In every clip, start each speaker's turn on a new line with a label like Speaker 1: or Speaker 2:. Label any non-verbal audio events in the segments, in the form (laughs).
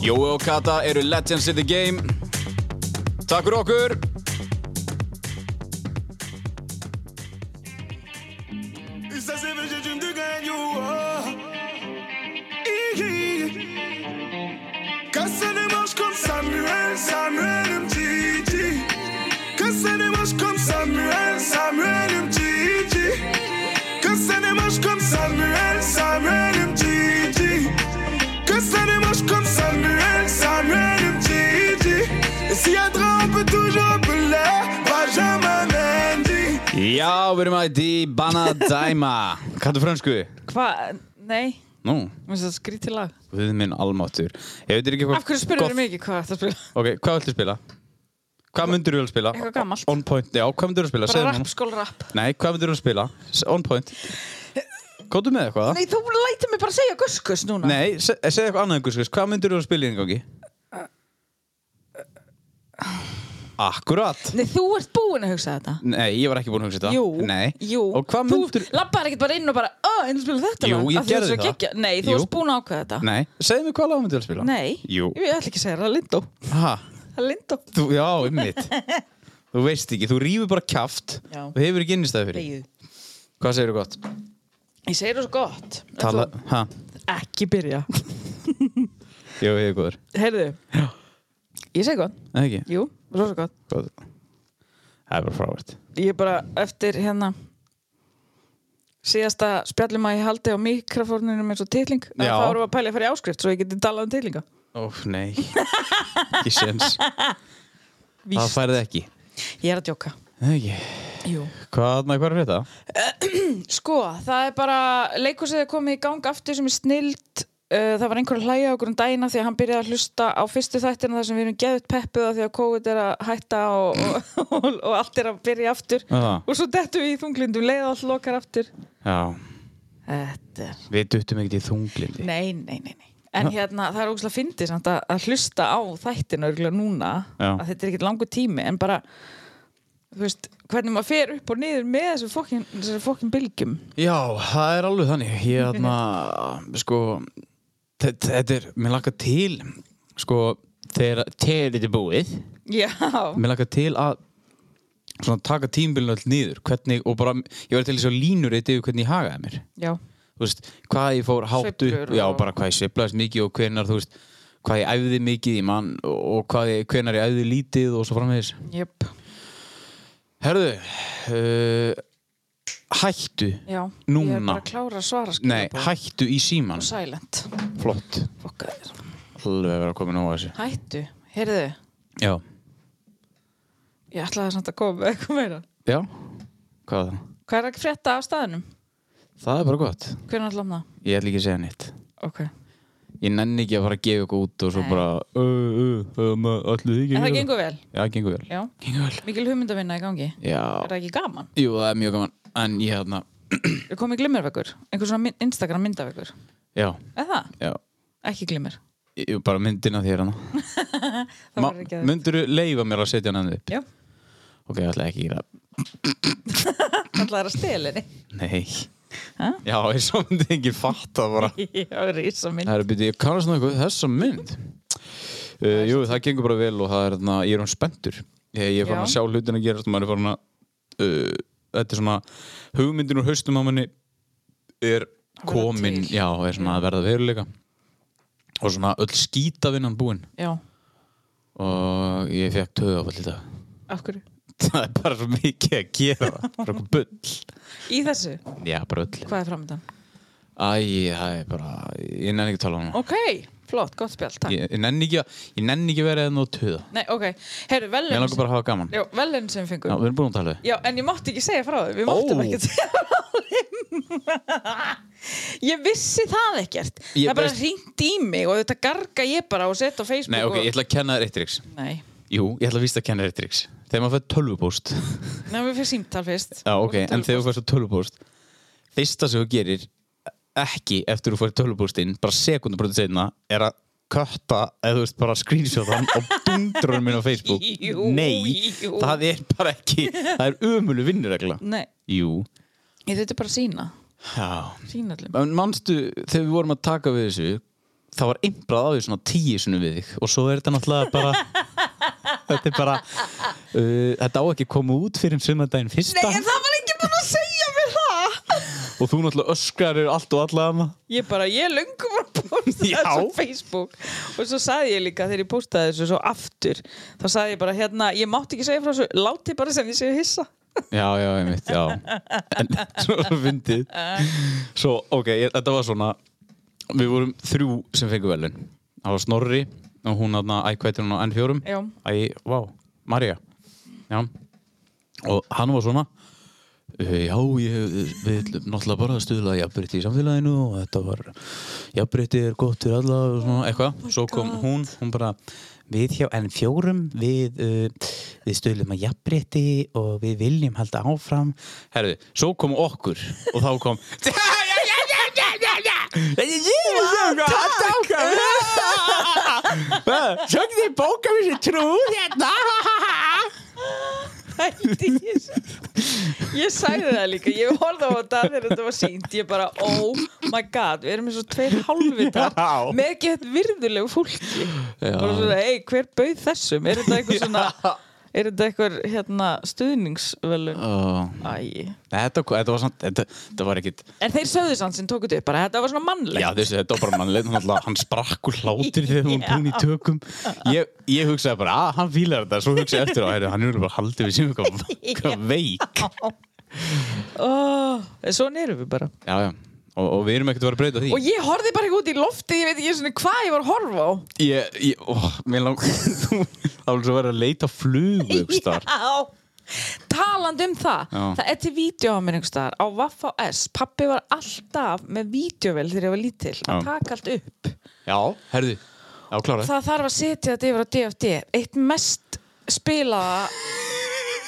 Speaker 1: Jói og Kata eru legends in the game. Takk fyrir okkur!
Speaker 2: Isso é sempre de time de ganho. oh. Cassez-les-manches comme Samuel, Samuel Mtiti. Cassez-les-manches comme Samuel, Samuel Mtiti. Cassez-les-manches comme Samuel, Samuel Mtiti. Cassez-les-manches comme Samuel, Samuel Mtiti. Et s'il y a drame, on peut toujours appeler Benjamin Mendy.
Speaker 1: Já, við erum að í Banadæma. Kata fransku?
Speaker 3: Hvað? Nei,
Speaker 1: Nú,
Speaker 3: mér finnst það skrítið lag.
Speaker 1: við minn almáttur. Ef þetta er ekki
Speaker 3: Af hverju spurður mig ekki hvað þetta spila?
Speaker 1: Ok, hvað viltu spila? Hvað myndur þú að spila?
Speaker 3: Eitthvað gamalt.
Speaker 1: On point, já, hvað myndur þú að spila?
Speaker 3: Bara
Speaker 1: Segðu mér
Speaker 3: rap,
Speaker 1: nú.
Speaker 3: skól rap.
Speaker 1: Nei, hvað myndur þú að spila? S- On point. Kóttu með eitthvað?
Speaker 3: Nei, þú lætið mig bara segja guskus núna.
Speaker 1: Nei, se- eh, segðu eitthvað annað einhvers, hvað myndur þú að spila í gangi? Akkurat
Speaker 3: Nei, þú ert búinn að hugsa þetta.
Speaker 1: Nei, ég var ekki búin að hugsa þetta
Speaker 3: Jú,
Speaker 1: Nei.
Speaker 3: jú.
Speaker 1: Og hvað myndur
Speaker 3: Þú labbaði ekkert bara inn og bara, öh, einnig spila þetta
Speaker 1: Jú,
Speaker 3: lag,
Speaker 1: ég
Speaker 3: af því
Speaker 1: gerði
Speaker 3: þú ert svo
Speaker 1: það.
Speaker 3: geggjað." Nei,
Speaker 1: Jú.
Speaker 3: þú varst búinn að ákveða þetta.
Speaker 1: Nei, segðu mig hvað lag myndur þú að spila Jú
Speaker 3: Ég ætla ekki að segja það, það er Lindó.
Speaker 1: ha,
Speaker 3: Það er Lindó.
Speaker 1: þú, Já, um
Speaker 3: (laughs)
Speaker 1: Þú veist ekki, þú rýfur bara kjaft
Speaker 3: Já.
Speaker 1: Þú hefur ekki innistæði fyrir Hvað segir þú gott?
Speaker 3: Ég segir það svo gott. En
Speaker 1: Tala, ha,
Speaker 3: þú- Ekki byrja.
Speaker 1: jú, ég er góður
Speaker 3: Heyrðu.
Speaker 1: Já.
Speaker 3: Ég segi gott.
Speaker 1: Nei, ekki,
Speaker 3: Jú, rosa gott.
Speaker 1: góður Það er bara frávært
Speaker 3: Ég er bara eftir hérna síðasta spjallum að ég haldi á mikrofónunum eins og titling að
Speaker 1: Já.
Speaker 3: þá erum við að pæla að fara í áskrift svo ég geti talað um titlinga
Speaker 1: Ó, nei (laughs) Ekki sens, það
Speaker 3: Víst,
Speaker 1: færði ekki
Speaker 3: ég er að djóka
Speaker 1: Nei, Ekki,
Speaker 3: Jú.
Speaker 1: hvað, na, hvað er þetta?
Speaker 3: Sko, það er bara leikúsið er komið í gang aftur sem er snild það var einhver að hlæja okkur um dagina því að hann byrjaði að hlusta á fyrstu þættina þar sem við erum geðut peppuð af því að COVID er að hætta og, og, og, og allt er að byrja aftur
Speaker 1: Já.
Speaker 3: og svo dettum við í þunglindum leið allt lokar aftur
Speaker 1: Já,
Speaker 3: Þetta er
Speaker 1: við duttum ekkert í þunglindi
Speaker 3: Nei, nei, nei, nei. En hérna, það er ógæslega fyndið samt að, að hlusta á þættinu örgulega núna,
Speaker 1: Já.
Speaker 3: að þetta er ekkert langur tími, en bara, þú veist, hvernig maður fer upp og niður með þessu fokkin, þessu fokkin bylgjum.
Speaker 1: Já, það er alveg þannig Ég aðna, (laughs) sko þe- Þetta er, mér laka til Sko, þegar Þegar þetta er búið
Speaker 3: Já,
Speaker 1: Mér laka til að Svona taka tímbilinu all nýður Hvernig, og bara, ég var til þess að línur eitt yfir hvernig ég hagaði mér
Speaker 3: já,
Speaker 1: Þú veist, hvað ég fór hátt upp
Speaker 3: Sveiflur
Speaker 1: Já,
Speaker 3: og-
Speaker 1: bara hvað ég sveiflaðist mikið og hvenar, þú veist Hvað ég æfði mikið í mann Og og hvað ég, hvenar ég æfði lítið og svo framvegis
Speaker 3: jöp,
Speaker 1: Herðu uh, Hættu
Speaker 3: já. Ég er
Speaker 1: Núna
Speaker 3: bara að klára að svara
Speaker 1: Nei,
Speaker 3: skilabóð.
Speaker 1: hættu í síman
Speaker 3: Silent.
Speaker 1: Flott
Speaker 3: Fokkaður.
Speaker 1: Alveg að vera komin á þessu
Speaker 3: Hættu, heyrðu,
Speaker 1: Já
Speaker 3: ég ætlaði samt að koma með eitthvað meira.
Speaker 1: Já Hvað er það?
Speaker 3: Hvað er að frétta af staðinum?
Speaker 1: Það er bara gott
Speaker 3: Hvernig ætlaðum það?
Speaker 1: Ég ætla ekki að segja neitt
Speaker 3: Ok.
Speaker 1: Ég nenni ekki að fara að gefa eitthvað út og svo
Speaker 3: Nei.
Speaker 1: bara uh, uh, um, Allir þið ekki
Speaker 3: En
Speaker 1: að
Speaker 3: það
Speaker 1: gera
Speaker 3: gengur vel,
Speaker 1: Já, gengur vel
Speaker 3: já.
Speaker 1: Gengur vel
Speaker 3: Mikil hugmyndavinna í gangi. Er
Speaker 1: Já
Speaker 3: það ekki gaman?
Speaker 1: Jú, það er mjög gaman En ég hérna
Speaker 3: Við komum í glimmervegur, einhver svona mynd, Instagram myndavegur
Speaker 1: Já,
Speaker 3: Er það?
Speaker 1: já
Speaker 3: Ekki glimmer
Speaker 1: Ég ég- bara myndina þér hérna. hana
Speaker 3: Það var ekki að
Speaker 1: Myndur þú leifa mér að setja hann upp?
Speaker 3: Já,
Speaker 1: Ok, ég ætla ekki að gera
Speaker 3: alltaf er að stela henni
Speaker 1: Nei
Speaker 3: Ha?
Speaker 1: Já, (laughs) ég svo myndi ekki fatta bara
Speaker 3: (laughs) Já, rísa mynd
Speaker 1: Það er byrju, ég kannast nokkuð við þessa mynd uh, Jú, það gengur bara vel og það er þarna, ég er hann spenntur Eh, Ég, ég er farin að
Speaker 3: Já.
Speaker 1: sjá hlutin að gera maður er farin að uh, þetta er svona hugmyndin úr haustum á manni er
Speaker 3: Að verða
Speaker 1: komin
Speaker 3: til. Mm.
Speaker 1: já, er svona að verða veruleika og svona öll skítavinnan búin
Speaker 3: Já,
Speaker 1: og ég fekk töðu á allir dag (laughs)
Speaker 3: af hverju?
Speaker 1: það er bara svo mikið að gera bara okkur bull
Speaker 3: Í þessu,
Speaker 1: já, bara öll
Speaker 3: hvað er framöndan?
Speaker 1: Æ, það er bara, ég nenni ekki að tala um það
Speaker 3: Ok, flott, gott spjall, takk
Speaker 1: ég, ég nenni ekki að, ég nenni ekki að vera eða og töða
Speaker 3: Nei, ok, heyrðu,
Speaker 1: Mér
Speaker 3: velun
Speaker 1: langar bara að hafa gaman
Speaker 3: Já, velun sem við
Speaker 1: Já,
Speaker 3: fengum
Speaker 1: við erum búin að tala við
Speaker 3: Já, en ég mátti ekki segja frá þau Við
Speaker 1: Ó.
Speaker 3: máttum ekki segja frá þeim (laughs) ég vissi það ekkert
Speaker 1: Ég
Speaker 3: það er bara
Speaker 1: veist-
Speaker 3: hringt í mig og þetta garga ég bara og setja á Facebook
Speaker 1: Nei, ok,
Speaker 3: og...
Speaker 1: ég ætla að kenna þér eitt triks
Speaker 3: Nei,
Speaker 1: Jú, ég ætla að vísta að kenna þér eitt triks Þegar maður fær tölvupóst
Speaker 3: Nei, við fyrir símtal fyrst
Speaker 1: Já, ok,
Speaker 3: Og
Speaker 1: en þegar þú
Speaker 3: tölvupóst.
Speaker 1: færst á tölvupóst Fyrsta sem þú gerir ekki eftir þú færst tölvupóstinn bara sekundum brotið setna er að kötta eða þú veist bara screenshotan og dundrunum minn á Facebook
Speaker 3: Jú,
Speaker 1: Nei,
Speaker 3: jú.
Speaker 1: það er bara ekki það er umölu vinnuregla
Speaker 3: Nei,
Speaker 1: Jú
Speaker 3: ég þetta bara að sína
Speaker 1: Já.
Speaker 3: Sína allum
Speaker 1: En manstu, þegar við vorum að taka við þessu það var einbrað á því svona tíu sinni við þig og svo er þetta náttúrulega bara (laughs) þetta er bara uh, þetta á ekki að koma út fyrir um sumardaginn fyrsta
Speaker 3: Nei, en það var ekki búin að segja mér það
Speaker 1: og þú náttúrulega öskrar yfir allt og alla hana
Speaker 3: Ég bara, ég er löngum að posta
Speaker 1: Já.
Speaker 3: þessu á Facebook og svo saði ég líka þegar ég postaði þessu svo aftur þá saði ég bara, hérna, ég mátti ekki segja frá þessu láti bara sem ég séu hissa
Speaker 1: Já, já, ég mitt, já En (laughs) svo fyndið Svo, ok, ég, þetta var svona Við vorum þrjú sem fengu velun Það var Snorri og hún aðna ækvætir hún á N4
Speaker 3: Já.
Speaker 1: Æ, vá, Marja Já Og hann var svona eh, Já, ég, við ætlum náttúrulega bara að stuðla jafnbrytti í samfélaginu og þetta var jafnbrytti er gott fyrir alla og svona eitthvað, svo kom hún hún bara, við hjá N4 við, uh, við stuðlum að jafnbrytti og við viljum halda áfram herðu, svo kom okkur og þá kom Sjöngðu þið bóka mér sér trú hérna
Speaker 3: Hætti ég Ég sagði það líka, ég horfði á þetta þegar þetta var sínt, ég bara oh my god, við erum eins og tveir hálfvitar
Speaker 1: Já.
Speaker 3: með ekki þetta virðulegu fólki
Speaker 1: Já.
Speaker 3: og svona, ei, hver bauð þessum er þetta eitthvað svona er þetta eitthvað, hérna, stuðningsvelun
Speaker 1: Ó,
Speaker 3: Æ,
Speaker 1: Þetta, þetta var samt, þetta, þetta var ekkit
Speaker 3: En þeir sögðu sann sem tókut upp bara, þetta var svona mannlegt.
Speaker 1: Já þessi, þetta var bara mannlega náttúrulega, Hann sprakk úr hlátir þegar hún búin í tökum Ég, ég hugsaði bara, að hann fílar þetta Svo hugsaði ég eftir á, heyrðu, hann er örugglega bara haldið við sem
Speaker 3: (laughs)
Speaker 1: eitthvað eitthvað veik
Speaker 3: Oh, svona erum við bara.
Speaker 1: Já, já, og, og við erum ekkert að vera að breyta því
Speaker 3: Og ég horfði bara ekki út í lofti, ég veit ekki svona hvað ég var að horfa á.
Speaker 1: Ég, ég, ó, mér lang (laughs) þú- Það var svo að vera að leita flugu einhvers staðar.
Speaker 3: (laughs) Já. Talandi um það,
Speaker 1: Já.
Speaker 3: það er til vídeo á mér einhvers staðar, á Vaffa S. Pappi var alltaf með vídeovel þegar ég var lítil, að
Speaker 1: Já.
Speaker 3: taka allt upp.
Speaker 1: Já, herðu Já, klára
Speaker 3: Það þarf að setja þetta yfir á DFD. Eitt mest
Speaker 1: (laughs)
Speaker 3: spilaða...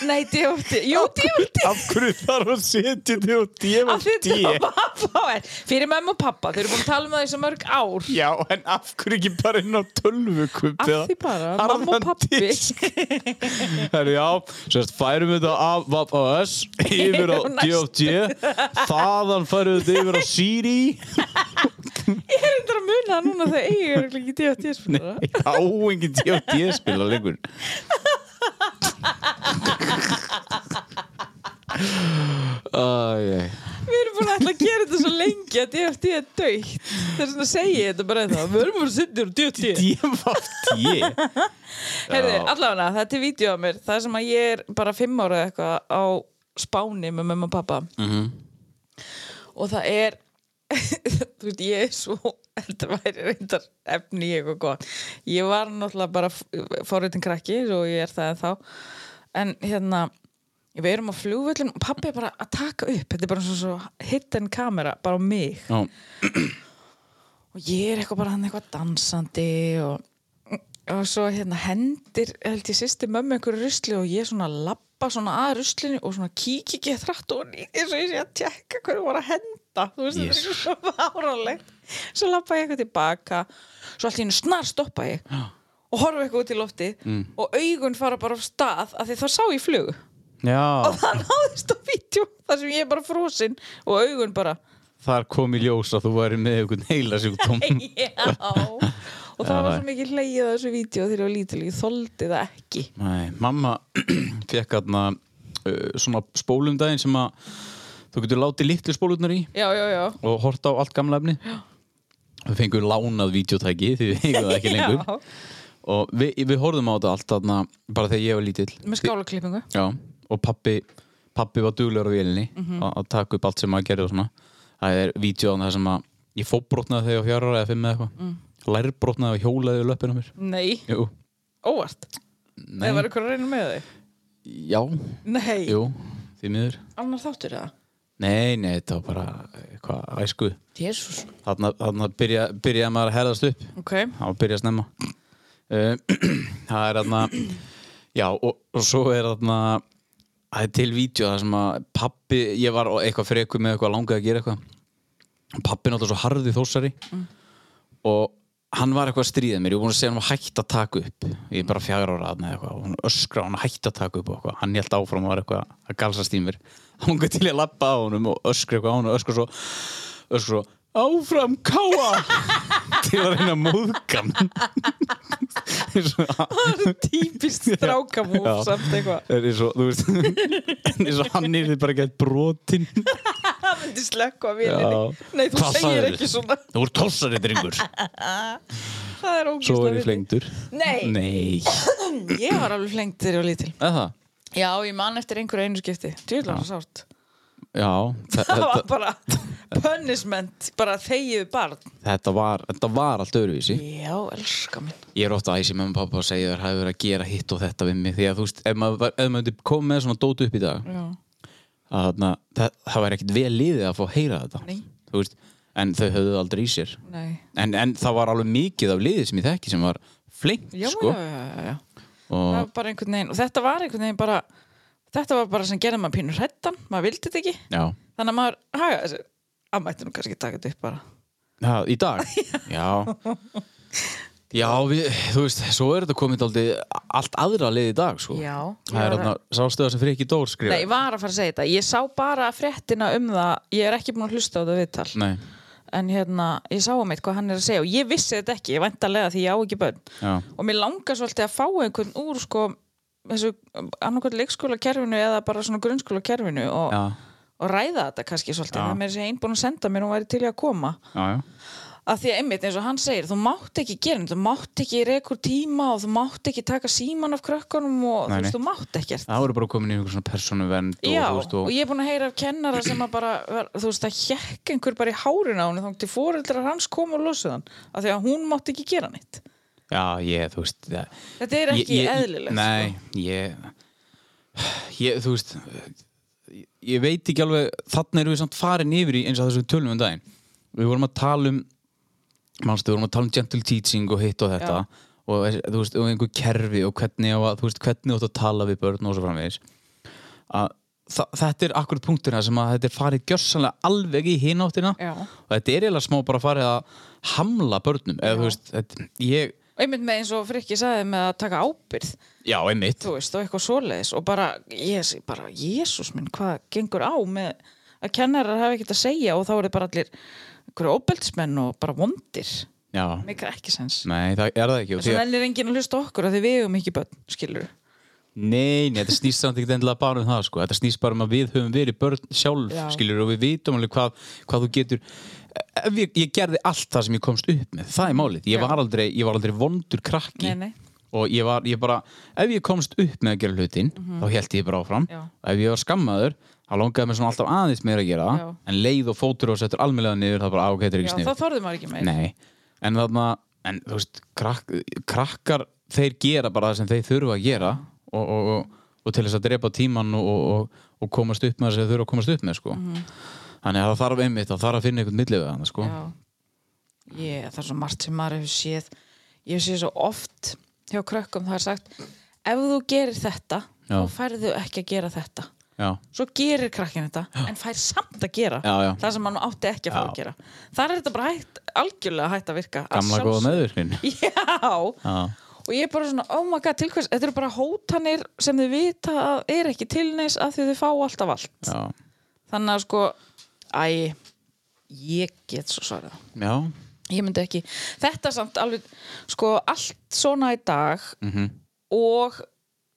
Speaker 3: Nei, DFD. Jú, DFD.
Speaker 1: Af hverju þarf að setja þig og djöfum
Speaker 3: Af því þetta var Vaffa S. Fyrir mömmu og pappa, þeir eru búin að tala um það í svo mörg ár.
Speaker 1: Já, en af hverju ekki bara inn á tölvukup
Speaker 3: Af því bara, mamma og pappi
Speaker 1: Herru, já, sérst, færum við þetta af Vap AS yfir á
Speaker 3: Yfir á næstu.
Speaker 1: D.O.T. Þaðan færum við þetta yfir á Siri
Speaker 3: (laughs) Ég er endur að muna það núna þegar ég er ekki DFT spilara
Speaker 1: Já, engin D.O.T. spila lengur Æ, æ.
Speaker 3: Við erum búin að ætla að gera þetta svo lengi að DFT er dögt Það er svona að segja þetta bara þá Við erum búin að setja þér á DFT
Speaker 1: D.O.T.
Speaker 3: Herði, allavega, það er til vídeo af mér Það sem að ég er bara fimm ára eða eitthvað á Spáni með mamma og pappa
Speaker 1: Mhm.
Speaker 3: Og það er (laughs) Þú veit, ég er svo Þetta væri reyndar efni í eitthvað gott Ég var náttúrulega bara Fóruðin krakki, svo ég er það en þá En hérna Við erum á flugvöllin og pappi er bara að taka upp Þetta er bara svona svo hidden kamera Bara á mig
Speaker 1: Já,
Speaker 3: og ég er eitthvað bara hann eitthvað dansandi og, og svo hérna hendir held ég sýsti mömmu einhverju rusli og ég svona lappa svona að ruslinu og svona kík ekki þrætt og ný eins og ég sé að tjekka hverju voru að henda þú veist þetta er
Speaker 1: Jesus.
Speaker 3: eitthvað svona fáránlegt svo lappa ég eitthvað tilbaka svo allt í hennu snar stoppa ég og horfa eitthvað út í lofti og augun fara bara á stað af því það sá ég flug (laughs)
Speaker 1: já
Speaker 3: og það náðist á vídeo þar sem ég er bara frósin og augun bara (laughs)
Speaker 1: þar kom í ljós að þú væri með einhvern heila sjúkdóm
Speaker 3: Já Og það var svo mikið hlegið að þessu vídeo þegar ég var lítil Ég þoldi það ekki
Speaker 1: Nei, mamma (clears throat) fekk aðna uh, svona spólum daginn sem að þú getur látið litlu spólurnar í
Speaker 3: Já, já, já
Speaker 1: og hort á allt gamla efni við fengum lánað videotæki því við hengum það ekki lengur
Speaker 3: (laughs) Já,
Speaker 1: og við, við horfðum á þetta allt aðna bara þegar ég var lítill
Speaker 3: Með skálaklippingu
Speaker 1: Já, og pappi pappi var duglegur á vélinni
Speaker 3: Mhm.
Speaker 1: að- að taka upp allt sem maður gerði og svona það er vídjóðan það sem að ég fóbrotnaði þegar ég var fjara ára eða fimm eða eitthvað mm. lærbrotnaði og hjólaði í löppinu á mér
Speaker 3: Nei,
Speaker 1: Jú,
Speaker 3: óvart
Speaker 1: nei,
Speaker 3: Það var eitthvað að reyna með þig
Speaker 1: já,
Speaker 3: Nei,
Speaker 1: jú, því miður
Speaker 3: annar þáttur það
Speaker 1: Nei, nei, þetta var bara eitthvað æsku
Speaker 3: Jésús
Speaker 1: Þarna, þarna byrja, byrjaði maður að herðast upp
Speaker 3: Ok, (laughs)
Speaker 1: Það var að byrja að snemma Eh, (clears throat) Það er þarna Já, og, og svo er þarna Það er til vídeo það sem að pappi, ég var á eitthvað freku með eitthvað langaði að gera eitthvað Pappi náttúrulega svo harði þósari
Speaker 3: Mm.
Speaker 1: og hann var eitthvað að stríða mér ég var búin að segja hann að hætta að taka upp ég er bara fjagra ára aðna eitthvað og hann öskra hann að hætta að taka upp og eitthvað hann held áfram og var eitthvað að galsast í mér (laughs) hann gæti til ég að lappa á honum og öskra eitthvað á honum og öskra svo, öskra svo áfram káa (laughs) til að reyna að móðka hann (laughs) eins og
Speaker 3: típist strákamúf
Speaker 1: Já.
Speaker 3: samt eitthvað
Speaker 1: eins og, þú
Speaker 3: (laughs)
Speaker 1: veist eins og hann er bara gætt brotin
Speaker 3: Það myndi slökka að vilinni Nei, þú
Speaker 1: Hvað
Speaker 3: segir
Speaker 1: sagðirðu?
Speaker 3: ekki svona
Speaker 1: þú ert tósari drengur
Speaker 3: Það er ógist
Speaker 1: svo er ég flengdur
Speaker 3: Nei.
Speaker 1: nei
Speaker 3: Ég var alveg flengd þegar ég var lítil
Speaker 1: (laughs) eða það
Speaker 3: Já, ég man eftir einhverju einu skipti Djúðlega sárt
Speaker 1: já þa-
Speaker 3: Það var
Speaker 1: þetta-
Speaker 3: bara punishment Bara þegið barn
Speaker 1: þetta var, þetta var allt öðruvísi
Speaker 3: Já, elska minn
Speaker 1: ég er ofta æsi með pappa og segja þér hafi verið að gera hitt og þetta við mig því að þú veist, ef maður, var- ef maður myndi koma með svona dót upp í dag
Speaker 3: Já.
Speaker 1: að þarna, það, það væri ekkert vel liðið að fá að heyra þetta
Speaker 3: Nei.
Speaker 1: þú veist, en þau höfðu aldrei í sér
Speaker 3: Nei
Speaker 1: en, en það var alveg mikið af liðið sem ég þekki sem var flink
Speaker 3: Já,
Speaker 1: sko.
Speaker 3: já, já, já, já. Það
Speaker 1: og
Speaker 3: var bara einhvern veginn Og þetta var einhvern veginn bara Þetta var bara sem gerði maður pínur hrættan Maður vildi þetta ekki
Speaker 1: já,
Speaker 3: Þannig að maður haga þessu Að mætti nú kannski taka þetta upp bara
Speaker 1: það, í
Speaker 3: (laughs)
Speaker 1: dag já já, við, þú veist, svo er þetta komið aldrei allt aðra liðið í dag sko.
Speaker 3: Já.
Speaker 1: það er
Speaker 3: Já,
Speaker 1: þarna, sástu það sem Friki Dór skrifa
Speaker 3: Nei, ég var að fara að segja þetta Ég sá bara fréttina um það Ég er ekki búin að hlusta á þetta viðtal
Speaker 1: Nei.
Speaker 3: En hérna, ég sá um eitt hvað hann er að segja Og ég vissi þetta ekki, ég væntalega því ég á ekki börn
Speaker 1: Já.
Speaker 3: Og mér langar svolítið að fá einhvern úr sko, þessu annarkvæmt leikskóla kerfinu eða bara svona grunnskóla kerfinu og,
Speaker 1: Já.
Speaker 3: og ræða þetta kannski svolítið
Speaker 1: Já.
Speaker 3: Það er mér sé einbúin að senda mér og hún væri til í að koma
Speaker 1: Já, já.
Speaker 3: að því að einmitt eins og hann segir þú mátt ekki gera, þetta, þú mátt ekki rekur tíma og þú mátt ekki taka síman af krökkunum og
Speaker 1: Nei,
Speaker 3: þú
Speaker 1: nei.
Speaker 3: veist, þú mátt ekkert
Speaker 1: Það voru bara komin í einhver svona persónuvernd og,
Speaker 3: Já,
Speaker 1: þú
Speaker 3: og,
Speaker 1: veist, og,
Speaker 3: ég er búin að heyra af kennara sem að bara, var- þú veist, það hjekk einhver bara í hárin á henni þá til foreldrar hans kom og losuð hann af því að hún mátti ekki gera neitt
Speaker 1: Já, ég, þú veist ja.
Speaker 3: Þetta er ekki eðlilegt
Speaker 1: Nei,
Speaker 3: sko.
Speaker 1: ég, ég Þú veist ég, ég veit ekki alveg, þarna erum við samt farin yfir í eins og þessum tölum um daginn Við vorum að tala um manstu, við vorum að tala um gentle teaching og hitt og þetta
Speaker 3: Já.
Speaker 1: og, þessi- þú veist, og einhver kerfi og hvernig, á að, þú veist, hvernig þú átt að tala við börn og svo framvegis að þa- þetta er akkurat punkturinn sem að þetta er farið gjörsanlega alveg í hináttina
Speaker 3: Já.
Speaker 1: og þetta er eiginlega smá bara farið að hamla börnum eða þú veist, þetta, ég
Speaker 3: Og einmitt með eins og Frikki sagði með að taka ábyrð
Speaker 1: já, einmitt,
Speaker 3: þú veist, og eitthvað svoleiðis og bara, yes, bara jésús minn, hvað gengur á með að kennarar hafa ekkert að segja og þá eru bara allir einhverju óbeltismenn og bara vondir
Speaker 1: já
Speaker 3: mikla ekki sens
Speaker 1: nei, það er það ekki og því
Speaker 3: Svo
Speaker 1: að,
Speaker 3: nennir enginn að hlusta á okkur af því við um ekki börn, skilur
Speaker 1: nei, nei, þetta snýst samt ekkert endilega bara um það sko, þetta snýst bara um að við höfum verið börn sjálf,
Speaker 3: Já.
Speaker 1: skilur, og við vitum alveg hvað, hvað þú getur ef ég, ég gerði allt það sem ég komst upp með, það er málið ég
Speaker 3: Já.
Speaker 1: var aldrei, ég var aldrei vondur krakki
Speaker 3: Nei, nei.
Speaker 1: og ég var, ég bara ef ég komst upp með að gera hlutin þá held ég bara áfram,
Speaker 3: Mhm. Já.
Speaker 1: og ef ég var skammaður þá langaði mér svona alltaf aðeins meira að gera það.
Speaker 3: Já.
Speaker 1: en leið og fótur og settur almennlega niður það bara á, ok, þetta er
Speaker 3: Já,
Speaker 1: ekki snið
Speaker 3: það þorðum maður ekki með
Speaker 1: Nei, en þarna en þú veist, krak, krakkar þeir gera bara það sem þeir þurfa að gera og, og, og, og til þess að drepa tíman og, og, og, og komast upp með þess að þeir þurfa að komast upp með sko. þannig að það þarf einmitt það þarf að finna einhvern millið við hann sko.
Speaker 3: Mhm. Já, ég, það er svo margt sem maður hefur séð ég hef séð svo oft hjá krökkum það er sagt ef þú gerir þetta,
Speaker 1: Já.
Speaker 3: þá færðu ekki að gera þetta
Speaker 1: já,
Speaker 3: svo gerir krakkin þetta en fær samt að gera
Speaker 1: Já, já.
Speaker 3: það sem hann átti ekki að fá
Speaker 1: Já.
Speaker 3: að gera þar er þetta bara hægt, algjörlega hægt að virka að
Speaker 1: gamla góða
Speaker 3: (laughs) sjálfsögðu.
Speaker 1: meður
Speaker 3: Já,
Speaker 1: Já.
Speaker 3: og ég er bara svona, oh my god, til hvers þetta eru bara hótanir sem þau vita að er ekki tilneis af því þau fá alltaf allt
Speaker 1: já,
Speaker 3: þannig að sko, æ ég get svo svarað
Speaker 1: já,
Speaker 3: ég myndi ekki, þetta samt alveg sko, allt svona í dag
Speaker 1: Mhm.
Speaker 3: og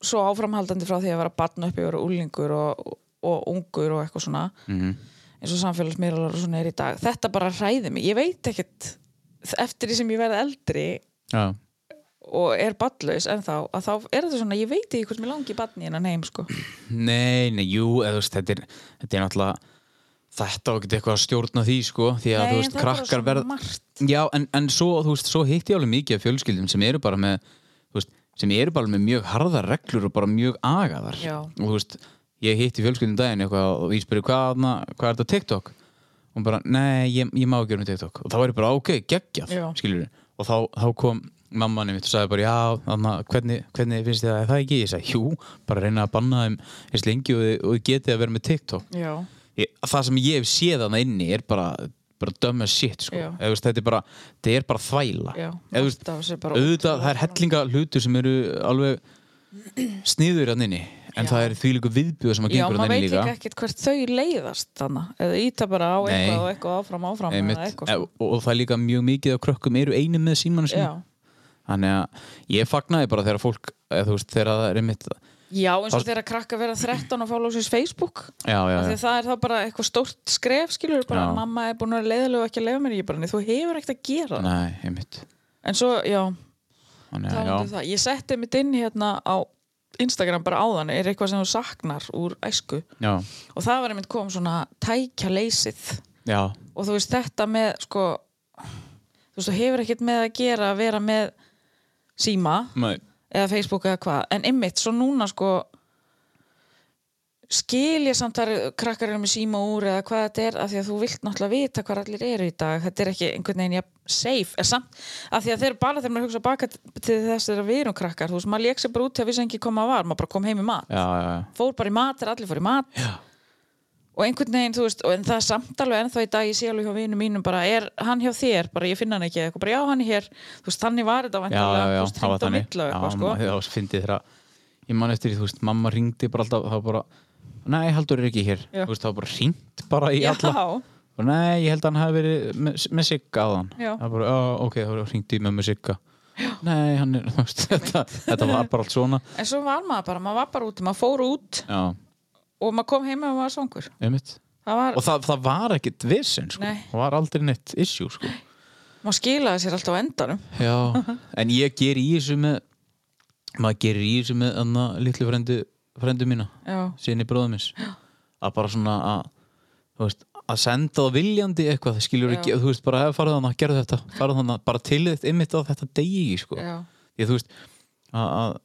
Speaker 3: svo áframhaldandi frá því að vera batn upp yfir og úlingur og, og ungur og eitthvað svona
Speaker 1: Mhm.
Speaker 3: eins og samfélagsmiðlar og svona er í dag þetta bara hræði mig, ég veit ekkert eftir því sem ég verði eldri
Speaker 1: já.
Speaker 3: og er badlaus en þá, að þá er þetta svona, ég veit ekki hvort mér langi í badni innan heim sko
Speaker 1: Nei, nei, jú, eða, þú veist, þetta, er, þetta er náttúrulega þetta á ekkert eitthvað að stjórna því sko, því að
Speaker 3: Nei,
Speaker 1: þú
Speaker 3: en
Speaker 1: veist,
Speaker 3: það er bara
Speaker 1: krakkar
Speaker 3: svo
Speaker 1: verð
Speaker 3: margt.
Speaker 1: Já, en, en svo, þú veist, svo hitti ég alveg mikið af fjölskyldum sem eru bara með þú veist, sem eru bara með mjög harðar reglur og bara mjög agaðar
Speaker 3: Já.
Speaker 1: og þú veist, ég hitti fjölskyldum daginn eitthvað og ég spurði hvað, na, hvað er þetta TikTok og hún bara, nei, ég, ég má ekki vera með TikTok og þá var ég bara, ok, geggjað,
Speaker 3: Já.
Speaker 1: skilur og þá, þá kom mammanum mitt og sagði bara, já, þannig, hvernig, hvernig finnst þið það, er það ekki? Ég sagði, jú, bara reyna að banna þeim eins lengi og, þið- og þið getið að vera með TikTok
Speaker 3: já,
Speaker 1: ég, það sem ég hef séð hann inni er bara, bara dumb as shit sko.
Speaker 3: Já.
Speaker 1: Eða, þú veist, þetta er bara, þetta er bara þvæla
Speaker 3: Já,
Speaker 1: Eða, þú veist,
Speaker 3: þetta sé bara
Speaker 1: auðvitað,
Speaker 3: ótrúlega
Speaker 1: það er hellinga hlutur sem eru alveg sniður hann inni en
Speaker 3: Já.
Speaker 1: það er því líka viðbjöð sem að
Speaker 3: já
Speaker 1: gengur
Speaker 3: maður
Speaker 1: hann inni
Speaker 3: veit
Speaker 1: líka
Speaker 3: líka ekkert hvert þau leiðast þannig eða íta bara á
Speaker 1: Nei.
Speaker 3: eitthvað og eitthvað áfram áfram
Speaker 1: Einmitt,
Speaker 3: eða eitthvað sko.
Speaker 1: og, og það er líka mjög mikið að krökkum eru einu með símanu
Speaker 3: já.
Speaker 1: sinni þannig að ég fagnaði bara þegar fólk eða, þú veist, þegar það er einmitt já,
Speaker 3: já, eins og
Speaker 1: Það-
Speaker 3: þeirra krakka vera 13 og fá lóksins Facebook
Speaker 1: já,
Speaker 3: Af því
Speaker 1: já,
Speaker 3: að það er þá bara eitthvað stórt skref skilur bara
Speaker 1: Já.
Speaker 3: mamma er búin að leiðilega og ekki að leiða mér ég bara, nei, þú hefur ekkert að gera það
Speaker 1: nei, einmitt
Speaker 3: en svo, já,
Speaker 1: þannig að,
Speaker 3: talandu
Speaker 1: já,
Speaker 3: um það ég setti mitt inn hérna á Instagram bara áðan, er eitthvað sem þú saknar úr æsku
Speaker 1: já,
Speaker 3: og það var einmitt kom svona tækja leysið
Speaker 1: já,
Speaker 3: og þú veist þetta með sko, þú veist þú hefur ekkert með að gera að vera með síma
Speaker 1: nei,
Speaker 3: eða Facebook eða hvað, en einmitt svo núna sko skil ég samt að krakkar eru með síma úr eða hvað þetta er, af því að þú vilt náttúrulega vita hvað allir eru í dag, þetta er ekki einhvern veginn ja, safe, er samt, af því að þeir bara þegar maður hugsa baka t- til þess þegar við erum krakkar, þú veist, maður lék sér bara út til að vissi ekki koma var, maður bara kom heim í mat
Speaker 1: já, já, já.
Speaker 3: fór bara í mat, þegar allir fór í mat Já. og einhvern veginn, þú veist og en það er samt alveg ennþá í dag, ég sé alveg hjá vinum mínum bara, er hann hjá þér, bara ég finna hann ekki eða eitthvað, bara já, hann er hér, þú veist, þannig var þetta
Speaker 1: já, já, já,
Speaker 3: væntanlega, þú veist, hringt á millu og eitthvað, sko
Speaker 1: já, þá fyndið þeirra ég man eftir, því, þú veist, mamma ringdi bara alltaf þá bara, nei, Haldur er ekki hér
Speaker 3: Já.
Speaker 1: þú veist, þá bara ringt bara í alla
Speaker 3: Já,
Speaker 1: og nei, ég held að hann hafi verið með, með Sigga aðan
Speaker 3: Já.
Speaker 1: það bara, "Ó, ok, þá ringdi ég með með Sigga nei, hann er, (laughs) þú veist, þetta, þetta var bara allt svona
Speaker 3: en svo var maður bara, maður var bara út, maður fór út
Speaker 1: já,
Speaker 3: og maður kom heim og maður var svangur.
Speaker 1: einmitt
Speaker 3: Það var,
Speaker 1: og það, það var ekkit vissinn, sko
Speaker 3: Nei.
Speaker 1: það var aldrei neitt issue, sko
Speaker 3: maður skilaði sér alltaf á endanum.
Speaker 1: Já, en ég ger í þessu með maður gerir í þessu með anna litlu frendu, frendu mína
Speaker 3: Já,
Speaker 1: sinni bróðumins að bara svona að þú veist, að senda það viljandi eitthvað það skilur ekki,
Speaker 3: Já.
Speaker 1: þú veist, bara hef farið þannig að gera þetta farið þannig að bara til þitt ymmit að þetta degi ekki, sko,
Speaker 3: já,
Speaker 1: því að þú veist að, að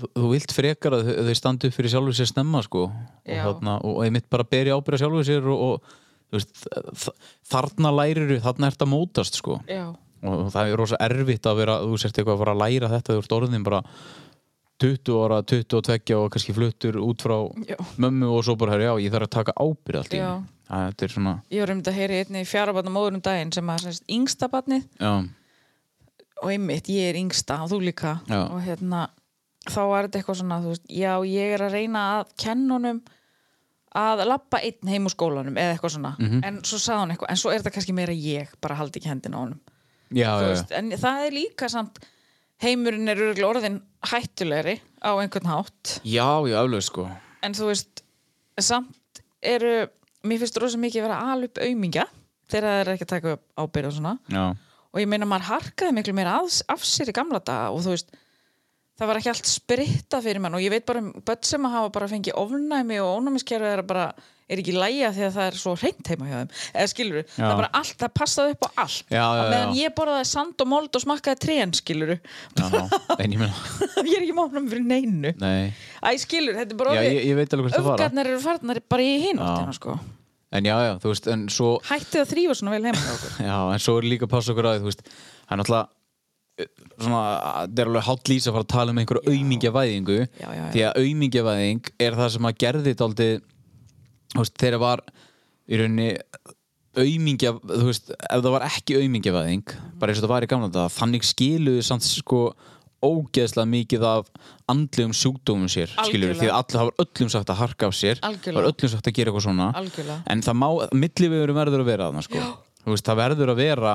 Speaker 1: þú- þú vilt frekar að þau- þau standu upp fyrir sjálfur sér snemma, sko og,
Speaker 3: Já.
Speaker 1: þarna, og ymmit bara beri ábyrja sjálfur sér og, og þú veist, þ- þarna læriru þarna ert að mótast, sko
Speaker 3: já,
Speaker 1: og það er rosa erfitt að vera þú sért eitthvað að fara að læra þetta þú ert orðin bara 20 ára, 22 og kannski fluttur út frá
Speaker 3: já.
Speaker 1: mömmu og svo bara, já, ég þarf að taka ábyrð allt í
Speaker 3: Já.
Speaker 1: einu. Það þetta er svona
Speaker 3: Ég var um þetta að heyri einni fjarabarnum móður um daginn sem að semst, yngsta barnið
Speaker 1: já,
Speaker 3: og einmitt, ég er yngsta og þú líka
Speaker 1: Já.
Speaker 3: og hérna, þá var þetta eitthvað svona þú veist, já, ég er að reyna að kennunum að lappa einn heim úr skólanum eða eitthvað svona
Speaker 1: Mhm.
Speaker 3: en svo sagði hann eitthvað, en svo er þetta kannski meira ég bara haldi ekki hendina á honum
Speaker 1: já,
Speaker 3: Þú
Speaker 1: já,
Speaker 3: veist, en það er líka samt heimurinn er örugglega orðin hættulegri á einhvern hátt
Speaker 1: já já, já, alveg sko
Speaker 3: en þú veist, samt eru, mér finnst rosa mikið að vera að ala upp aumingja þegar það er ekki að taka ábyrð og svona
Speaker 1: já,
Speaker 3: og ég meina maður harkaði miklu meira af, af sér í gamla daga og þú veist það var ekki allt spritta fyrir mann og ég veit bara um börn sem að hafa bara fengið ofnæmi og ónæmiskerfi er bara er ekki lægja því að það er svo hreint heima hjá þeim eða skilur við, það
Speaker 1: Já.
Speaker 3: er bara allt, það passaði upp á allt
Speaker 1: Já, já,
Speaker 3: Á meðan
Speaker 1: já.
Speaker 3: ég borðaði sand og mold og smakkaði trén skilur
Speaker 1: já, já. (laughs) en ég meina,
Speaker 3: (laughs) ég er ekki máfnum fyrir neinu
Speaker 1: nei
Speaker 3: Æ skilur, þetta er bara
Speaker 1: já,
Speaker 3: orðið-
Speaker 1: ég, ég veit alveg hvert það fara
Speaker 3: öfgarnar eru farnar bara í hinn
Speaker 1: Já.
Speaker 3: sko.
Speaker 1: en já, já, þú veist, en svo
Speaker 3: hættið að þrýfa svona vel heima
Speaker 1: (laughs)
Speaker 3: hjá okkur
Speaker 1: já, en svo er líka að passa okkur að því, þú veist, það er náttúrulega svona, það er alveg hátt lýs að fara að tala um einhverju aumingjavæðingu
Speaker 3: Já, já, já.
Speaker 1: því að aumingjavæðing er það sem að gerði dálítið þú veist, þegar var í rauninni aumingja, þú veist, ef það var ekki aumingjavæðing, bara eins og það var í gamla þetta þannig skiluðu samt sko ógeðslega mikið af andlegum sjúkdómum sér, skilur
Speaker 3: Algjörlega.
Speaker 1: því að all, það var öllum sagt að harka af sér það var
Speaker 3: Algjörlega.
Speaker 1: öllum sagt að gera eitthvað svona
Speaker 3: Algjörlega.
Speaker 1: en það má, millivegurum verður að vera þarna sko. Þú veist, það verður að vera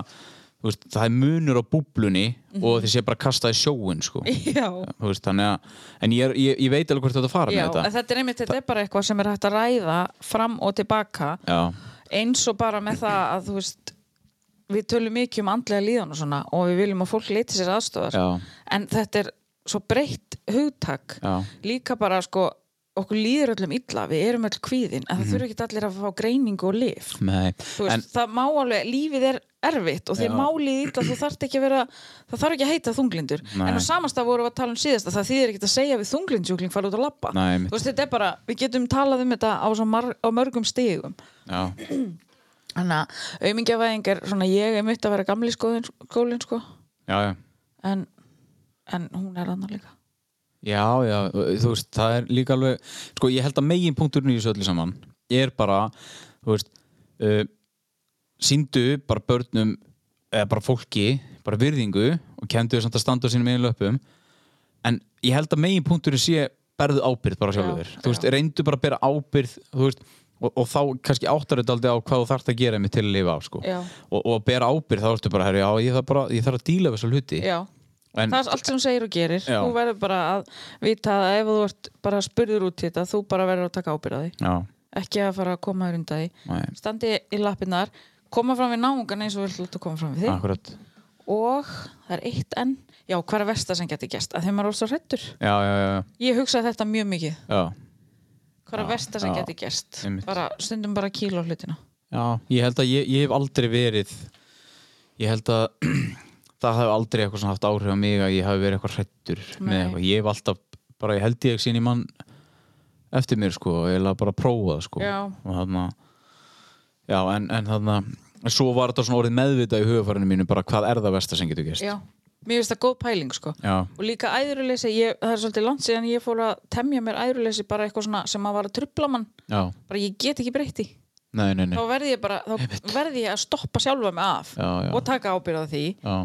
Speaker 1: þú veist, það er munur á búblunni og þið sé bara kastað í sjóin sko.
Speaker 3: Mhm. já,
Speaker 1: Þú veist, þannig að, en ég, er, ég, ég veit alveg hvort þetta fara
Speaker 3: já
Speaker 1: með
Speaker 3: en
Speaker 1: þetta
Speaker 3: þetta er einmitt þetta er bara eitthvað sem er hægt að ræða fram og tilbaka
Speaker 1: já,
Speaker 3: eins og bara með það að þú veist við tölum mikið um andlega líðan og svona og við viljum að fólk leiti sér aðstofar
Speaker 1: Já.
Speaker 3: en þetta er svo breytt hugtak
Speaker 1: Já.
Speaker 3: líka bara sko okkur líður öllum illa, við erum öll kvíðin en
Speaker 1: Mhm.
Speaker 3: það þurfa ekki allir að fá greiningu og lif
Speaker 1: Nei,
Speaker 3: þú veist,
Speaker 1: en
Speaker 3: það má alveg, lífið er erfitt og
Speaker 1: Já.
Speaker 3: þér málið illa, þú þarft ekki að vera það þarf ekki að heita þunglindur
Speaker 1: Nei.
Speaker 3: en á samasta vorum við að tala um síðast að það þýðir ekki að segja við þunglindsjúkling fara út að labba
Speaker 1: Nei, einmitt.
Speaker 3: þú veist, þetta er bara, við getum talað um þetta á, svo mar, á mörgum stigum
Speaker 1: já,
Speaker 3: þannig að aumingjafæðing er svona ég er mitt að vera gamli skólin, skólin sko
Speaker 1: já, já
Speaker 3: en, en hún er annar líka
Speaker 1: Já, já, þú veist, það er líka alveg sko, ég held að megin punkturinn í þessu öllu saman er bara, þú veist uh, síndu bara börnum, eða bara fólki bara virðingu og kendu þau samt að standa á sínum einu löpum en ég held að megin punkturinn sé berðu ábyrgð bara sjálfur
Speaker 3: Já,
Speaker 1: þér, þú veist,
Speaker 3: já.
Speaker 1: reyndu bara að bera ábyrgð þú veist, og, og þá kannski áttar þetta aldrei á hvað þú þarft að gera mig til að lifa á, sko
Speaker 3: Já.
Speaker 1: og, og að bera ábyrgð, þá ertu bara, herri, já, ég þarf bara ég þarf að díla við þessu hluti
Speaker 3: já,
Speaker 1: en,
Speaker 3: það er allt sem hún segir og gerir
Speaker 1: Já.
Speaker 3: þú verður bara að vita að ef þú ert bara spurður út í þetta, þú bara verður að taka ábyrðaði
Speaker 1: já,
Speaker 3: ekki að fara að koma þér undan því
Speaker 1: nei,
Speaker 3: standi í lappinnar koma fram við náungan eins og við hlutum að koma fram við þig
Speaker 1: akkurat
Speaker 3: og það er eitt enn já, hvað er versta sem getur gæst? að þeim maður er orðið svo hrettur
Speaker 1: já, já, já, já.
Speaker 3: ég hugsa þetta mjög mikið
Speaker 1: Já,
Speaker 3: hvað er versta sem
Speaker 1: já,
Speaker 3: getur gæst?
Speaker 1: einmitt.
Speaker 3: bara stundum bara kíla á hlutina
Speaker 1: já, ég held að ég, ég hef aldrei verið ég held að (clears throat) það hef aldrei eitthvað svona haft áhrif á mig að ég hef verið eitthvað hrettur með
Speaker 3: Nei.
Speaker 1: eitthvað, ég hef alltaf bara, ég held ég sín í mann eftir mér sko, ég hef bara prófað sko
Speaker 3: Já.
Speaker 1: og þarna já, en, en þarna en svo var þetta svona orðið meðvitað í hugafærinu mínu bara hvað er það versta sem getur gerst
Speaker 3: já, mér finnst það góð pæling sko
Speaker 1: já,
Speaker 3: og líka æðruleysi, ég, það er svolítið langt síðan ég fór að temja mér æðruleysi bara eitthvað svona sem að var að trubla mann
Speaker 1: já,
Speaker 3: bara ég get ekki breytti
Speaker 1: nei, nei, nei
Speaker 3: þá verði ég bara, þá verði ég að stoppa sjálfa mig af
Speaker 1: Já, já.
Speaker 3: og taka ábyrða því
Speaker 1: já,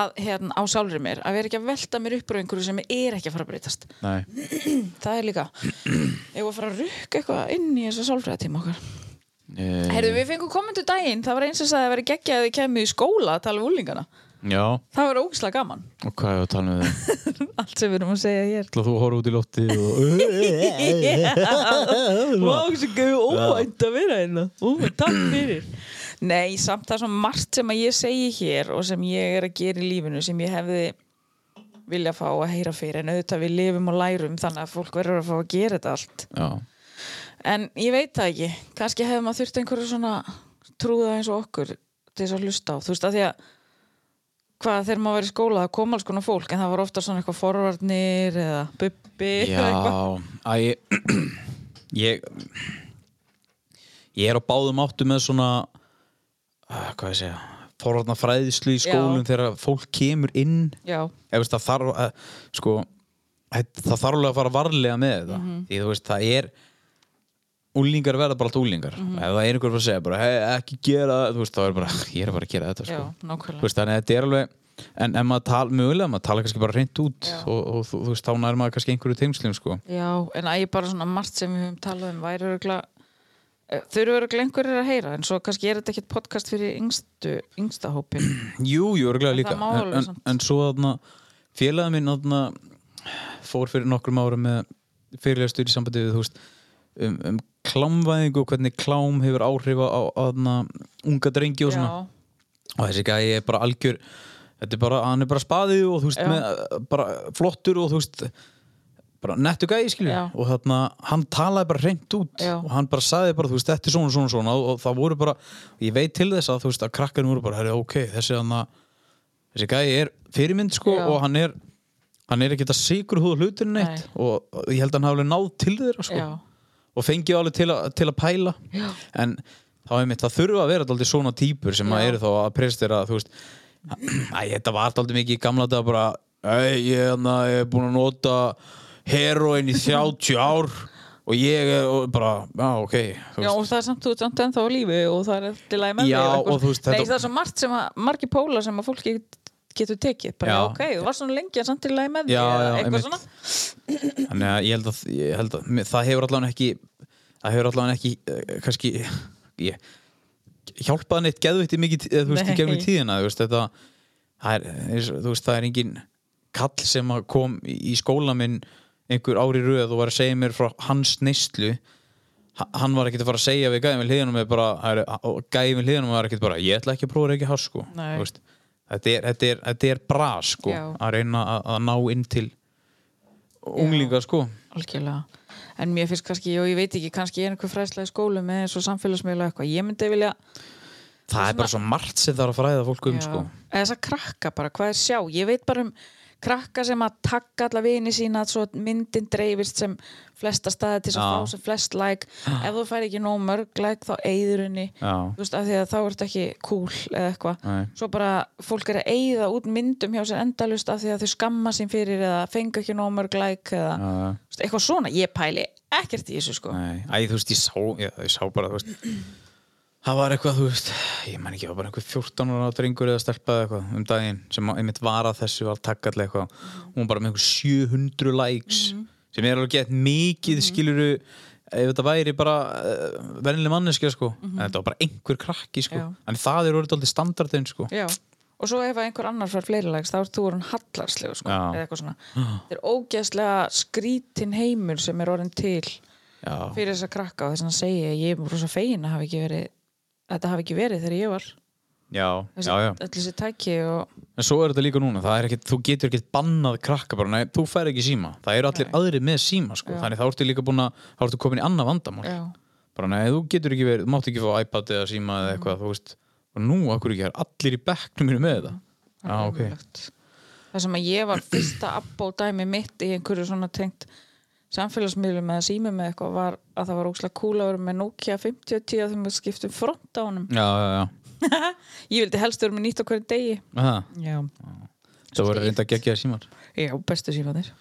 Speaker 3: að hérna á sjálfri mér að vera ekki að velta mér upp úr einhverju sem er ekki að fara að breytast
Speaker 1: nei,
Speaker 3: það er (clears throat) líka ég var að fara að rukka eitthvað inn í þessu sálfræða tíma okkar
Speaker 1: e,
Speaker 3: heyrðu við fengum komendu daginn það var eins og sagði að vera geggja að þið kemur í skóla að tala um úlingana
Speaker 1: já,
Speaker 3: það var ógislega gaman
Speaker 1: og hvað er að tala um það
Speaker 3: allt sem við erum að segja hér
Speaker 1: ætla þú að horfa út í loftið og
Speaker 3: Vá, sem gefur óvænt að vera hérna Óvænt, takk fyrir Nei, samt það er svona margt sem að ég segi hér og sem ég er að gera í lífinu sem ég hefði vilja fá að heyra fyrir en auðvitað við lifum og lærum þannig að fólk verður að fá að gera þetta allt
Speaker 1: já
Speaker 3: en ég veit það ekki, kannski hefði maður þurft einhverju svona trúða eins og okkur til þess að hlusta á, þú veist að því að hvað þegar maður var í skóla það kom alls konar fólk en það var ofta svona eitthvað forvarnir eða bubbi eða eitthvað.
Speaker 1: Já, að ég ég ég er á báðum áttu með svona uh, hvað ég segja forvarna fræðislu í skólum
Speaker 3: Já.
Speaker 1: þegar fólk kemur inn
Speaker 3: Já,
Speaker 1: ef veist, það þarf að, sko þetta- það þarf alveg að fara varlega með þetta
Speaker 3: Mhm.
Speaker 1: því þú veist það er úlingar verða bara allt úlingar
Speaker 3: Mhm.
Speaker 1: ef það er einhver að segja bara hey, ekki gera það", þú veist þá er bara (laughs) ég er bara að gera þetta
Speaker 3: já,
Speaker 1: sko. Þú
Speaker 3: nákvæmlega
Speaker 1: veist, þannig að þetta er alveg en ef maður tala, mögulega maður tala kannski bara hreint út
Speaker 3: Já.
Speaker 1: og, og þú, þú veist, þá nær maður kannski einhverju teimslum sko.
Speaker 3: Já, en að ég bara svona margt sem við höfum talað um væri örgla þau eru örgla einhverjir að heyra en svo kannski er þetta ekkert podcast fyrir yngstu, yngsta hópin
Speaker 1: Jú, jú, örgulega líka
Speaker 3: það má alveg
Speaker 1: en, en,
Speaker 3: samt.
Speaker 1: en svo þarna félagið minn þarna fór fyrir nokkrum árum með fyrirlegastur í sambandi við þú veist um, um klámvæðingu og hvernig klám hefur áhrif á, á þarna unga drengi og svona
Speaker 3: Já,
Speaker 1: og þessi gæi er bara algjör þetta er bara, hann er bara spaðið og þú veist
Speaker 3: Já.
Speaker 1: með, bara flottur og þú veist bara nettu gæi skilur
Speaker 3: Já.
Speaker 1: og þarna, hann talaði bara hreint út
Speaker 3: Já.
Speaker 1: og hann bara sagði bara, þú veist, þetta er svona, svona, svona og, og það voru bara, ég veit til þess að þú veist að krakkarinn voru bara, herri, ok, þessi hann þessi gæi er fyrirmynd sko
Speaker 3: Já.
Speaker 1: og hann er, hann er ekkert að sigur húða hlutin neitt
Speaker 3: Nei.
Speaker 1: og, og ég held að hann hafi alveg náð til þeirra sko
Speaker 3: já,
Speaker 1: og fengið alveg til, a, til að pæla Já. en þá er mitt, það þurfa að vera alltaf svona típur sem að
Speaker 3: Já.
Speaker 1: eru þá að prestera þú veist, (clears throat) æ, þetta var alltaf mikið í gamla dag bara, æ, ég, hana, ég er búin að nota heroin í 30 ár og ég er og bara, já, ok þú
Speaker 3: já
Speaker 1: veist,
Speaker 3: og það er samt þú samt ennþá á lífi og það er allir læg með
Speaker 1: Já,
Speaker 3: þig eitthvað
Speaker 1: og þú veist,
Speaker 3: svona. Nei,
Speaker 1: þetta-
Speaker 3: það er svo margt sem að margi póla sem að fólki getur tekið, bara
Speaker 1: Já.
Speaker 3: já. ok, þú var svona lengi en samt til læg með þig
Speaker 1: Já,
Speaker 3: eða
Speaker 1: já,
Speaker 3: eitthvað
Speaker 1: einmitt.
Speaker 3: svona
Speaker 1: þannig að ég held að, ég held að mér- það hefur allavega ekki það hefur allavega ekki, eh, kannski ég, hjálpaði neitt geðveitti mikið, eh, þú veist, í
Speaker 3: Nei.
Speaker 1: gegnum tíðina þú veist, þetta það er, eins og- þú veist, það er engin kall sem að kom í í skóla minn einhver ári röð og var að segja mér frá hans neyslu Ha- hann var ekkert að fara að segja við gæðin við hliðanum eða bara, það er- og gæðin við hliðanum var ekkert bara, ég ætla ekki að prófa ekki hars sko
Speaker 3: Nei.
Speaker 1: Þú veist, þetta er, þetta er, þetta er bra sko
Speaker 3: Já.
Speaker 1: að reyna að, að ná inn til unglinga sko
Speaker 3: Algjörlega. en mér finnst kannski, og ég veit ekki kannski ég er einhver fræðsla í skólum eða eins og samfélagsmiðla eitthvað, ég myndi vilja
Speaker 4: Það er bara svo margt sem það er að fræða fólk um
Speaker 3: Já.
Speaker 4: sko.
Speaker 3: eða þess að krakka bara, hvað er sjá ég veit bara um krakka sem að taka alla vini sína svo að myndin dreifist sem flesta staði til þess að
Speaker 1: Já.
Speaker 3: fá sem
Speaker 1: (gasps)
Speaker 3: flest like ef þú fær ekki nóg mörg like þá eyður henni
Speaker 1: Já.
Speaker 3: þú veist, af því að þá ertu ekki cool eða eitthvað,
Speaker 1: Nei.
Speaker 3: svo bara fólk er að eyða út myndum hjá sér endalust af því að þau skamma sín fyrir eða fengu ekki nóg mörg like eða
Speaker 1: Já, já.
Speaker 3: þú veist, eitthvað svona, ég pæli ekkert í þessu sko
Speaker 1: Nei, æ, þú veist, ég sá, ég, ég sá bara, þú veist Það var eitthvað, þú veist, ég man ekki, það var bara einhver 14 ára drengur eða stelpaði eitthvað um daginn sem að einmitt var að þessu var takkall eitthvað og hún var bara með einhver 700 likes sem er alveg gett mikið skiluru ef þetta væri bara uh, verðinlega manneskja sko en þetta var bara einhver krakki sko
Speaker 3: Já.
Speaker 1: en það er orðið aldrei standardin sko
Speaker 3: Já, og svo ef að einhver annar fær fleiri lags þá er þú orðin hallarslegu sko,
Speaker 1: Já.
Speaker 3: eða eitthvað svona. Þetta er ógeðslega skrítin heimur sem er orðin til
Speaker 1: Já,
Speaker 3: fyrir þess að krakka og þess að segja ég er rosa fegin að hafa ekki verið að þetta hafi ekki verið þegar ég var
Speaker 1: já,
Speaker 3: þessi,
Speaker 1: já, já
Speaker 3: öll þessi tæki og
Speaker 1: En svo er þetta líka núna, það er ekkit, þú getur ekkit bannað krakka bara, nei, þú fær ekki síma það eru allir
Speaker 3: Nei.
Speaker 1: aðrir með síma, sko,
Speaker 3: Já.
Speaker 1: þannig þá ertu líka búin að þá ertu komin í annað vandamál
Speaker 3: já,
Speaker 1: bara, nei, þú getur ekki verið, þú mátt ekki fá iPad eða síma eða eitthvað, þú veist og nú, akkur ekki, það er allir í bekknum mínu með þetta já,
Speaker 3: það er
Speaker 1: ok,
Speaker 3: ómögulegt. það sem að ég var fyrsta abbó dæmi mitt í einhverju svona tengt samfélagsmiðlum eða sími með eitthvað var að það var ógeðslega kúl að vera með Nokia 5010 þegar maður skiptum front á honum
Speaker 1: já, já, já
Speaker 3: ég vildi helst vera með nýtt á hverju degi
Speaker 1: Aha,
Speaker 3: já,
Speaker 1: það voru reynda að gegja símar
Speaker 3: Já, bestu símanir.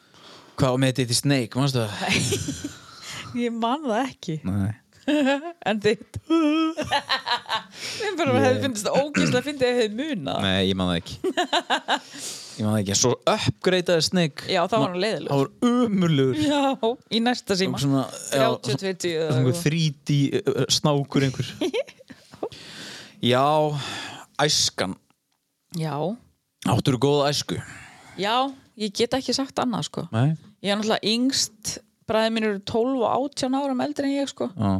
Speaker 1: hvað var með þetta í Snake, mannstu
Speaker 3: (laughs)
Speaker 1: það?
Speaker 3: Ég man það ekki.
Speaker 1: Nei.
Speaker 3: (laughs) En þitt. Mér bara yeah. hefði fundist það ógæslega að fyndi að ég hefði munað.
Speaker 1: nei, ég man það ekki ég man það ekki, en svo uppgreitaði Snake
Speaker 3: Já, þá var hann leiðilegur.
Speaker 1: það var umurlugur
Speaker 3: Já, í næsta síma.
Speaker 1: svona, já,
Speaker 3: 32 eða
Speaker 1: einhver
Speaker 3: eitthvað.
Speaker 1: 3D uh, snákur
Speaker 3: (laughs)
Speaker 1: einhver já æskan,
Speaker 3: Já,
Speaker 1: áttur þú góða æsku
Speaker 3: já, ég get ekki sagt annað, sko.
Speaker 1: nei,
Speaker 3: Ég er náttúrulega yngst, bræði mín eru 12 og 18 árum eldri en ég, sko.
Speaker 1: já,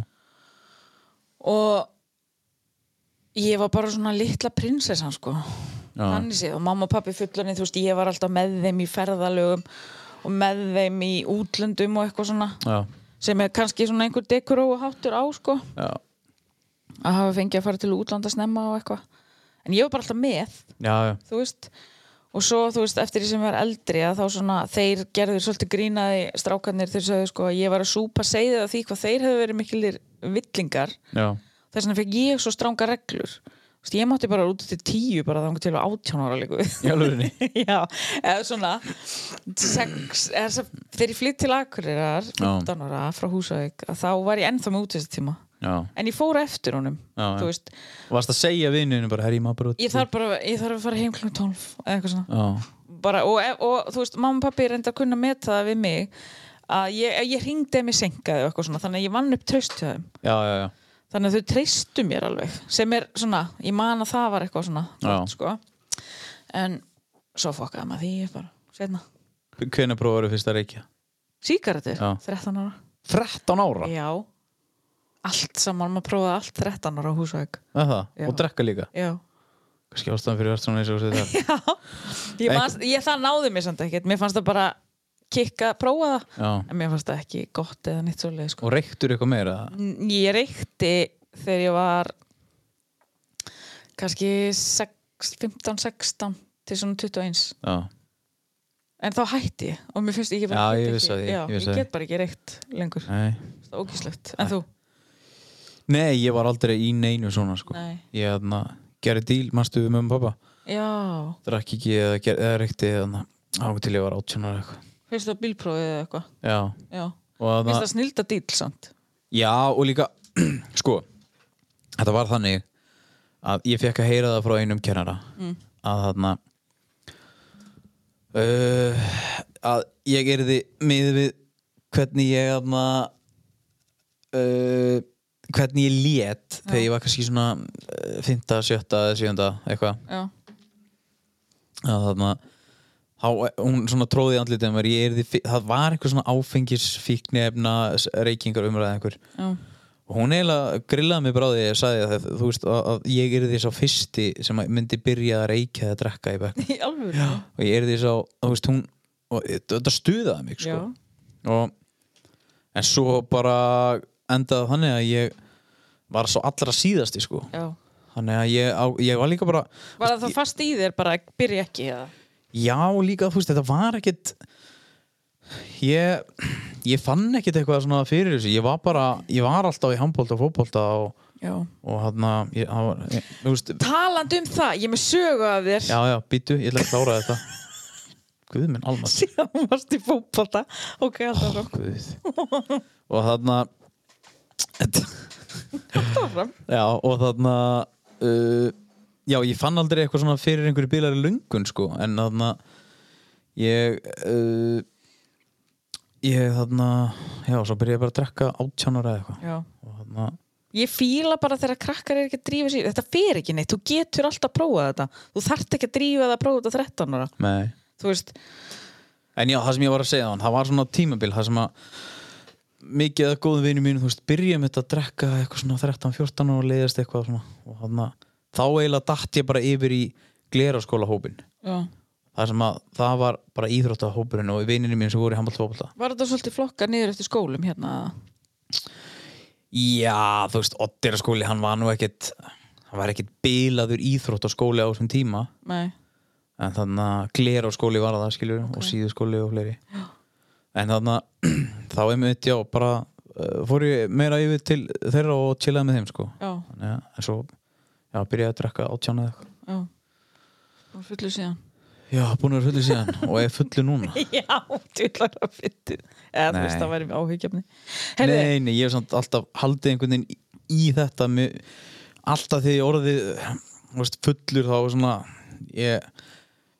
Speaker 3: Og ég var bara svona litla prinsessan, sko.
Speaker 1: já,
Speaker 3: þannig séð og mamma og pappi fullanir þú veist ég var alltaf með þeim í ferðalögum og með þeim í útlöndum og eitthvað svona
Speaker 1: já,
Speaker 3: sem er kannski svona einhver dekuró og háttur á sko
Speaker 1: já.
Speaker 3: að hafa fengið að fara til útlanda snemma og eitthvað en ég var bara alltaf með
Speaker 1: já, já.
Speaker 3: þú veist og svo þú veist eftir því sem ég var eldri að þá svona þeir gerður svolítið grínaði strákarnir þeir sögðu sko að ég var að súpa segðið af því hvað þeir hefðu verið mikilir villingar
Speaker 1: Já,
Speaker 3: þess vegna fekk ég svo stránga reglur Þú veist, ég mátti bara út til tíu bara þá til átján ára líku við
Speaker 1: í alvörunni?
Speaker 3: (laughs) já, eða svona sex, eða sem, þegar ég flytt til Akureyrar 15 ára frá Húsavík að þá var ég ennþá með útvistartíma
Speaker 1: já.
Speaker 3: en ég fór eftir honum
Speaker 1: Já, já.
Speaker 3: þú veist,
Speaker 1: Varst að segja vinninu bara, herri, ég maður bara út
Speaker 3: ég þarf bara ég þarf að fara heim klukkan 12 eða eitthvað svona
Speaker 1: Já,
Speaker 3: bara, og, ef- og þú veist, mamma og pappi reynda að kunna meta það við mig að ég, ef ég hringdi að mig senkaði og eitthvað svona þannig að ég vann upp traust hjá þeim
Speaker 1: já, já, já.
Speaker 3: þannig að þau treystu mér alveg sem er svona, ég man að það var eitthvað svona gott,
Speaker 1: Já.
Speaker 3: sko. en svo fokkaði maður því upp bara setna
Speaker 1: Hvenær prófaðu fyrst að reykja?
Speaker 3: Sígarettur?
Speaker 1: Já.
Speaker 3: 13 ára?
Speaker 1: 13 ára?
Speaker 3: Já. Allt saman, maður prófaði allt 13 ára á húsvæk.
Speaker 1: Er Það,
Speaker 3: Já.
Speaker 1: og drekka líka
Speaker 3: Já.
Speaker 1: Kannski ástæðan fyrir hvert svona eins og þessi
Speaker 3: (laughs)
Speaker 1: þar
Speaker 3: Ég, manst, ég það náði mér samt ekkert. Mér fannst það bara kikka, prófa það.
Speaker 1: Já,
Speaker 3: En mér fannst það ekki gott eða nýtt svolítið, sko.
Speaker 1: og reyktur eitthvað meira
Speaker 3: N- Ég reykti þegar ég var kannski 15-16 til svona 21.
Speaker 1: Já,
Speaker 3: En þá hætti ég og mér finnst ég
Speaker 1: Já,
Speaker 3: bara get
Speaker 1: ég
Speaker 3: ekki-
Speaker 1: vissi það, ég-
Speaker 3: Já,
Speaker 1: ég vissi það.
Speaker 3: get bara ekki reykt lengur.
Speaker 1: nei
Speaker 3: Það er ógíslegt. En þú?
Speaker 1: Nei, ég var aldrei í neinu svona, sko
Speaker 3: Nei.
Speaker 1: Ég hérna, gerði díl, manstu við mömmu og pappa
Speaker 3: Já.
Speaker 1: Drakk ekki eða, ger- eða reykti hérna Ákvæm til ég var 18 ára eitthvað
Speaker 3: Fyrst það bílprófið eða eitthvað?
Speaker 1: Já,
Speaker 3: Já.
Speaker 1: og þarna-
Speaker 3: Mér finnst það snilda dýl samt
Speaker 1: Já, og líka, (clears throat) sko, þetta var þannig að ég fekk að heyra það frá einum kennara
Speaker 3: Mm.
Speaker 1: að þarna uh, að ég erði miðið við hvernig ég þarna uh, hvernig ég lét þegar ég var kannski svona uh, 5. 7. 7. eitthvað
Speaker 3: Já,
Speaker 1: að þarna Há, hún svona tróði í andlitið á mér, ég yrði fí- það var einhver svona áfengis fíknefna reykingar umræða einhver
Speaker 3: já,
Speaker 1: og hún eiginlega grillaði mig bara á því að ég sagði að þú veist að, að ég er því sá fyrsti sem að myndi byrja að reykja eða drekka í bekk
Speaker 3: í alveg Já,
Speaker 1: og ég er því sá, þú veist hún sko. og þetta stuðaði mig sko
Speaker 3: Já.
Speaker 1: og, en svo bara endaði þannig að ég var svo allra síðasti sko
Speaker 3: Já.
Speaker 1: þannig að ég, á, ég var líka bara
Speaker 3: Var það þá fast í þér bara að byrja ekki eða?
Speaker 1: já líka þú veist þetta var ekkit ég ég fann ekkit eitthvað svona fyrir þessu ég var bara, ég var alltaf í handbólta og fótbólta og,
Speaker 3: Já.
Speaker 1: og hann að ég, það var- ég- þú veist,
Speaker 3: Talandi um það, ég er með sögu af þér.
Speaker 1: já já, býtu, ég ætla að klára þetta guð minn almatt
Speaker 3: (laughs) Síðan þú varst í fótbolta. Ok, alltaf rátt
Speaker 1: Guð. og þarna
Speaker 3: áfram.
Speaker 1: já, og þarna uh, já, ég fann aldrei eitthvað svona fyrir einhverju bílari lungun sko, en þarna ég uh, ég þarna já, svo byrja ég bara að drekka átjánur eða eitthvað
Speaker 3: Já.
Speaker 1: og þarna,
Speaker 3: Ég fíla bara þegar krakkar er ekki að drífa sér. Þetta fer ekki neitt, þú getur alltaf að prófa þetta. Þú þarft ekki að drífa það að prófa þetta 13 ára.
Speaker 1: nei
Speaker 3: Þú veist,
Speaker 1: En já, það sem ég var að segja hann, það var svona tímabil það sem að mikið að góðum vinum mínu, þú veist, byrjum þetta að drekka eitthvað svona 13-14 og leiðast eitthvað svona og þannig að þá eiginlega datt ég bara yfir í gleraskóla hópin
Speaker 3: já.
Speaker 1: það sem að það var bara íþróttahópurinn og vinninu mínu sem voru í handbóltfóbólta
Speaker 3: var þetta svolítið flokka niður eftir skólum hérna?
Speaker 1: Já, þú veist, Oddiraskóli, hann var nú ekkit hann var ekkit bilaður íþróttaskóli á þessum tíma
Speaker 3: Nei.
Speaker 1: en þannig að glera skóli var það skilur og síðu skóli og fleiri en þannig að (clears throat) þá einmitt já bara uh, fór ég meira yfir til þeirra og chillaði með þeim sko
Speaker 3: Já,
Speaker 1: þannig að en svo já, byrjaði að drekka átján eða eitthvað
Speaker 3: já. Og fullu síðan.
Speaker 1: já, búin að vera fullu síðan og er fullu núna
Speaker 3: (laughs) Já, djúlar að fyndið. Eða þú
Speaker 1: Nei.
Speaker 3: veist, það væri áhugjafni. Herði,
Speaker 1: nei, nei, ég hef samt alltaf haldið einhvern veginn í, í þetta mjög, alltaf þegar ég orðið þú veist, fullur þá svona ég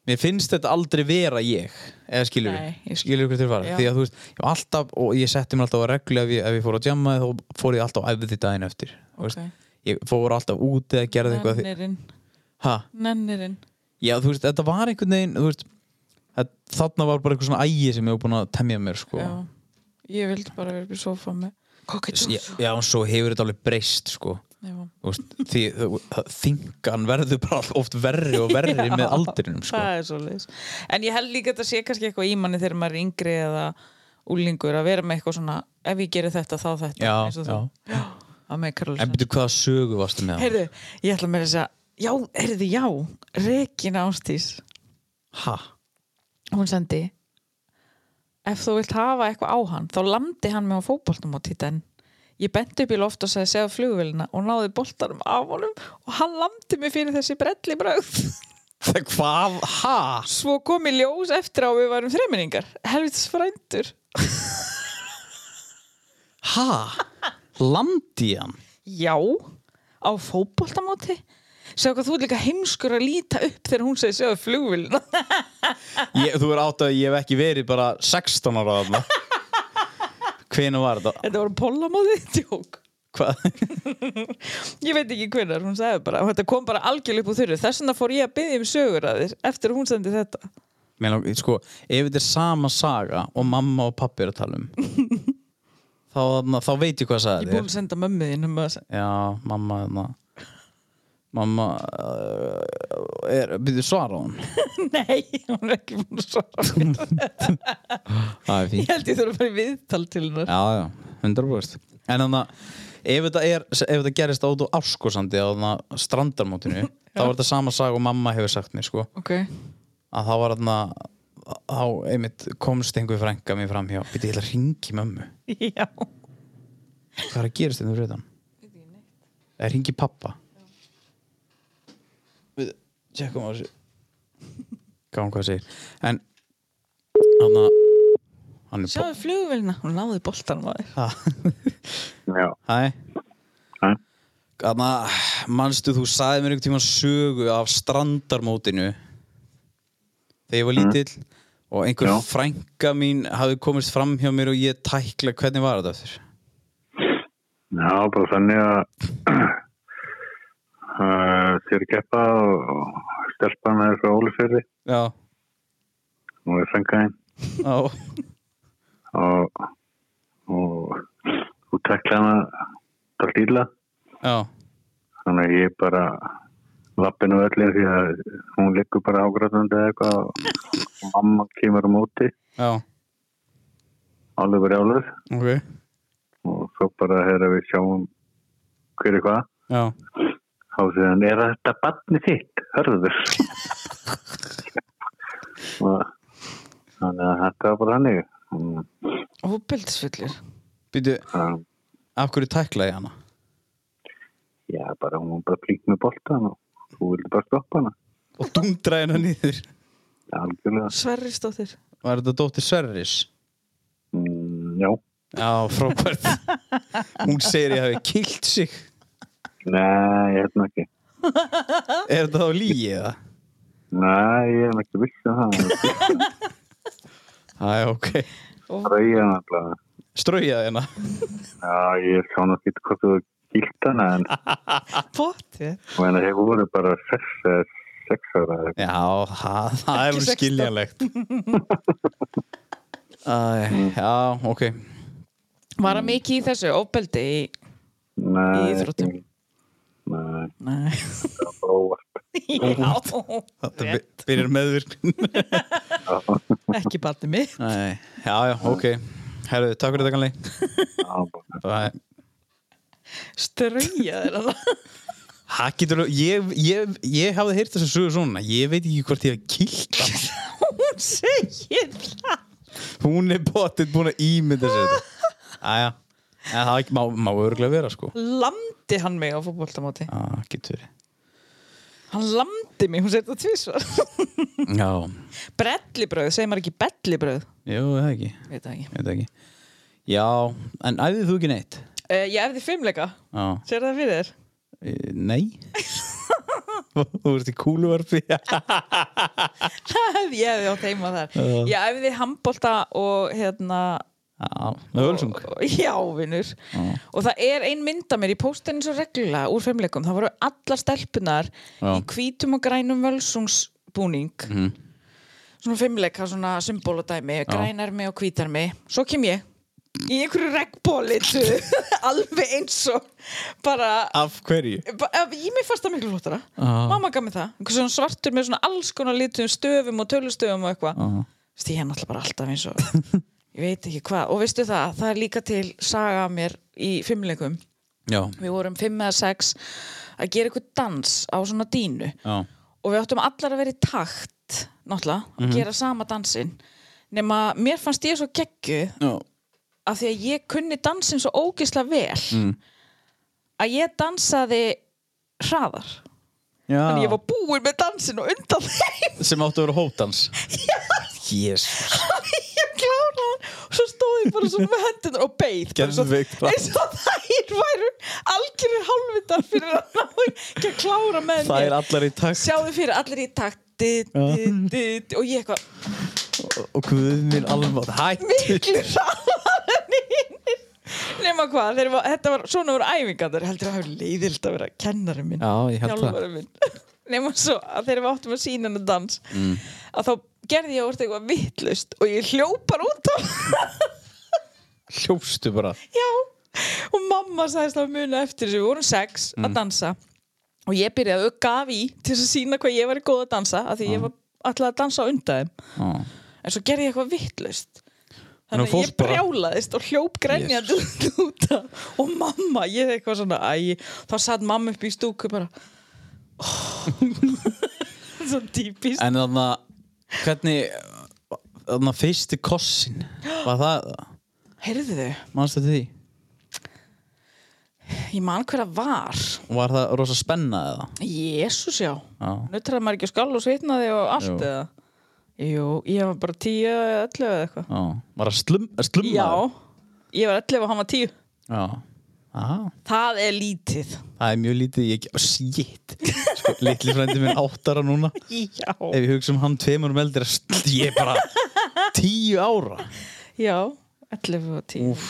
Speaker 1: Mér finnst þetta aldrei vera ég eða skilur
Speaker 3: Nei,
Speaker 1: við,
Speaker 3: ég skil.
Speaker 1: skilur við
Speaker 3: Já.
Speaker 1: fara því að þú veist, ég var alltaf og ég setti mér alltaf að reglu ef ég, ef ég fór að jamma þá fór ég alltaf á æfði daginn eftir þú veist.
Speaker 3: Ok.
Speaker 1: ég fór alltaf út eða gerði eitthvað því-
Speaker 3: nennirinn.
Speaker 1: ha,
Speaker 3: Nennirinn.
Speaker 1: já þú veist, þetta var einhvern veginn þú veist, þetta, þarna var bara eitthvað svona ægi sem ég var búin að temja mér sko.
Speaker 3: Já. Ég vildi bara vera upp í sofa með kokkajú.
Speaker 1: já, já, og svo hefur þetta alveg breyst sko.
Speaker 3: Já.
Speaker 1: Þú veist, því þingan verður bara all- oft verri og
Speaker 3: (laughs)
Speaker 1: verri með aldrinum sko.
Speaker 3: Það er svo En ég held líka að þetta sé kannski eitthvað í manni þegar maður er yngri eða úlingur að vera með eitthvað svona ef ég gerir þetta þá þetta
Speaker 1: Já,
Speaker 3: eins og þú.
Speaker 1: já.
Speaker 3: já. Það með
Speaker 1: en
Speaker 3: Karolsen
Speaker 1: betur hvaða sögu varstu með
Speaker 3: Heyrðu, ég ætla með þess að já, heyrðu, já, Regina Ástís
Speaker 1: ha,
Speaker 3: hún sendi ef þú vilt hafa eitthvað á hann þá landi hann með á fótboltum á títan ég benti upp í loft og sagði segja flugvélina og náði boltanum af honum og hann landi mig fyrir þessi brelli brögð
Speaker 1: það hvað, ha
Speaker 3: (laughs) Svo kom í ljós eftir á við varum þreminningar. Helvits frændur.
Speaker 1: Ha? Landi hann?
Speaker 3: Já, á fótboltamóti. Sjá hvað þú er líka heimskur að líta upp þegar hún segi sjáðu flugvillina.
Speaker 1: Ég, þú er átt að ég hef ekki verið bara 16 ára þarna Hvena var þetta?
Speaker 3: (laughs) Þetta voru pólamóti, (laughs) tjók.
Speaker 1: Hvað? (laughs)
Speaker 3: Ég veit ekki hvernig, hún sagði bara. og Þetta kom bara algjörlega upp úr þurru. Þess vegna fór ég að byggja um sögur að þér eftir að hún sendi þetta.
Speaker 1: Mér langar, sko, ef þetta er sama saga og mamma og pappi er að tala um þá, þarna, þá veit ég hvað
Speaker 3: Ég
Speaker 1: sagði
Speaker 3: búin
Speaker 1: þér
Speaker 3: að senda mömmuðin um að segja.
Speaker 1: Já, mamma þarna Mamma uh, er, byrðu svara á hann
Speaker 3: (laughs) Nei, hún er ekki búin að svara. (laughs) mér.
Speaker 1: Það er
Speaker 3: Ég
Speaker 1: fínt
Speaker 3: held ég þurfa að fara í viðtal til hennar.
Speaker 1: Já, já, 100% En þannig að ef þetta, er, ef þetta gerist át og áskosandi á þarna (laughs) strandarmótinu þá er þetta sama saga og mamma hefur sagt mér sko
Speaker 3: Ok.
Speaker 1: að þá var þarna þá einmitt komst einhver frænka mér fram hjá býtti ég ætla að ringi mömmu
Speaker 3: Já.
Speaker 1: hvað er að gerast þetta fyrir þetta eða ringi pappa við tjekkum á (laughs) þessu gáum hvað það segir en hann að hann er
Speaker 3: Sjáðu flugvillina. Hún náði boltanum að þér.
Speaker 1: bó-
Speaker 5: Já,
Speaker 1: hæ
Speaker 5: Hæ.
Speaker 1: hann að manstu þú sagði mér einhvern tíma sögu af strandarmótinu þegar ég var lítill og einhver
Speaker 5: Mm. Já.
Speaker 1: frænka mín hafi komist fram hjá mér og ég tækla hvernig var þetta aftur
Speaker 5: já bara þannig að (clears throat) uh, þeir keppa og stelpan er frá Ólifyrði
Speaker 1: já,
Speaker 5: og er fengaðinn
Speaker 1: já,
Speaker 5: og, og þú tekla hana það lilla
Speaker 1: já
Speaker 5: þannig að ég bara lappinu öllu því að hún liggur bara ágrætandi eða eitthvað og mamma kemur á móti
Speaker 1: já,
Speaker 5: alveg verið álur
Speaker 1: ok
Speaker 5: og svo bara þegar við sjáum hverju hvað
Speaker 6: já,
Speaker 5: þá segir hann, er þetta barni þitt, hörður Og þannig að þetta var bara hannig Mm,
Speaker 3: Óbildisfullir.
Speaker 1: Býtu,
Speaker 5: það-
Speaker 1: af hverju tækla ég hana?
Speaker 5: já, bara hún var bara flink með boltan og þú vildi bara stoppa hana
Speaker 1: Og dundra hennar nýður
Speaker 5: algjörlega,
Speaker 3: Sverrisdóttir.
Speaker 1: Var þetta dóttir Sverris?
Speaker 5: mm, já
Speaker 1: Já, frábært Hún segir ég hafi kilt sig
Speaker 5: nei, ég hefna ekki
Speaker 1: Er þetta þá lígi eða?
Speaker 5: nei, ég hefna ekki vissi það
Speaker 1: Æ, ok
Speaker 5: bara ég hefna alltaf
Speaker 1: Straujaði hérna
Speaker 5: Já, ég sá nú ekki hvort þú gilt hana en
Speaker 3: Potti.
Speaker 5: menna, hefur voru bara sex, eh, sex ára eða eitthvað.
Speaker 1: Já, það, það er
Speaker 3: Ekki
Speaker 1: nú
Speaker 3: sextán.
Speaker 1: skiljanlegt Æ, já, ok
Speaker 3: Var hann mikið í þessu óbildi í...
Speaker 5: Nei,
Speaker 3: Í íþróttum.
Speaker 5: ekki. Nei,
Speaker 3: Nei.
Speaker 5: það var óvart.
Speaker 3: Já.
Speaker 1: Þetta by- byrjar meðvirkun
Speaker 7: ekki barnið mitt
Speaker 1: Nei, já, já, ok Herðu, takk fyrir þetta kannli
Speaker 5: Já, bara-
Speaker 1: Bæ.
Speaker 3: Ströja þér (laughs) að það.
Speaker 1: Það getur, ég, ég, ég hafði heyrt þess að sögur svona Ég veit ekki hvort ég hef kilt hann
Speaker 3: Hún segir það.
Speaker 1: Hún er bóttið búin að ímynda sér (laughs) þetta Æja, en það ekki- má, má örglega vera sko
Speaker 3: Landi hann mig á fótboltamóti.
Speaker 1: Já, getur verið.
Speaker 3: Hann landi mig, hún segir það (laughs) tvísvar.
Speaker 1: Já,
Speaker 3: Brellibröð, segir maður ekki bellibröð?
Speaker 1: jú, það ekki,
Speaker 3: Veit það ekki.
Speaker 1: ég veit ekki Já, en æfðið þú ekki neitt?
Speaker 3: Uh, ég efði fimmleika.
Speaker 1: Já
Speaker 3: Sér það fyrir þér?
Speaker 1: Eh, Nei (laughs) Þú ert í kúluvarfi
Speaker 3: Hefði- (laughs) ég hefði átt heima þar ég æfði handbolta og hérna
Speaker 1: Með Völsung
Speaker 3: já vinnur og það er ein mynd af mér í póstinu svo reglulega úr femleikum, það voru allar stelpunar
Speaker 1: Já.
Speaker 3: í hvítum og grænum völsungsbúning svona femleika, svona symboladæmi grænarmi og hvítarmi, svo kem ég í einhverju regnbólitu (laughs) alveg eins og bara
Speaker 1: Af hverju?
Speaker 3: Ba- ef- Ég mér fannst það miklu flottara
Speaker 1: Já.
Speaker 3: Mamma gaf mér það, einhver svona svartur með svona alls konar litum stöfum og tölustöfum og eitthvað
Speaker 1: Já.
Speaker 3: Vist ég er náttúrulega bara alltaf eins og Ég veit ekki hvað, og veistu það Það er líka til saga af mér í fimmleikum
Speaker 1: Já,
Speaker 3: Við vorum fimm eða sex að gera eitthvað dans á svona dínu
Speaker 1: já,
Speaker 3: og við áttum allar að vera í takt náttúrulega, að
Speaker 1: Mhm.
Speaker 3: gera sama dansinn nema mér fannst ég svo geggju
Speaker 1: já.
Speaker 3: af því að ég kunni dansinn svo ógisla vel
Speaker 1: Mm.
Speaker 3: að ég dansaði hraðar Þannig ég var búin með dansin og undan (laughs) þeim
Speaker 1: Sem áttu að vera hóptans (laughs) Jésus
Speaker 3: Ég kláraði hann og svo stóð ég bara svona með hendunar og beið bara svo-
Speaker 1: Geðveikt plan.
Speaker 3: Eins og þær væru algjörir halvvitar fyrir að ná ekki að klára með
Speaker 1: Það
Speaker 3: mér
Speaker 1: er allar í takt
Speaker 3: Sjáðu fyrir allir í takt di, di, di, di, og ég eitthvað
Speaker 1: Og guð minn alveg Hætt (laughs)
Speaker 3: miklu hraðar en hinnir nema hvað, þeir var, þetta var svona voru æfingarnar, heldur að hafa leiðilt að vera kennari minn,
Speaker 1: Já, ég held það.
Speaker 3: þjálfari minn (laughs) nema svo að þegar við áttum að sína hennar dans
Speaker 1: Mm.
Speaker 3: að þá gerði ég orðið eitthvað vittlust og ég hljópar út á (laughs)
Speaker 1: Hljófstu bara
Speaker 3: já, og mamma sagðist að muna eftir þessu, við vorum sex
Speaker 1: Mm.
Speaker 3: að dansa og ég byrjaði að gaf í til þess að sína hvað ég var góð að dansa af
Speaker 1: Mm.
Speaker 3: því ég var alltaf að dansa á undan þeim
Speaker 1: Já.
Speaker 3: en svo gerði ég eitthvað vittlust
Speaker 1: Nú
Speaker 3: þannig að
Speaker 1: fórst
Speaker 3: ég
Speaker 1: bara-
Speaker 3: brjálaðist og hljóp grenjandi yes. (laughs) út af og mamma, ég eitthvað svona æ, þá satt mamma upp í stúku bara "Oh." (laughs) svo típist
Speaker 1: En þannig að Hvernig Þannig að fyrsti kossin Var það
Speaker 3: heyrðu þau,
Speaker 1: Manstu til því?
Speaker 3: ég man hver að var
Speaker 1: Var það rosa spenna eða?
Speaker 3: jésús já,
Speaker 1: Já.
Speaker 3: nutraði maður ekki á skall og svitnaði og allt
Speaker 1: Jú.
Speaker 3: eða jú, ég var bara tíu eða ellu eða eitthvað
Speaker 1: Já Var það slum, slumma?
Speaker 3: já, ég var ellu og hann var tíu
Speaker 1: Já Aha.
Speaker 3: það er lítið
Speaker 1: Það er mjög lítið, ég ekki, oh, shit sko, Litli frændi minn áttara núna
Speaker 3: já,
Speaker 1: Ef ég hugsa um hann tveimur um eldri Ég er bara tíu ára
Speaker 3: já ellu og tíu Úf.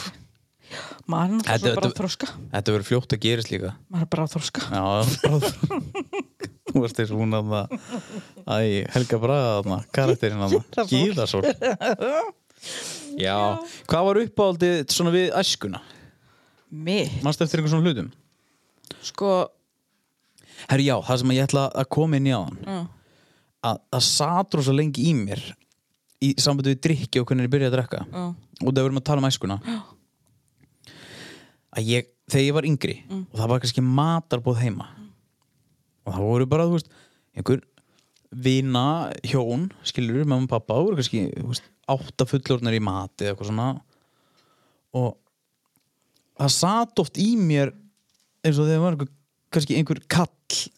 Speaker 1: Þetta-
Speaker 3: maður er náttúrulega bara
Speaker 1: þetta-
Speaker 3: að þroska
Speaker 1: Þetta verður fljótt að gerist líka
Speaker 3: maður er bara að þorska
Speaker 1: Já, það er bara Þú veist þess hún að Æ, Helga Braga þarna, karakterinn þarna Gíðasól Já, hvað var uppáhaldið svona við æskuna?
Speaker 3: mig,
Speaker 1: Manstu eftir einhver svona hlutum?
Speaker 3: sko
Speaker 1: Herri já, það sem ég ætla að koma inn í aðan að það satt rosa lengi í mér í sambandi við drikki og hvernig ég byrjaði að drekka
Speaker 3: Já.
Speaker 1: og það verðum að tala um æskuna að ég, þegar ég var yngri og það var kannski matarbóð heima og það voru bara, þú veist, einhver vina hjón, skilur, mamma og pappa, það voru kannski, þú veist, átta fullorðnar í mati eða eitthvað svona og það sat oft í mér eins og þegar var einhver, kannski einhver kall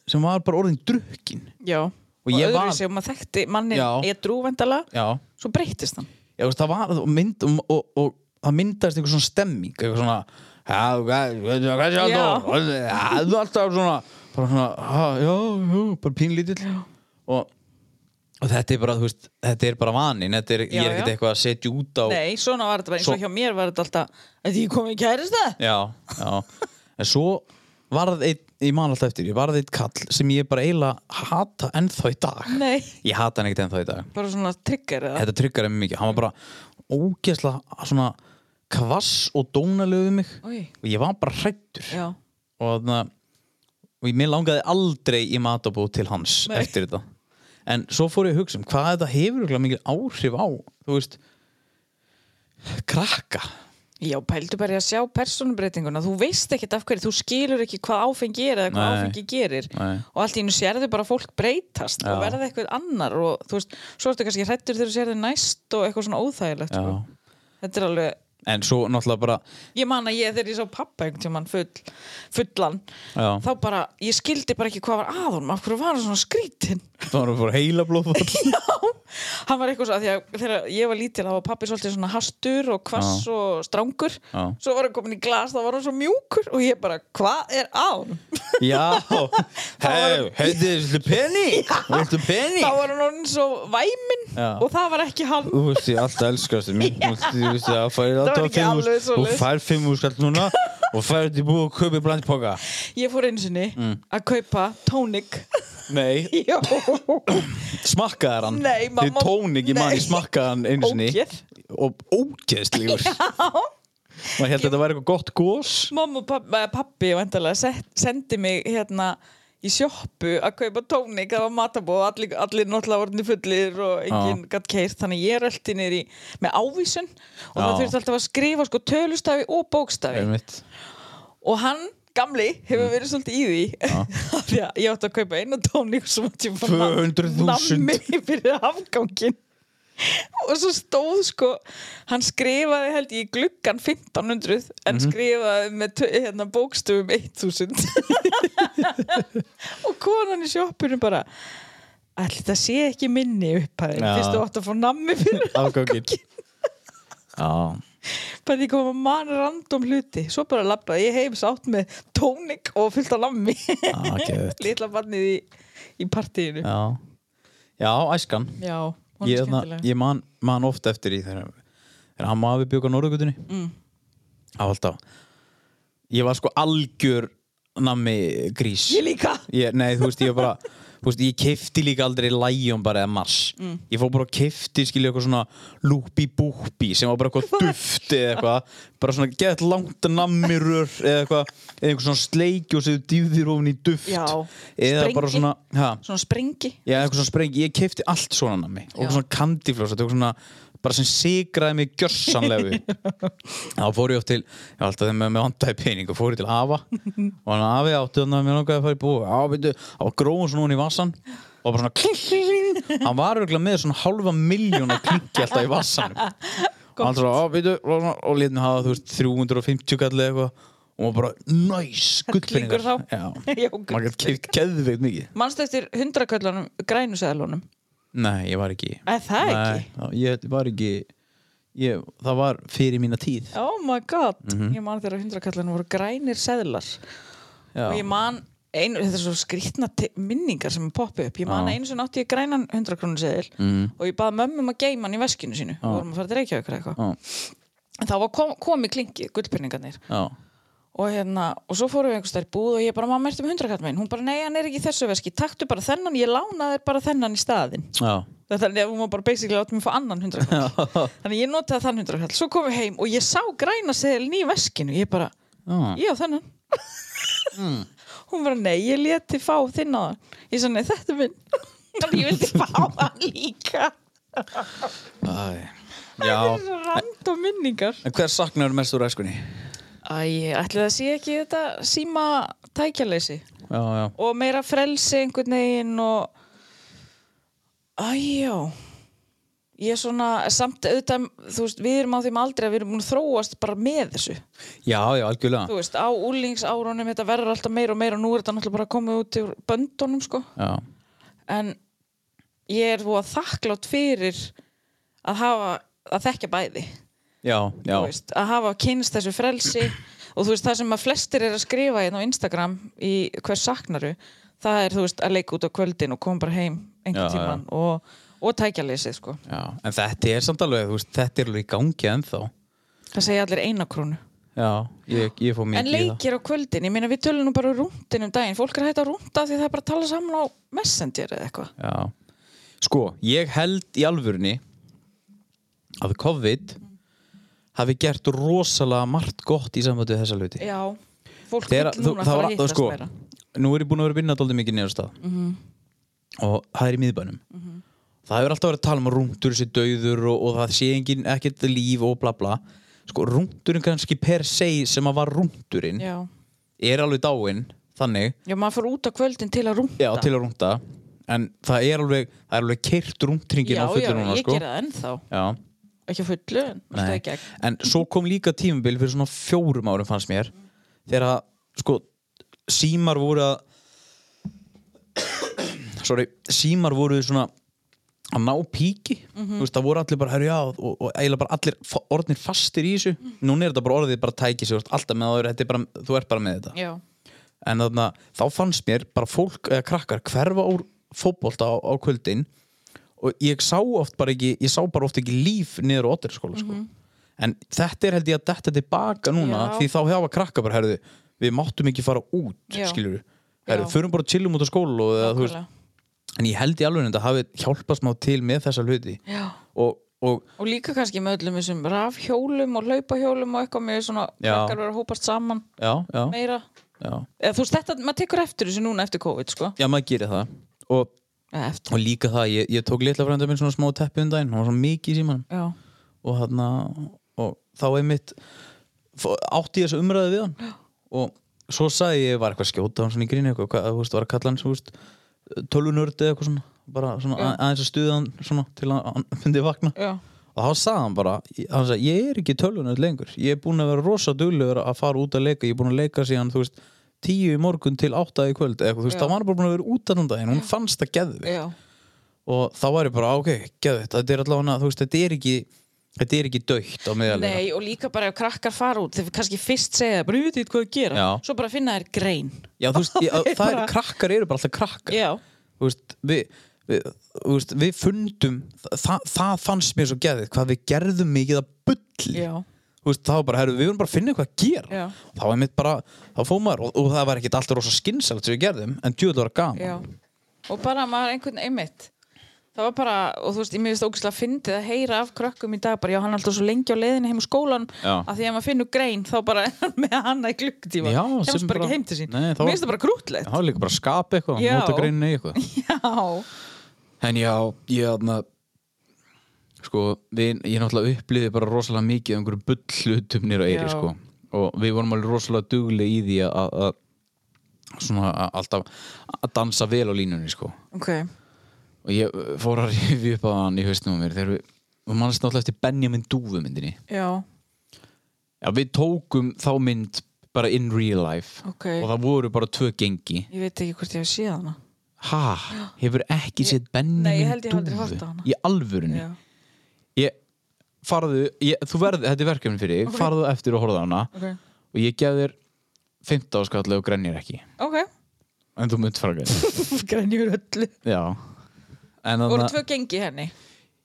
Speaker 1: sem var bara orðin drukkin
Speaker 3: Já, og,
Speaker 1: ég
Speaker 3: öðru
Speaker 1: var-
Speaker 3: sem maður þekkti mannin
Speaker 1: Já.
Speaker 3: er drúvendala
Speaker 1: já,
Speaker 3: svo breytist hann
Speaker 1: já veist, það var og, mynd, og, og, og það myndast einhver svona stemming eitthvað svona "Já, hvað- hvað- hvað sé
Speaker 3: Já.
Speaker 1: þetta? Hvað- já, þú alltaf svona bara svona, "Ha, já, já, bara pínlítill og, og þetta er bara, þú veist, þetta er bara vanin þetta er, ég
Speaker 3: Já,
Speaker 1: er ekkert
Speaker 3: já.
Speaker 1: eitthvað að setja út á
Speaker 3: Nei, svona var þetta bara, eins og
Speaker 1: Svo-
Speaker 3: hjá mér var þetta alltaf að ég kom í kærista
Speaker 1: já, já en svo varð einn, ég man alltaf eftir ég varð einn kall sem ég bara eiginlega hata ennþá í dag
Speaker 3: Nei,
Speaker 1: ég hata hann ekkert ennþá í dag
Speaker 3: bara svona trigger eða
Speaker 1: þetta tryggar mér mikið, hann var bara ógeðslega svona kvass og dónalegu við mig
Speaker 3: Oj.
Speaker 1: og ég var bara hrættur
Speaker 3: Já,
Speaker 1: og þannig og mér langaði aldrei í matabú til hans
Speaker 3: Nei.
Speaker 1: eftir þetta en svo fór ég að hugsa um hvað þetta hefur örugglega mikil áhrif á þú veist krakka
Speaker 3: Já, pældu bara í að sjá persónubreitinguna þú veist ekkert af hverju, þú skilur ekki hvað áfengi er eða hvað
Speaker 1: Nei.
Speaker 3: áfengi gerir
Speaker 1: Nei.
Speaker 3: og allt í einu sérðu bara fólk breytast og
Speaker 1: Já.
Speaker 3: verða eitthvað annar og þú veist, svo ertu kannski hrættur þegar þú sérðu næst og eitthvað svona óþægilegt sko.
Speaker 1: Já.
Speaker 3: Þetta er alveg,
Speaker 1: en svo náttúrulega bara
Speaker 3: ég man að ég þegar ég sá pappa einhvern tímann full, fullan
Speaker 1: Já.
Speaker 3: þá bara, ég skildi bara ekki hvað var að honum af hverju var hann svona skrítinn
Speaker 1: það var að fór heila
Speaker 3: (laughs)
Speaker 1: blóðfall
Speaker 3: Já, hann var eitthvað svo að því að þegar ég var lítil þá var pappi svolítið svona hastur og kvass og strangur
Speaker 1: Já.
Speaker 3: svo var hann komin í glas, þá var hann svo mjúkur og ég bara, hvað er án?
Speaker 1: Já,
Speaker 3: var-
Speaker 1: hei, heiti, viltu
Speaker 3: (laughs)
Speaker 1: penning? Viltu penning?
Speaker 3: þá var hann orðin svo væminn
Speaker 1: Já.
Speaker 3: og það var ekki hann
Speaker 1: Þú veist, ég alltaf elskastu mín Þú veist, ég veist, það færi
Speaker 3: var
Speaker 1: alltaf
Speaker 3: ekki
Speaker 1: fimm úr
Speaker 3: alveg
Speaker 1: Þú
Speaker 3: svoleiðis.
Speaker 1: fær fimm úr skall núna Og færi til búið að kaupa blandpoka
Speaker 3: ég fór einu sinni
Speaker 1: Mm.
Speaker 3: að kaupa tónik (laughs)
Speaker 1: Nei,
Speaker 3: já,
Speaker 1: smakkaðar hann
Speaker 3: Nei, mamma-
Speaker 1: Þið tónik, ég man, ég
Speaker 3: Nei.
Speaker 1: smakkaði hann einu sinni
Speaker 3: Ógeð.
Speaker 1: Og ógeðslegur Já Maður held að þetta væri eitthvað gott gós
Speaker 3: mamma og pappi, pappi vandalega, set, sendi mig hérna í sjoppu að kaupa tónik það var matabóð, allir, allir náttúrulega orðinni fullir og enginn gatt keirt þannig ég rölti niður í með ávísun og
Speaker 1: Já.
Speaker 3: það þurfti alltaf að skrifa sko tölustafi og bókstafi
Speaker 1: Einmitt.
Speaker 3: og hann gamli hefur verið svolítið í því (laughs) Af því að ég átti að kaupa einu tóník sem átti ég bara
Speaker 1: 200.000.
Speaker 3: nammi fyrir afgangin og svo stóð sko hann skrifaði held ég í gluggan 1500 en skrifaði með tö- hérna, bókstöfum 1000 (laughs) og konan í sjoppunum bara ætli það sé ekki minni upphæðin
Speaker 1: Já.
Speaker 3: fyrst þú átt að fá nammi fyrir
Speaker 1: Afganginn Já
Speaker 3: bara því koma mann random hluti svo bara labbaði ég heim sátt með tónik og fullt af lammi
Speaker 1: Ah, geðveikt.
Speaker 3: (laughs) litla barnið í, í partíinu
Speaker 1: Já, Já æskan
Speaker 3: já, hún
Speaker 1: ég,
Speaker 3: er
Speaker 1: þarna-
Speaker 3: skemmtileg
Speaker 1: ég man, man oft eftir í þegar, þegar hann maður bjók á Norðugutinni mm. alltaf ég var sko algjör nammi grís
Speaker 3: ég líka
Speaker 1: ég, nei, þú veist, ég var bara þú veist, ég kefti líka aldrei Lion bara eða Mars
Speaker 3: Mm.
Speaker 1: ég fór bara að kefti skilja eitthvað svona lúpi búpi sem var bara eitthvað duft eða eitthvað bara svona gett langt nammirur eða eitthvað, eða eitthvað svona sleikjó sem þú dýfðir ofan í duft
Speaker 3: Já,
Speaker 1: eða bara
Speaker 3: sprengi.
Speaker 1: svona ha,
Speaker 3: svona sprengi
Speaker 1: Já, eitthvað svona sprengi, ég keipti allt svona nammi og
Speaker 3: Já.
Speaker 1: svona kandiflós, þetta var svona bara sem sigraði mig gjörsamlega
Speaker 3: (laughs)
Speaker 1: upp þá fór ég oft til ég var alltaf þegar með, með vandaði pening og fór ég til afa og hann afi átti þannig að mér langaði að fara í búi á, veitu, á gróðum svona hún í vassan og bara svona kling, kling, kling. hann var örgulega með svona halva miljón að klingi alltaf í vassanum og hann svo, á, veitu, og, svona- og létt mig hafa þú veist 350 kallið eitthvað og maður bara, næs, gullpenningar
Speaker 3: Hellingur þá.
Speaker 1: Já,
Speaker 3: (laughs) Já,
Speaker 1: maður gætt keipt geðveikt mikið
Speaker 3: mannstu eftir hundraköllunum grænuseðlunum
Speaker 1: Nei, ég var ekki
Speaker 3: Er það
Speaker 1: Nei,
Speaker 3: ekki?
Speaker 1: þá- ég var ekki ég, Það var fyrir mína tíð
Speaker 3: oh my god,
Speaker 1: Mhm.
Speaker 3: ég man þegar hundraköllunum voru grænir seðlar
Speaker 1: Já,
Speaker 3: og ég man Ein, þetta er svo skrýtna te- minningar sem poppa upp ég
Speaker 1: Já.
Speaker 3: man
Speaker 1: Mhm.
Speaker 3: að einu sem átti ég grænan 100 krónu seðil mm. og ég baði mömmum að geima hann í veskinu sínu og vorum að fara að reykja ykkur eitthvað
Speaker 1: Já.
Speaker 3: en þá var kom, komi klingi, gullpenningarnir
Speaker 1: já,
Speaker 3: og hérna, og svo fórum við einhvers þær búð og ég bara, mamma, ertu með hundrakall minn? Hún bara, nei, hann er ekki í þessu veski, taktu bara þennan, ég lána þér bara þennan í staðinn.
Speaker 1: já.
Speaker 3: Það er Þannig að hún var bara basically átt mig að fá annan hundrakall. Þannig að ég notaði þann hundrakall, svo komum við heim og ég sá græna seðilin í veskinu, ég bara,
Speaker 1: Já.
Speaker 3: ég á þennan. (laughs) hún bara, nei, ég leti fá þinn á þann. Ég sagði, nei, þetta er minn. (laughs) Þannig að ég vildi fá hann líka.
Speaker 1: Æ, já.
Speaker 3: Rand og minningar.
Speaker 1: En hver saknar mest úr æskunni?
Speaker 3: Æ, ætli það sé ekki þetta síma tækjaleysi
Speaker 1: já, já,
Speaker 3: og meira frelsi einhvern veginn og Æjá Ég er svona, samt auðvitað, þú veist, við erum á þeim aldrei að við erum búin að þróast bara með þessu
Speaker 1: já, já, algjörlega
Speaker 3: Þú veist, á úlingsárunum þetta verður alltaf meira og meira og nú er þetta náttúrulega bara komið út úr böndunum, sko
Speaker 1: já,
Speaker 3: en ég er þú að þakklátt fyrir að hafa, að þekkja bæði
Speaker 1: já, já,
Speaker 3: þú veist, að hafa kynst þessu frelsi og þú veist það sem að flestir er að skrifa hérna á Instagram í hvers saknaru það er þú veist að leika út á kvöldin og koma bara heim
Speaker 1: Já,
Speaker 3: einhvern
Speaker 1: já.
Speaker 3: tíman og, og tækja leysið sko
Speaker 1: já en þetta er samt alveg, þú veist, þetta er alveg í gangi ennþá
Speaker 3: það segja allir eina krónu
Speaker 1: já, ég, ég fór
Speaker 3: en
Speaker 1: mikið í það
Speaker 3: leikir á kvöldin, ég meina við tölum nú bara rúndin um daginn, fólk er hægt að rúnda því það er bara að tala saman á messenger eða eitthvað
Speaker 1: Já. Sko, ég held í alvörni að COVID hafi gert rosalega margt gott í samvættu þessa hluti.
Speaker 3: já, fólk
Speaker 1: Þegar-
Speaker 3: vill núna
Speaker 1: það
Speaker 3: fara
Speaker 1: var-
Speaker 3: að
Speaker 1: það
Speaker 3: hittast
Speaker 1: sko,
Speaker 3: meira Mhm.
Speaker 1: Nú er ég búin að vera að vinna dálítið mikið neður stað og það er í miðbænum. Það hefur alltaf verið að tala um að rúndur sé döður og, og það sé engin, ekkert líf og bla bla. Sko, rúndurinn kannski per se sem að var rúndurinn
Speaker 3: já.
Speaker 1: er alveg dáinn, þannig,
Speaker 3: já, maður fór út á kvöldin til að rúnda
Speaker 1: já, til að rúnda. En það er alveg, það er alveg keirt rúndringin
Speaker 3: já,
Speaker 1: á fullu
Speaker 3: já,
Speaker 1: núna,
Speaker 3: ég
Speaker 1: sko.
Speaker 3: gera það ennþá
Speaker 1: Já,
Speaker 3: ekki á fullu, en alltaf
Speaker 1: Nei.
Speaker 3: ekki
Speaker 1: En svo kom líka tímabil fyrir svona fjórum árum fannst mér þegar að sko símar voru að (coughs) sorry, símar voru svona að ná píki þú veist, það voru allir bara, herru já og, og eiginlega bara allir fa- orðnir fastir í þessu núna er þetta bara orðið bara tæki sig, þú ert alltaf með það, þú ert- þetta er bara, þú ert bara með þetta
Speaker 3: já
Speaker 1: en þarna, þá fannst mér bara fólk eða krakkar hverfa úr fótbolta á, á kvöldin og ég sá oft bara ekki, ég sá bara oft ekki líf niður á otterskóla sko. en þetta er held ég að detta tilbaka núna
Speaker 3: Mhm. Já.
Speaker 1: því þá hefa krakkar bara, herðu við máttum ekki fara út,
Speaker 3: Já.
Speaker 1: skilur við herðu,
Speaker 3: Já.
Speaker 1: förum bara að chillum út á skóla og, eða, þú veist,
Speaker 3: Nákvæmlega.
Speaker 1: en ég held í alveg að þetta hafi hjálpast má til með þessa hluti
Speaker 3: Já.
Speaker 1: og, og
Speaker 3: Og líka kannski með öllum þessum rafhjólum og hlaupahjólum og eitthvað með svona
Speaker 1: Já.
Speaker 3: krakkar vera að hópast saman
Speaker 1: já, já,
Speaker 3: meira.
Speaker 1: já,
Speaker 3: Eða, þú veist þetta, maður tekur eftir þessu núna eftir COVID, sko.
Speaker 1: já, maður gerir það og,
Speaker 3: Eða eftir.
Speaker 1: og líka það, ég, ég tók litla frænda minn svona smá teppi um daginn, hún var svona mikið í símanum
Speaker 3: Já.
Speaker 1: og, hana, og þá einmitt fó- átti ég þessu umræði við hann og svo sagði ég, var eitthvað að skjóta hann svona í grínu eitthvað, hvað, þú veist, var að kalla hann svo, veist, tölvunörd eða eitthvað svona bara svona að, aðeins að stuða hann svona til að hann fyndi vakna
Speaker 3: Já.
Speaker 1: og þá sagði hann bara, ég- hann sagði, ég er ekki tölvunörd lengur, ég er búin að vera rosa duglegur að fara út að leika, ég er búin að leika síðan þú veist, tíu í morgun til átta í kvöld eða eitthvað, þú veist,
Speaker 3: Já.
Speaker 1: þá var hann bara búin að vera út að daginn, hún fannst það geðvig
Speaker 3: Já.
Speaker 1: og þá var ég bara, "Ah, ok, geðvitt þetta er allavega, þú veist, þetta er ekki þetta er ekki dögt á meðalega
Speaker 3: Nei, og líka bara ef krakkar fara út, þegar kannski fyrst segja það, bara við veit hvað að gera.
Speaker 1: Já.
Speaker 3: Svo bara finna þær grein.
Speaker 1: já, þú veist,
Speaker 3: (laughs)
Speaker 1: ég, það
Speaker 3: Bara-
Speaker 1: er, krakkar eru bara alltaf krakkar
Speaker 3: Já.
Speaker 1: þú veist, við, við þú veist, við fundum það, það fannst mér svo geðvitt, hvað við gerðum mikið að bulli
Speaker 3: Já.
Speaker 1: þú veist, þá var bara, herru, við vorum bara að finna eitthvað að gera
Speaker 3: Já.
Speaker 1: þá var mitt bara, þá fóð maður og, og það var ekkit alltaf rosa skinsalegt sem við gerðum en djúðlega var gaman
Speaker 3: Já. Og bara maður einhvern einmitt. Það var bara, og þú veist, ég mér finnst ógæslega fyndið að heyra af krökkum í dag, bara já, hann er alltaf svo lengi á leiðinni heim úr skólan,
Speaker 1: Já.
Speaker 3: að því að maður finnur grein, þá bara er hann með hanna í klukkutíma,
Speaker 1: Já,
Speaker 3: kemst
Speaker 1: sem
Speaker 3: bara
Speaker 1: bara-
Speaker 3: ekki heim til sín.
Speaker 1: Nei,
Speaker 3: Mér
Speaker 1: þá-
Speaker 3: finnst það bara
Speaker 1: En
Speaker 3: grútlegt.
Speaker 1: það var líka bara að skapa eitthvað,
Speaker 3: Já.
Speaker 1: nota greinni eitthvað
Speaker 3: Já.
Speaker 1: En já, ég aðna Sko, við, ég náttúrulega upplýði bara rosalega mikið af einhverju bullhlutum nýra eiri,
Speaker 3: Já.
Speaker 1: sko og við vorum alveg rosalega dugleg í því að- að að- svona að- alltaf að dansa vel á línunni, sko
Speaker 3: Ok.
Speaker 1: og ég uh, fór að (laughs) rifi upp að hann í haustum á mér þegar við, og mannst náttúrulega eftir Benjamin Dúfu myndinni
Speaker 3: Já.
Speaker 1: Já, við tókum þá mynd bara in real life
Speaker 3: Ok.
Speaker 1: og það voru bara tvö gengi
Speaker 3: Ég veit ekki hvort ég hef séð hana.
Speaker 1: Ha, hefur ekki séð Benjamin
Speaker 3: Nei, ég held ég hef aldrei
Speaker 1: Dúfu?
Speaker 3: horft á hana.
Speaker 1: Í alvörunni?
Speaker 3: Já.
Speaker 1: ég farðu, ég, þú verð, þetta er verkefni fyrir þig, farðu eftir og horfa á hana
Speaker 3: Ok.
Speaker 1: og ég gef þér 15 skallu og grænir ekki
Speaker 3: Ok. (laughs)
Speaker 1: en þú munt fara að grænir
Speaker 3: Grænjur öllu.
Speaker 1: já en
Speaker 3: Voru
Speaker 1: þannig
Speaker 3: tvö gengi í henni?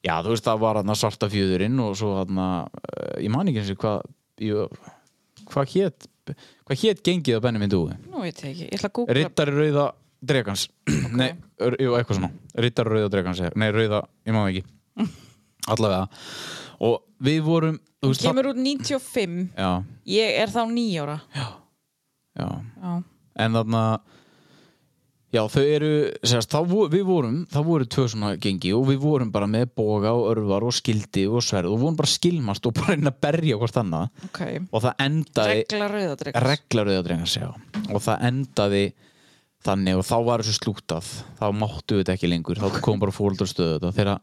Speaker 1: já þú veist það var þarna svarta fjöðurinn og svo þarna eh, ég man ekki eins og hvað ég- hvað hétt hvað hétt gengið á Benni minn dúi
Speaker 3: Nú veit ég ekki. Ég ætla að googla.
Speaker 1: Rittari rauða dregans Nei, ör- jú, eitthvað svona Rittari rauða dregans, eða- nei rauða, ég maður ekki
Speaker 3: (laughs)
Speaker 1: allavega og við vorum þú veist,
Speaker 3: Kemur út 95.
Speaker 1: það, já,
Speaker 3: Ég er þá nýjóra.
Speaker 1: já
Speaker 3: Já.
Speaker 1: en þarna já, Já, þau eru, sérst, þá, vo- við vorum, það voru tvö svona gengi og við vorum bara með boga og örvar og skildi og sverð og vorum bara að skilmast og bara að reyna að berja hvort annað
Speaker 3: ok
Speaker 1: og það endaði
Speaker 3: regla rauðadreik
Speaker 1: reglaröðadrengar segja og það endaði þannig og þá var þessu slútað þá máttu við þetta ekki lengur, þá kom bara fóldarstöðu þetta þegar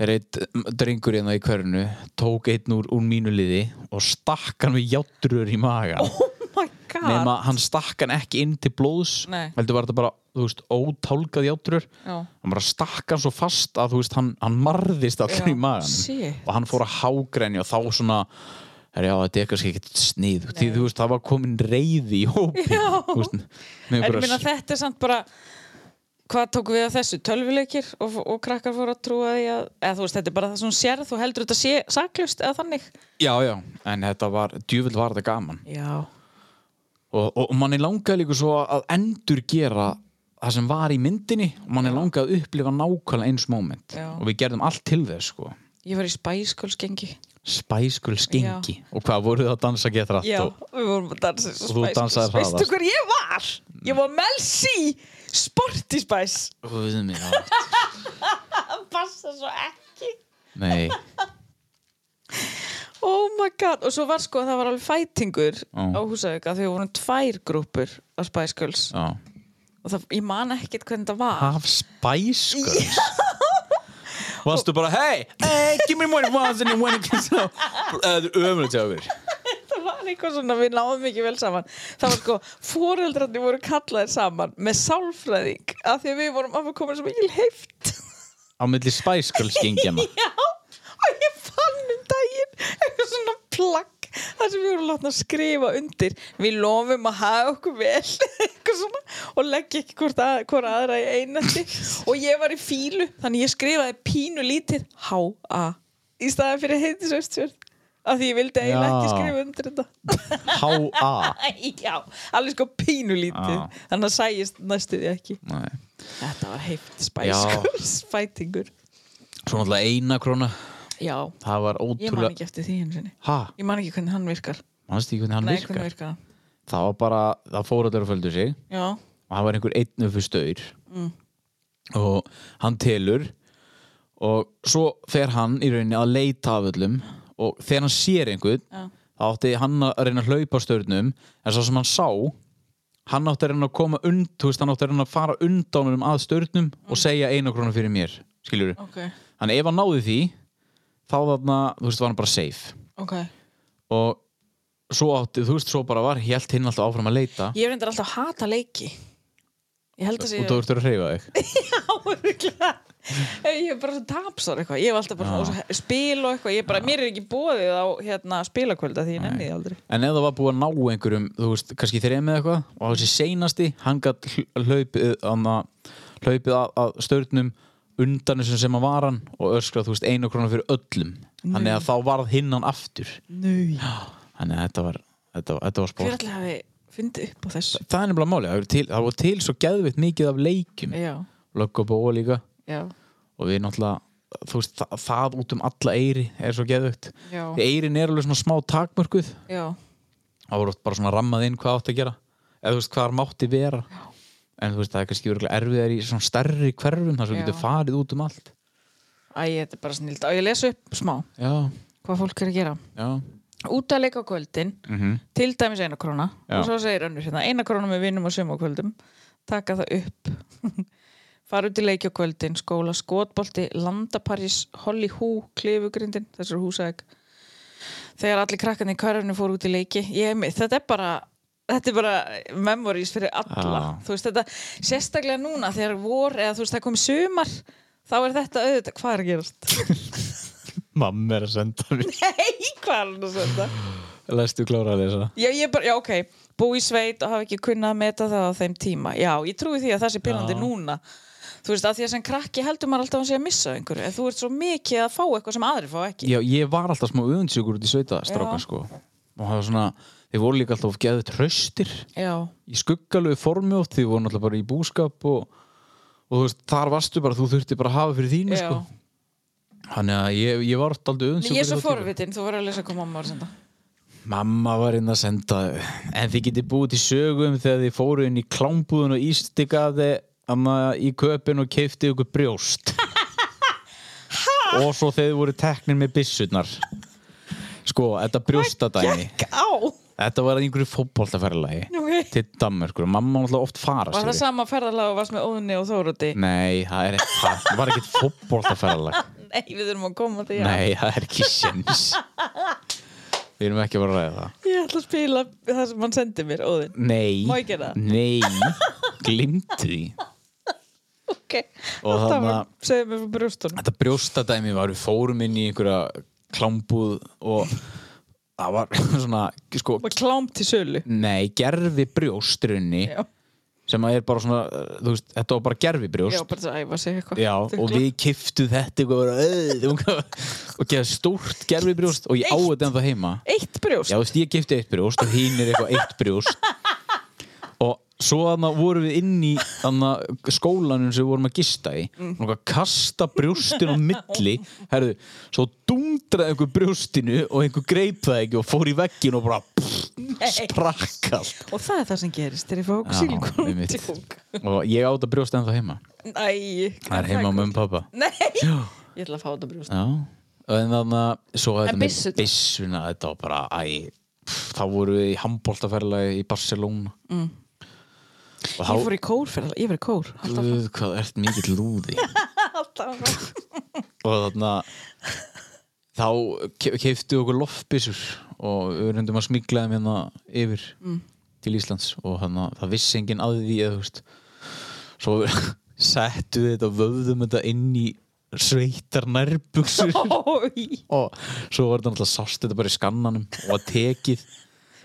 Speaker 1: þegar einn drengur hérna í hvernu tók einn úr, úr mínu liði og stakk hann við játturur í
Speaker 3: (laughs)
Speaker 1: magan
Speaker 8: Oh my god
Speaker 1: nema hann stakk hann ekki inn til blóðs
Speaker 3: Nei.
Speaker 1: heldur var þetta bara, þú veist, ótálgað játturur
Speaker 3: Já.
Speaker 1: hann bara stakk hann svo fast að þú veist, hann, hann marðist allir
Speaker 3: Já,
Speaker 1: í magan
Speaker 3: shit.
Speaker 1: og hann fór að hágrenja og þá svona er já, þetta er kannski ekkert snið því þú veist, það var komin reyði í hópi
Speaker 3: Já.
Speaker 1: þú veist, með
Speaker 3: en ég
Speaker 1: einhverja
Speaker 3: minna þetta er samt bara hvað tók við að þessu tölvuleikir og, og krakkar fóru að trúa því að eða þú veist þetta er bara það sem hún sér þú heldur þetta sé saklust eða þannig
Speaker 1: já, já, en þetta var, djúvill var þetta gaman
Speaker 3: já,
Speaker 1: og, og, og manni langaði líka svo að endur gera það sem var í myndinni og manni langaði að upplifa nákvæmlega eins moment
Speaker 3: Já.
Speaker 1: og við gerðum allt til þess sko.
Speaker 3: ég var í spæskölsgengi
Speaker 1: spæskul skengi og hvað voruð það að dansa geta rætt
Speaker 3: já,
Speaker 1: og
Speaker 3: við vorum að dansa eins
Speaker 1: Og þú
Speaker 3: Spice
Speaker 1: dansaðir
Speaker 3: Girls. veistu
Speaker 1: hraðast.
Speaker 3: hver ég var? ég var Melsi Sporty Spice
Speaker 1: og við veitum ég að
Speaker 3: það passa svo ekki
Speaker 1: nei,
Speaker 3: Oh my god, og svo var sko, það var alveg fætingur
Speaker 1: Ó.
Speaker 3: á Húsavík að þau voru tvær grúpur á Spice Girls
Speaker 1: já
Speaker 3: og það, ég man ekkert hvernig það var
Speaker 1: af Spice Girls varstu bara hey, hey, give me more once and when it gets out það er ömulegt hjá okkur
Speaker 3: það var eitthvað svona, við náðum ekki vel saman það var sko, foreldrarnir voru kallaðir saman með sálfræðing af því að við vorum að koma svo mikil heift
Speaker 1: á milli Spice Girls (laughs) gengjana
Speaker 3: (laughs) já, og ég fann um daginn eitthvað svona plagg þar sem við vorum látna að skrifa undir við lofum að hafa okkur vel (laughs) eitthvað svona og leggja ekki hvort að, hvort aðra í einandi og ég var í fílu, þannig ég skrifaði pínu lítið H.A. í staðan fyrir heitisöstjörn af því ég vildi eiginlega ekki
Speaker 1: Já.
Speaker 3: skrifa undir þetta
Speaker 1: H.A.
Speaker 3: Æ, Já, alveg sko pínulítið
Speaker 1: Já.
Speaker 3: Þannig að sæjist næstu því ekki
Speaker 1: Nei.
Speaker 3: Þetta var heift
Speaker 1: Já.
Speaker 3: Spice Girls fætingur
Speaker 1: svo náttúrulega eina króna
Speaker 3: Já,
Speaker 1: það var
Speaker 3: ég man
Speaker 1: ótrúlega
Speaker 3: ekki eftir því hensinni
Speaker 1: ha,
Speaker 3: Ég man ekki hvernig hann virkar
Speaker 1: mannstu ekki hvernig hann
Speaker 3: Nei,
Speaker 1: virkar
Speaker 3: hvernig virkar hann
Speaker 1: það var bara, það fór allir að földu sig
Speaker 3: Já,
Speaker 1: og það var einhver einn upp við staur
Speaker 3: Mm.
Speaker 1: og hann telur og svo fer hann í rauninni að leita af öllum og þegar hann sér einhvern
Speaker 3: Já.
Speaker 1: þá átti hann að reyna að hlaupa staurnum en svo sem hann sá hann átti að reyna að koma und þú veist, hann átti að reyna að fara undanum að staurnum
Speaker 3: Mm.
Speaker 1: og segja eina krónu fyrir mér skilur
Speaker 3: ok,
Speaker 1: hann ef hann náði því þá þarna, þú veist, var hann bara safe
Speaker 3: ok
Speaker 1: og svo átti, þú veist, svo bara var hélt hinn alltaf áfram að leita
Speaker 3: Ég reyndar alltaf að hata leiki Ég held að sé
Speaker 1: og
Speaker 3: (laughs)
Speaker 1: þú ert að hreyfa þig
Speaker 3: áhuglega Ég er bara svo tapsar eitthvað Ég var alltaf bara svona, og svo spil og eitthvað Ég er bara, mér er ekki bóðið á hérna, spilakvölda því ég nenni því aldrei
Speaker 1: En ef það var búið að ná einhverjum, þú veist, kannski þrejum eða eitthvað og þessi seinasti, hann gætt hlaupið, anna, hlaupið að, að störnum undan þessum sem að var hann og öskrað, þú veist, einu krónu fyrir öllum þannig að þá varð hinn hann aftur
Speaker 8: Nei
Speaker 1: þannig að þetta var, þetta, var- þetta var
Speaker 3: Hver
Speaker 1: spór
Speaker 3: allir hafi fundið upp á þessu
Speaker 1: Það er nefnilega málið, það voru til, það voru til svo geðvitt mikið af leikjum,
Speaker 3: Já,
Speaker 1: löggabóa líka
Speaker 3: já,
Speaker 1: og við náttúrulega, þú veist, það, það út um alla eiri er svo geðvitt
Speaker 3: já,
Speaker 1: Eirin er alveg svona smá takmörkuð
Speaker 3: já.
Speaker 1: það voru oft bara svona rammað inn hvað átt að gera eða þú veist hvað mátti vera en þú veist það er kannski örgulega erfiðar í svona stærri hverfum þar sem
Speaker 3: Já.
Speaker 1: þú getur farið út um allt
Speaker 3: Æ, þetta er bara snild. Á, ég lesa upp smá
Speaker 1: já,
Speaker 3: hvað fólk er að gera.
Speaker 1: já,
Speaker 3: Út að leika á kvöldin, til dæmis eina króna
Speaker 1: Mhm. Já.
Speaker 3: og svo segir önnur hérna, eina króna með vinnum og sömu á kvöldum, taka það upp. (laughs) Fara út í leiki á kvöldin, skóla, skotbolti, landaparís, holli hú, klifugrindin, þessar húsæk. Þegar allir krakkarnir í körfinu fóru út í leiki, ég, þetta er bara... Þetta er bara memories fyrir alla
Speaker 1: Já.
Speaker 3: Þú veist þetta, sérstaklega núna þegar vor eða þú veist það komið sumar þá er þetta auðvitað, hvað er að gerast? (laughs)
Speaker 1: mamma er að senda mér
Speaker 3: Nei, hvað er hann að senda?
Speaker 1: (laughs) lestu klára þess
Speaker 3: Já, ég bara, já, ok, bú í sveit og hafa ekki kunnað að meta það á þeim tíma. Já, ég trúi því að það sé pyrrandi núna. Þú veist, að því að sem krakki heldur maður alltaf að hann sé að missa af einhverju, en þú ert svo mikið að fá eitthvað sem aðri fá ekki.
Speaker 1: já, ég var alltaf smá öðundsjúkur út í sveitastrákan
Speaker 3: Já.
Speaker 1: sko og það var svona, þið voru líka alltaf geðið tröstir
Speaker 3: Já,
Speaker 1: í skuggalögu formi oft þið voru alltaf bara í búskap og, og þú veist, þar varstu bara, þú þurfti bara að hafa fyrir þínu
Speaker 3: já.
Speaker 1: sko Þannig að ég, ég var alltaf
Speaker 3: Nei, Ég
Speaker 1: öðundsjúkur
Speaker 3: er svo forvitin, þú verður að lesa hvað mamma var að senda.
Speaker 1: Mamma var inn að senda En þið getið búið til sögum þegar þið fóru inn í klámbúðun og ístika þeir amma, í köpinn og keifti ykkur brjóst og svo þeir voru teknir með byssurnar sko, þetta brjóstadæmi
Speaker 7: Á,
Speaker 1: þetta var í einhverju fótboltaferðalagi
Speaker 7: Ok.
Speaker 1: til Danmörkur og mamma var alltaf oft fara
Speaker 3: Var
Speaker 1: skilur.
Speaker 3: það sama ferðalag og varst með Óðunni og Þóruði?
Speaker 1: nei, það er ekki það það var ekki fótboltaferðalag
Speaker 3: Nei, við þurfum að koma því að
Speaker 1: nei, það er ekki sjens við erum ekki að fara að ræða það
Speaker 3: Ég ætla að spila það sem hann sendi mér, Óðinn
Speaker 1: nei,
Speaker 3: Má ég gera það? (laughs)
Speaker 1: nei, glimtu því
Speaker 3: Ok,
Speaker 1: Og
Speaker 3: og það
Speaker 1: þarna-
Speaker 3: var, segðu mér frá brjóstunum
Speaker 1: þetta brjóstadæmi var við fórum inn í einhverja klámbúð og það var (laughs) svona sko,
Speaker 3: Var klám til sölu
Speaker 1: nei, gerfi brjóstrunni
Speaker 3: Já,
Speaker 1: sem að er bara svona, uh, þú veist, þetta var bara gerfi
Speaker 3: já
Speaker 1: brjóst
Speaker 3: bara það æfa sig eitthvað
Speaker 1: Já, og við kiftu þetta eitthvað bara, "Ey", þú veist, og geða stórt gerfi brjóst og ég á þetta en það heima
Speaker 3: Eitt brjóst
Speaker 1: Já, þú veist, ég kifti eitt brjóst og hín er eitthvað eitt brjóst og svo þannig vorum við inn í þannig skólanum sem við vorum að gista í mm. og eitthvað kasta brjóstin á milli herðu, svo dundraði einhver brjóstinu og einhver greip það ekki og fór í veggin og bara pff, sprakk allt
Speaker 3: Og það er það sem gerist þegar ég fá okkur
Speaker 1: Já,
Speaker 3: sílíkonum
Speaker 1: einmitt.
Speaker 3: tjók
Speaker 1: og ég á þetta brjóst ennþá heima
Speaker 3: Æ,
Speaker 1: það er heima á mömmu og pappa
Speaker 3: Nei,
Speaker 1: já,
Speaker 3: ég ætla að fá þetta brjóst
Speaker 1: já en þannig að svo þetta með
Speaker 3: En byssurnar?
Speaker 1: byssuna þetta var bara, æ pff, þá vorum við í handbóltaferlega í Barcelona mm. og
Speaker 3: Ég fór í kór fyrir ég var í kór alltaf.
Speaker 1: Guð, hvað ert mikill lúði og þarna þá keiftu okkur loftbissur og við reyndum að smigla þeim hérna yfir
Speaker 3: Mm.
Speaker 1: til Íslands og hann það vissi enginn að því eða þú veist svo (laughs) settu við þetta vöðum þetta inn í sveitar
Speaker 3: (laughs)
Speaker 1: nærbuksur
Speaker 3: Ói,
Speaker 1: og svo var þetta náttúrulega sást þetta bara í skannanum og að tekið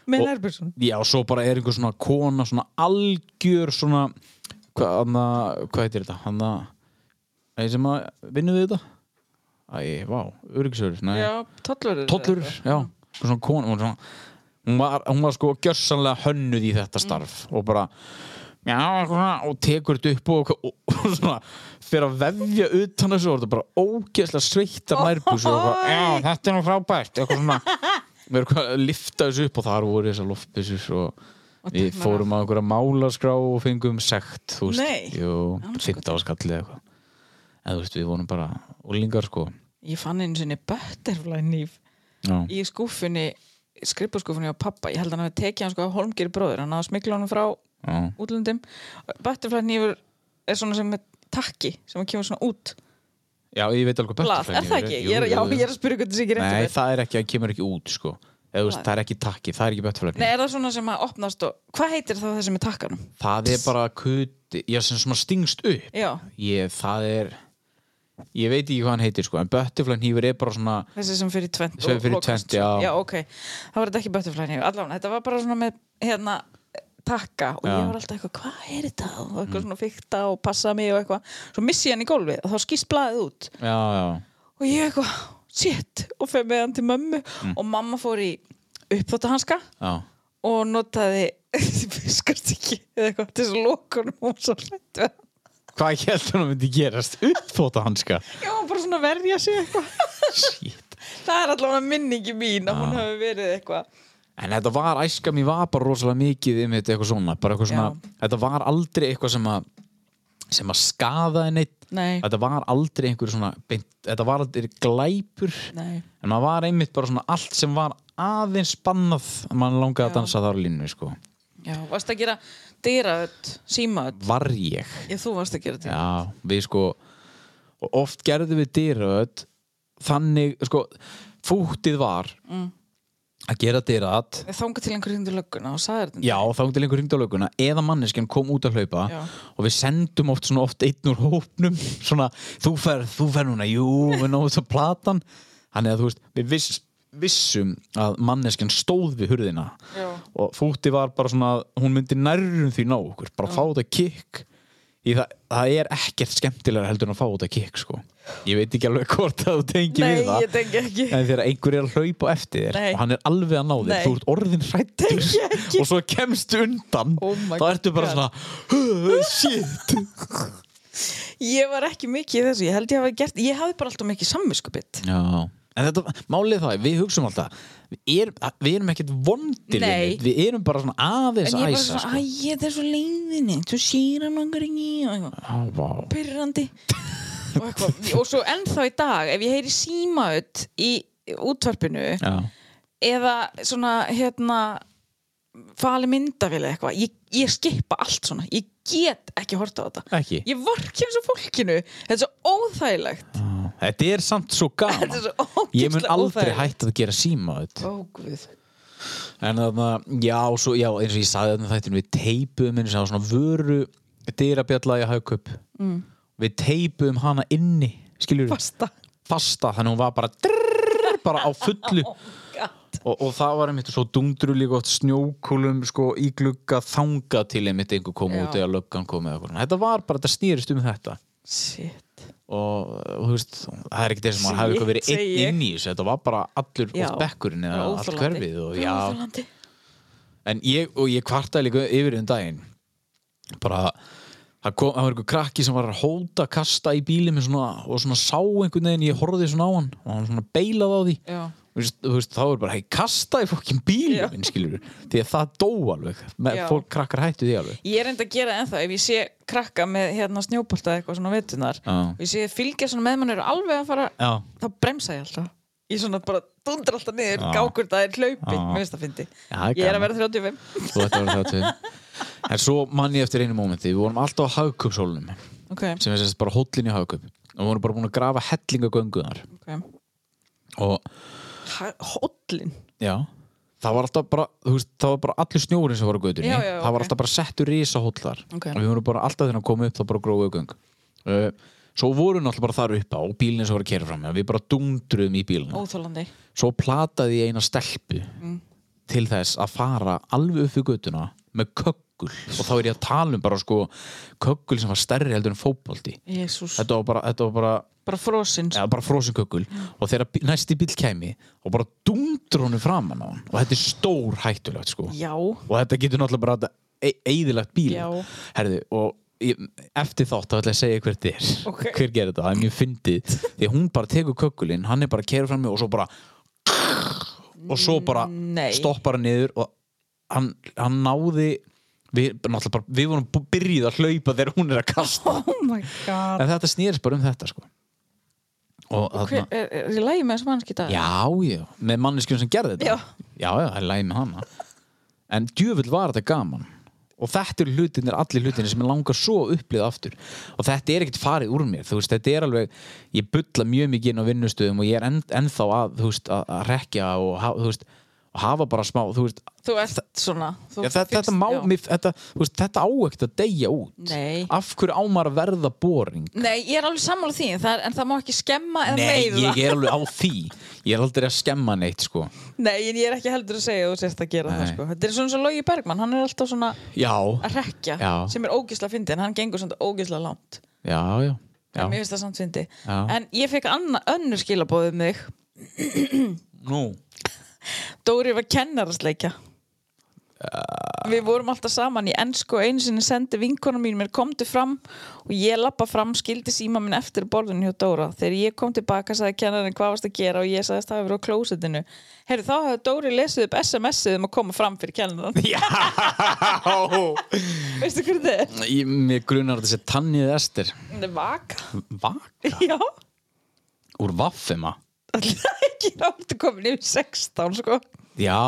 Speaker 7: með
Speaker 1: Og-
Speaker 7: nærbjörnsson
Speaker 1: já, svo bara er einhver svona kona svona algjör svona hvað hana, hvað heitir þetta hana, ei, sem að vinnum við þetta æ, vá, öryggisöður
Speaker 3: já, tollur
Speaker 1: tollur, já, einhver svona kona hún var, svona, hún var, hún var sko gjörsanlega hönnuð í þetta starf og bara já, svona, og tekur þetta upp og, og, og svona fyrir að vefja utan þessu og þetta bara ógeðslega sveittar nærbús og bara, já, þetta er nú frábært eitthvað svona við erum hvað að lifta þessu upp og þar voru þessar loftbissur og, við fórum á einhverja málaskrá og fengum sekt, þú
Speaker 3: Nei.
Speaker 1: veist jú, 15 skallið eitthvað en þú veist, við vorum bara úlingar sko
Speaker 3: Ég fann einu sinni butterfly nýf
Speaker 1: já,
Speaker 3: í skúfunni skrifbúrskúfunni á pappa ég held að hann hafi tekið hann sko af Holmgeri bróður hann hafa smikla honum frá
Speaker 1: já,
Speaker 3: útlöndum butterfly nýfur er svona sem með takki sem hann kemur svona út
Speaker 1: já, ég veit alveg
Speaker 3: blað, er það ekki? Ég er, já, ég er að spyrja hvernig þessi ekki
Speaker 1: Nei,
Speaker 3: rétt um
Speaker 1: það er ekki, það kemur ekki út sko Eða, þú veist, það er ekki takki, það er ekki
Speaker 3: Nei,
Speaker 1: böttflækni
Speaker 3: er það svona sem að opnast og hvað heitir það þessi með takkanum?
Speaker 1: Það er bara kuti, já sem svona stingst upp
Speaker 3: Já,
Speaker 1: Ég, það er Ég veit ekki hvað hann heitir sko En böttflækni hýfur er bara svona
Speaker 3: þessi sem fyrir tvent
Speaker 1: Sem fyrir tvennt, já.
Speaker 3: Já, ok, það var þetta ekki butterfly nýfur allavega, þetta var bara svona með hérna takka og
Speaker 1: Já. Mm.
Speaker 3: ég var alltaf eitthvað, hvað er þetta? og eitthvað svona fykta og passa mig og eitthvað svo missi ég hann í gólfið og þá skýst blaðið út
Speaker 1: Já, já,
Speaker 3: og ég eitthvað, shit og fer með hann til mömmu
Speaker 1: Mm.
Speaker 3: og mamma fór í uppþóttahanska
Speaker 1: já
Speaker 3: og notaði (laughs) fiskast ekki eða eitthvað til þess að loka honum og hún var svo hrætt við hann
Speaker 1: Hvað ég held hann að myndi gerast? Uppþóta hanska
Speaker 3: já, hún bara svona að verja sig eitthvað
Speaker 1: Shit
Speaker 3: það er allavega minningi mín að
Speaker 1: Ah.
Speaker 3: hún hafi verið eitthvað
Speaker 1: En þetta var, æska mér var bara rosalega mikið um þetta eitthvað svona, bara eitthvað svona Þetta var aldrei eitthvað sem að sem að skaða neitt
Speaker 3: Nei.
Speaker 1: þetta var aldrei einhver svona beint, þetta var aldrei glæpur
Speaker 3: Nei.
Speaker 1: en maður var einmitt bara svona allt sem var aðeins bannað að maður langaði að dansa þar á línu sko.
Speaker 3: já, varst að gera dýraöld, símaöld
Speaker 1: var ég
Speaker 3: já, þú varst að gera þetta
Speaker 1: já, við sko og oft gerðum við dyröð þannig, sko fúttið var
Speaker 3: Mm.
Speaker 1: að gera dyröð
Speaker 3: ég þangað til einhverjum til lögguna og sagði þetta
Speaker 1: Já, þá til einhver hringdi á löguna eða manneskjan kom út að hlaupa
Speaker 3: Já.
Speaker 1: og við sendum oft svona oft einn úr hópnum svona, þú fer, þú fer núna jú, við náðum þess að platan þannig að þú veist, við viss, vissum að manneskjan stóð við hurðina
Speaker 3: Já.
Speaker 1: og fúti var bara svona að hún myndi nærrum því ná okkur bara fá þetta kikk í það, það er ekkert skemmtilega heldur en að fá þetta kikk sko. ég veit ekki alveg hvort að þú tengir við
Speaker 3: nei,
Speaker 1: það
Speaker 3: ég tengi ekki
Speaker 1: En þegar einhver er að hlaupa á eftir þér
Speaker 3: Nei.
Speaker 1: og hann er alveg að ná þér,
Speaker 3: Nei.
Speaker 1: þú ert orðin hrættur og svo kemstu undan
Speaker 3: Oh my
Speaker 1: þá ertu bara
Speaker 3: God.
Speaker 1: svona shit
Speaker 3: ég var ekki mikið í þessu, ég held ég hafi gert ég hafi bara alltaf mikið samviskubitt
Speaker 1: Já, En þetta, málið það, er, við hugsaum alltaf Við, er, við erum ekkert vondir við
Speaker 7: Nei.
Speaker 1: neitt, Við erum bara svona aðeins
Speaker 3: En ég er bara
Speaker 1: æsa
Speaker 3: svona, æ,
Speaker 1: sko.
Speaker 3: þetta er svo leiðinni Þú sér hann langar ekki og eitthvað,
Speaker 1: Á, vá. (laughs)
Speaker 3: pyrrandi og, eitthvað. og svo ennþá í dag Ef ég heyri símaut í útvarpinu
Speaker 1: Já.
Speaker 3: Eða svona, hérna Fali myndavili eitthvað ég, ég skipa allt svona Ég get ekki horta á þetta
Speaker 1: Ekki.
Speaker 3: Ég vorkjum svo fólkinu Þetta er svo óþægilegt
Speaker 1: Þetta er samt svo gaman
Speaker 3: (laughs) Þetta er svo ógeðslega
Speaker 1: Ég mun aldrei
Speaker 3: óþægilegt.
Speaker 1: hætta að gera síma þetta
Speaker 3: Ó, Guð
Speaker 1: En þarna, já, svo, já, eins og ég sagði þarna þættinu Við teipum eins og svona vöru dyrabjalla í haugkup mm. Við teipum hana inni Skiljur
Speaker 7: Fasta.
Speaker 1: Fasta, þannig hún var bara drrrr, bara á
Speaker 3: (laughs)
Speaker 1: fullu og, og það var einmitt svo dundrulig gott snjókulum sko í glugga þanga til einmitt einhver kom
Speaker 3: Já.
Speaker 1: út eða löggan kom eða eitthvað. Þetta var bara, þetta snýrist um þetta
Speaker 3: Shit
Speaker 1: og og þú veist, það er ekki þess að maður hafi
Speaker 3: Shit,
Speaker 1: eitthvað verið
Speaker 3: segi
Speaker 1: einn
Speaker 3: ég.
Speaker 1: inn í þessu, þetta var bara allur
Speaker 3: Já.
Speaker 1: út bekkurinn eða
Speaker 3: Það var
Speaker 1: allt
Speaker 3: óþolandi.
Speaker 1: hverfið og
Speaker 3: Það var
Speaker 1: já,
Speaker 3: óþolandi.
Speaker 1: en ég, og ég kvartaði líka yfir um daginn bara Það, kom, það var einhver krakki sem var að hóta kasta í bílum svona, og svona sá einhvern veginn ég horfði svona á hann og hann svona beilað á því
Speaker 3: Já.
Speaker 1: Þú veist, þú veist, þá er bara, hei, kasta í fokkin
Speaker 3: Já.
Speaker 1: bílum, skilur því að það dó alveg, með,
Speaker 3: Já.
Speaker 1: fólk krakkar hættu því alveg
Speaker 3: Ég er enda að gera ennþá ef ég sé krakka með hérna snjóbolta eða eitthvað svona á vetunar
Speaker 1: Já.
Speaker 3: og ég sé fylgja svona með mann eru alveg að fara
Speaker 1: Já,
Speaker 3: þá bremsa ég alltaf ég svona bara dundra alltaf niður
Speaker 1: Já.
Speaker 3: gákur það er hlaupin,
Speaker 1: Já.
Speaker 3: mér finnst það fyndi
Speaker 1: Já, það er
Speaker 3: ég er
Speaker 1: gaman.
Speaker 3: að vera 35
Speaker 1: þú ætti að vera það til en svo mann ég eftir einu mómenti við vorum alltaf á hagkupshólunum sem
Speaker 3: ok,
Speaker 1: er sérst bara hóllin í hagkup og við vorum bara búin að grafa hellingagöngunar
Speaker 3: ok
Speaker 1: og,
Speaker 3: hóllin
Speaker 1: já það var alltaf bara, þú veist, það var bara allir snjórin sem var á götunni,
Speaker 3: Já, já,
Speaker 1: það var
Speaker 3: ok.
Speaker 1: alltaf bara settur risa hóll þar
Speaker 3: Ok.
Speaker 1: og við vorum bara alltaf þegar að koma upp þá bara gróðu göng uh, svo vorum við alltaf bara þar upp á og bílinn sem var að kera fram við bara dundruðum í bílinn
Speaker 3: óþólandi
Speaker 1: svo plataði ég eina stelpu
Speaker 3: Mm.
Speaker 1: til þess að fara alveg upp í göttuna með köggul og þá er ég að tala um bara sko köggul sem var stærri heldur en fótbolti
Speaker 3: Jésús,
Speaker 1: þetta var bara, þetta var bara,
Speaker 3: bara frosinn
Speaker 1: ja, bara frosin köggul og þegar bí- næsti bíl kæmi og bara dundur honum framan á hann og þetta er stór hættulegt sko
Speaker 3: já,
Speaker 1: og þetta getur náttúrulega bara e eðilagt bíl
Speaker 3: Já.
Speaker 1: Herðu, og ég, eftir þátt þá ætla ég að segja hver þetta er
Speaker 3: Ok.
Speaker 1: (laughs) hver gerir þetta, það er mjög fyndið því að hún bara tekur kökulinn, hann er bara að kera fram mig og svo bara og svo bara
Speaker 3: Nei.
Speaker 1: stoppar hann niður og hann, hann náði við, náttúrulega bara, við vorum bú- byrjuð að hlaupa þegar hún er að
Speaker 3: (laughs)
Speaker 1: kasta
Speaker 3: oh my god
Speaker 1: en þetta snýrist bara um þetta sko og, og
Speaker 3: Hver, er, er ég lægi með þessu mannski dag?
Speaker 1: Já, já, með manneskjum sem gerði þetta
Speaker 3: Já.
Speaker 1: já, já, það er læg með hana En djöfull var þetta gaman Og þetta eru hlutinir, allir hlutinir sem ég langar svo að upplifa aftur Og þetta er ekkert farið úr mér, þú veist, þetta er alveg Ég bulla mjög mikið inn á vinnustöðum Og ég er enn, ennþá að, þú veist, að, að rekja og, ha, þú veist, og hafa bara smá, þú veist
Speaker 3: þú ert svona þú
Speaker 1: Já, þetta,
Speaker 3: finnst-
Speaker 1: þetta, má,
Speaker 3: já.
Speaker 1: mér, þetta, þú veist, þetta á ekkert að deyja út
Speaker 3: Nei.
Speaker 1: Af hverju á maður að verða boring
Speaker 3: nei, ég er alveg sammála því það er, en það má ekki skemma eða
Speaker 1: Nei,
Speaker 3: meiða
Speaker 1: ég er alveg á því Ég er aldrei að skemma neitt, sko
Speaker 3: Nei, en ég er ekki heldur að segja að þú sérst að gera það
Speaker 1: Nei.
Speaker 3: sko. Þetta er svona svo Logi Bergmann, hann er alltaf svona
Speaker 1: Já,
Speaker 3: að rekja,
Speaker 1: Já.
Speaker 3: sem er ógisla fyndi en hann gengur svona ógisla langt
Speaker 1: já, já,
Speaker 3: en
Speaker 1: já.
Speaker 3: mér finnst það samt fyndi
Speaker 1: Já.
Speaker 3: En ég fekk anna, önnur um skilabóðið mig
Speaker 1: Nú,
Speaker 3: Dóri var kennarasleikja Við vorum alltaf saman í ennsku og einu sinni sendi vinkona mín mér komdu fram og ég lappa fram, skildi síma minn eftir borðinu hjá Dóra. Þegar ég kom tilbaka sagði kennarinn hvað varst að gera og ég sagðist það hefur á klósitinu. Herru, þá hefði Dóri lesið upp SMS-ið um að koma fram fyrir kennarann.
Speaker 1: Já
Speaker 3: (laughs) Veistu hvernig þetta er?
Speaker 1: Ég, Mér grunar að þessi tannið Ester
Speaker 3: Þetta er vaka.
Speaker 1: Vaka?
Speaker 3: Já.
Speaker 1: Úr vaffema?
Speaker 3: Alltaf ekki áttu komin yfir 16, sko.
Speaker 1: Já,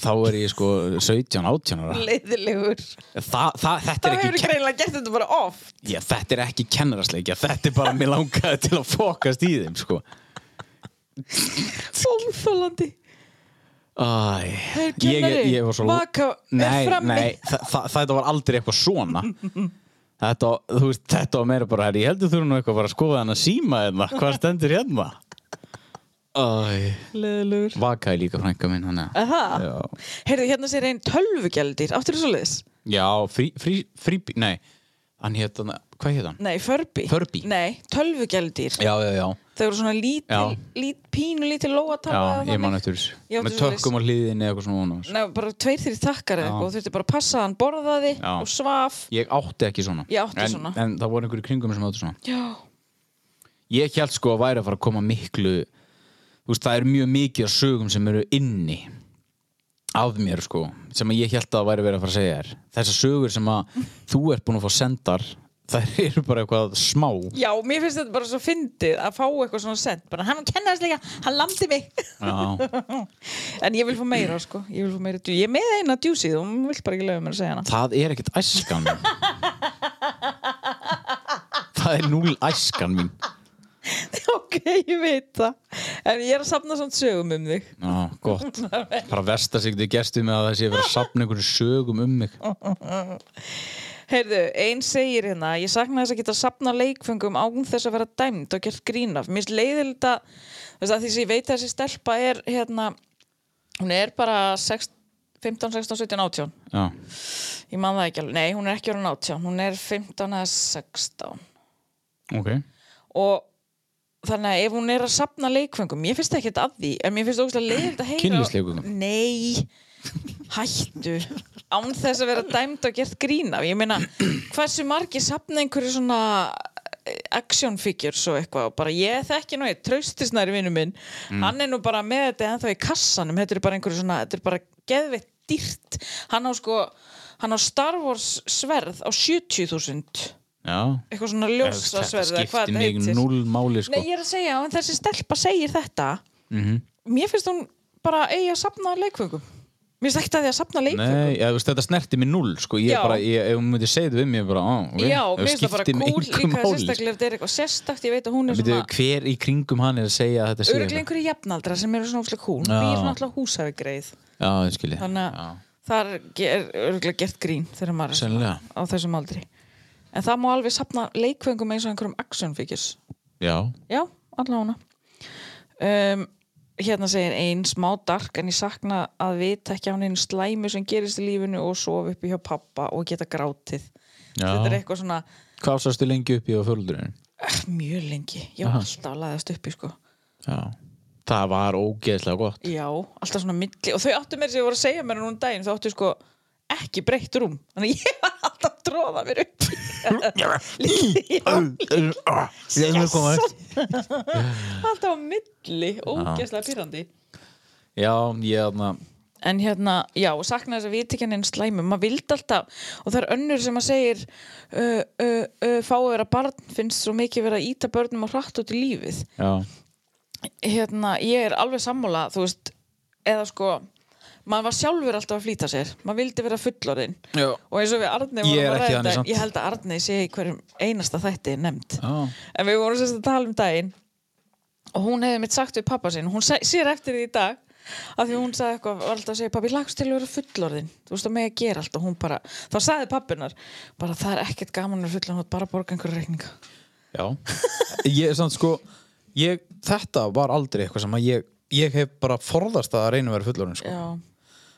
Speaker 1: þá er ég sko 17, 18 ára
Speaker 3: Leiðilegur.
Speaker 1: Þa, það, þetta,
Speaker 3: Þá
Speaker 1: er
Speaker 3: hefur
Speaker 1: ekki,
Speaker 3: þú greinlega gert þetta bara off.
Speaker 1: ke- já, þetta er ekki kennarasleikja Þetta er bara mér langaði til að fokast í þeim sko.
Speaker 3: Óþólandi.
Speaker 1: Æ,
Speaker 3: Herru,
Speaker 1: ég,
Speaker 3: kennari,
Speaker 1: ég var svo
Speaker 3: vaka er
Speaker 1: Nei,
Speaker 3: frammi.
Speaker 1: nei, þa, þa, þetta var aldrei eitthvað svona
Speaker 3: (laughs)
Speaker 1: Þetta, var- þú veist, þetta var meira bara herri, Ég heldur þú nú eitthvað bara að skoða hann að síma hérna Hvað stendur hérna? Æ,
Speaker 3: Leiðilegur.
Speaker 1: vakaði líka frænka minn hann að
Speaker 3: Aha.
Speaker 1: Já.
Speaker 3: Heyrðu, hérna sér einn tölvugjaldýr. Áttur þú svo leiðis?
Speaker 1: Já, frí, frí, frí, nei Hann hétt hann, hvað hétt hann?
Speaker 3: Nei, förbi.
Speaker 1: Furby.
Speaker 3: Nei, tölvugjaldýr.
Speaker 1: Já, já, já,
Speaker 3: Þau eru svona lítil,
Speaker 1: Já.
Speaker 3: lít, pínu lítil lóatabla.
Speaker 1: já ég man eftir
Speaker 3: Ég
Speaker 1: þessu
Speaker 3: átti
Speaker 1: Með
Speaker 3: svoleiðis.
Speaker 1: tökkum á hliðinni eða eitthvað svona vonum
Speaker 3: Nei, bara tveir þýri takkar eða
Speaker 1: Já.
Speaker 3: eitthvað og þurfti bara að passa að hann borðaði
Speaker 1: Já.
Speaker 3: og svaf.
Speaker 1: Ég átti ekki svona
Speaker 3: Ég átti
Speaker 1: en,
Speaker 3: svona.
Speaker 1: En það voru einhverju kringum mér sem átti svona
Speaker 3: Já.
Speaker 1: Ég held sko að væri að fara að koma miklu þú veist, það er mjög mikið af sögum sem eru inni af mér sko, sem að ég held að væri verið að fara að segja þér þessar sögur sem að þú ert búin að fá sendar þær (laughs) eru bara eitthvað smá
Speaker 3: Já, mér finnst þetta bara svo fyndið að fá eitthvað svona sent bara hann kennaðist líka, hann landi mig (laughs)
Speaker 1: Já.
Speaker 3: en ég vil fá meira sko ég vil fá meira djú ég er með eina djúsið og hún vil bara ekki lögum mér að segja hana
Speaker 1: það er ekkert æskan mín. það er núl æskan mín
Speaker 3: (laughs) ok, ég veit það en ég er að safna svona sögum um þig
Speaker 1: Já,
Speaker 3: (laughs)
Speaker 1: gott bara versta sig þið gerstu með að það sé verið að sapna einhvern sögum um mig
Speaker 3: Heyrðu, einn segir hérna ég sakna þess að geta safna leikfengum án þess að vera dæmd og gert grín af mér finnst leiðilegt að þú veist að því sem ég veit að þessi stelpa er hérna hún er bara 6, 15, 16, 17, 18
Speaker 1: Já.
Speaker 3: ég man það ekki alveg, nei hún er ekki orðin 18 hún er 15 eða 16
Speaker 1: ok
Speaker 3: og þannig að ef hún er að sapna leikfengum ég finnst ekkert að því, en mér finnst ógustlega leiðilt að heyra
Speaker 1: Kynlífsleikföngum?
Speaker 3: Nei, hættu án þess að vera dæmd og gert grín af ég meina, hversu margi sapna einhverju svona eh, action figures og eitthvað, og bara ég þekki nú ég, traustisnæri vinnu minn
Speaker 1: Mm.
Speaker 3: hann er nú bara með þetta ennþá í kassanum þetta er bara einhverju svona, þetta er bara geðveitt dýrt, hann á sko hann á Star Wars sverð á 70.000
Speaker 1: Já.
Speaker 3: eitthvað svona ljósa sverð eða hvað
Speaker 1: skiptir
Speaker 3: þetta
Speaker 1: mig
Speaker 3: heitir.
Speaker 1: núl máli sko. Mhm.
Speaker 3: Nei, ég er að segja, en þessi stelpa segir þetta Mér finnst hún bara eigi að sapna leikvöngum Mér finnst ekki að því að sapna leikvöngum
Speaker 1: Nei, ja, veist, þetta snerti mig null sko. ég
Speaker 3: Já.
Speaker 1: er bara, ég, ef hún myndi segja þetta við mér bara, á, okay.
Speaker 3: Já,
Speaker 1: Það
Speaker 3: mér finnst það bara
Speaker 1: skiptir mig
Speaker 3: cool
Speaker 1: engu
Speaker 3: líka
Speaker 1: máli, sko.
Speaker 3: sérstaklega ef þetta er eitthvað sérstakt, ég veit að hún er
Speaker 1: Bíddu,
Speaker 3: svona
Speaker 1: hver í kringum hann er að segja að þetta sé
Speaker 3: örglega einhverju jafnaldra sem eru svona óslega cool
Speaker 1: Já.
Speaker 3: Býr náttúrulega húsafi greið
Speaker 1: já, ég skilji
Speaker 3: Þannig að
Speaker 1: Já.
Speaker 3: það er örglega gert grín þegar maður er svona
Speaker 1: Sennilega.
Speaker 3: á þessum aldri En það má alveg sapna leikvöngum eins og einhverjum action figures
Speaker 1: já,
Speaker 3: Já, allavega um, Hérna segir ein smá dark en ég sakna að vita ekki á neinu slæmi sem gerist í lífinu og sofa uppi hjá pappa og geta grátið Þetta er
Speaker 1: já.
Speaker 3: eitthvað svona
Speaker 1: hvað sástu lengi upp í á fjöldurinn
Speaker 3: eh, mjög lengi, já,
Speaker 1: Aha.
Speaker 3: alltaf laðast uppi sko.
Speaker 1: já, það var ógeðslega gott
Speaker 3: Já, alltaf svona milli og þau áttu mér sem ég voru að segja mér núna um daginn þau áttu sko ekki breytt rúm þannig að ég var alltaf að tróða mér
Speaker 1: (laughs)
Speaker 3: upp
Speaker 9: Leðum við koma upp
Speaker 3: (laughs) alltaf á milli, ógeðslega pyrrandi
Speaker 1: já, ég aðna
Speaker 3: en hérna, já, sakna þess að við tekja neinn slæmum, maður vildi alltaf og það er önnur sem að segir uh, uh, uh, fá að vera barn finnst svo mikið verið að íta börnum og hratt út í lífið
Speaker 1: já,
Speaker 3: hérna, ég er alveg sammála þú veist, eða sko maður var sjálfur alltaf að flýta sér maður vildi vera fullorinn
Speaker 1: já.
Speaker 3: og eins og við Arnei
Speaker 1: Ég er ekki
Speaker 3: vorum að ræða
Speaker 1: þannig
Speaker 3: þetta,
Speaker 1: samt.
Speaker 3: ég held að Arnei sé í hverjum einasta þætti nefnd
Speaker 1: já.
Speaker 3: en við vorum sérst að tala um daginn og hún hefði mitt sagt við pappa sinn hún se- sér eftir því í dag af því hún sagði eitthvað, var alltaf að segja pappi, lagst til að vera fullorðin þú veist að mig að gera allt og hún bara þá sagði pappinar, bara það er ekkert gaman að vera fullorðin, þú ert bara að borga einhverju reikninga
Speaker 1: já. ég er samt sko ég, þetta var aldrei eitthvað sem að ég ég hef bara forðast að reyna að vera fullorinn sko.
Speaker 3: já,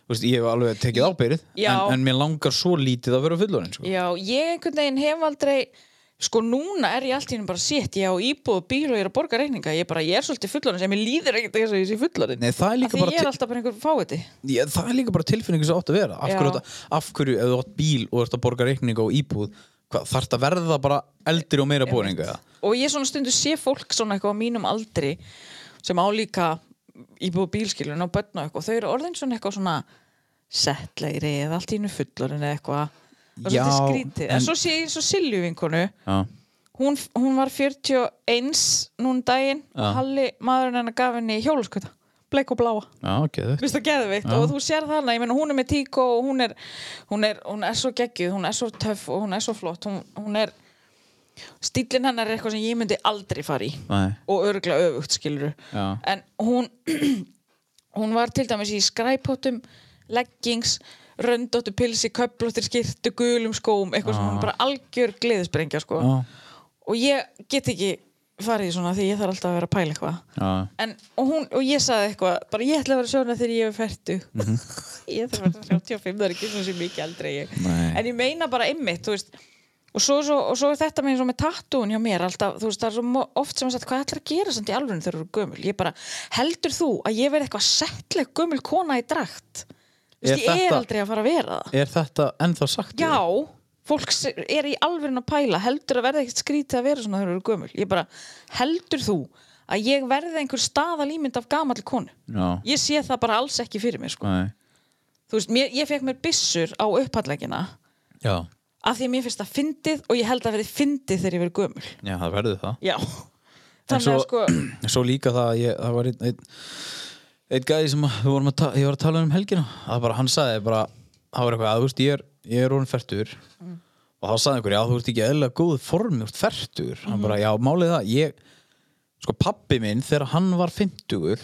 Speaker 1: Þú veist, ég hef alveg tekið ábyrð
Speaker 3: Já.
Speaker 1: en, en mér langar svo lítið að vera fullorinn sko.
Speaker 3: já, ég einhvern veginn hef aldrei sko núna er ég allt í henni bara sétt ég á íbúð og bíl og ég er að borga reikninga ég, er bara, ég er svolítið fullorðin sem ég líður ekkert þess að ég sé fullorðin
Speaker 1: Nei, það er
Speaker 3: af
Speaker 1: líka
Speaker 3: því
Speaker 1: bara
Speaker 3: ég er alltaf bara einhver fáiði
Speaker 1: Já, það er líka bara tilfinningu sem átt að vera af
Speaker 3: Já.
Speaker 1: hverju, þetta, af hverju ef þú átt bíl og ert að borga reikning á íbúð hvað, þarf það verða það bara eldri og meira búninga
Speaker 3: og ég svona stundu sé fólk svona eitthvað á mínum aldri sem á líka íbúið bílskilun og börn og eitthvað og þau eru orðin svona eitthvað svona settlegri eða allt í innu fullorinn eða eitthvað og
Speaker 1: Já,
Speaker 3: svona skrítið en,
Speaker 1: en-
Speaker 3: svo sé ég eins og Silju vinkonu
Speaker 1: Já,
Speaker 3: hún, hún var 41 núna um daginn og Halli maðurinn hennar gaf henni hjólaskuta bleik og bláa
Speaker 1: já, ok þetta-
Speaker 3: Vist það geðvikt og þú sér þarna, ég meina hún er með tíko og hún er, hún er, hún er svo geggjuð, hún er svo töff og hún er svo flott, hún, hún er, stílinn hennar er eitthvað sem ég myndi aldrei fara í
Speaker 1: Nei.
Speaker 3: og örgulega öfugt skilur
Speaker 1: Já.
Speaker 3: en hún, (clears throat) hún var til dæmis í skræpótum, leggings, röndóttu pilsi, köplóttir skirtu, gulum skóm, eitthvað sem hún bara algjör gleðisbrengja sko
Speaker 1: Já.
Speaker 3: og ég get ekki farið í svona því ég þarf alltaf að vera að pæla eitthvað
Speaker 1: Já.
Speaker 3: en, og, hún, og ég sagði eitthvað, bara ég ætla að vera svona þegar ég er færtu
Speaker 1: Mhm.
Speaker 3: (laughs) ég þarf að vera 35, það er ekki svona sem mikið aldrei ég.
Speaker 1: Nei.
Speaker 3: en ég meina bara einmitt þú veist, og, svo, svo, og svo er þetta með, eins og með tattúin hjá mér alltaf, þú veist, það er svo mo- oft sem að sagt, hvað ætlar að gera samt í alvörun þegar þú eru gömul ég bara, heldur þú að ég verði eitthvað settleg gömul kona í drakt Þú
Speaker 1: Er
Speaker 3: veist, ég er
Speaker 1: þetta-
Speaker 3: aldrei að fara að vera það
Speaker 1: Er þetta ennþá sagt?
Speaker 3: Já, fólk se- er í alvörin að pæla heldur að verða ekkert skrítið að vera svona þegar þú eru gömul ég bara, heldur þú að ég verði einhver staðalímynd af gamall konu
Speaker 1: Já,
Speaker 3: ég sé það bara alls ekki fyrir mér sko.
Speaker 1: nei
Speaker 3: þú veist, mér, ég fekk mér byssur á upphallegina
Speaker 1: Já,
Speaker 3: af því að mér finnst það fyndið og ég held að verði fyndið þegar ég verið gömul
Speaker 1: já það verður það
Speaker 3: já, þannig að
Speaker 1: svo-
Speaker 3: sko
Speaker 1: (clears throat) En Svo líka það að ég, það var einn ein, ein gæði sem að- við vorum að, ta- ég var að tala um helgina að bara hann sagði bara, það var eitthvað að þú veist, ég er, ég er orðin fertur
Speaker 3: Mm.
Speaker 1: og þá sagði einhver, já þú ert ekki eðlilega góð form, þú ert fertur, hann bara, já málið það, ég sko pappi minn þegar hann var 50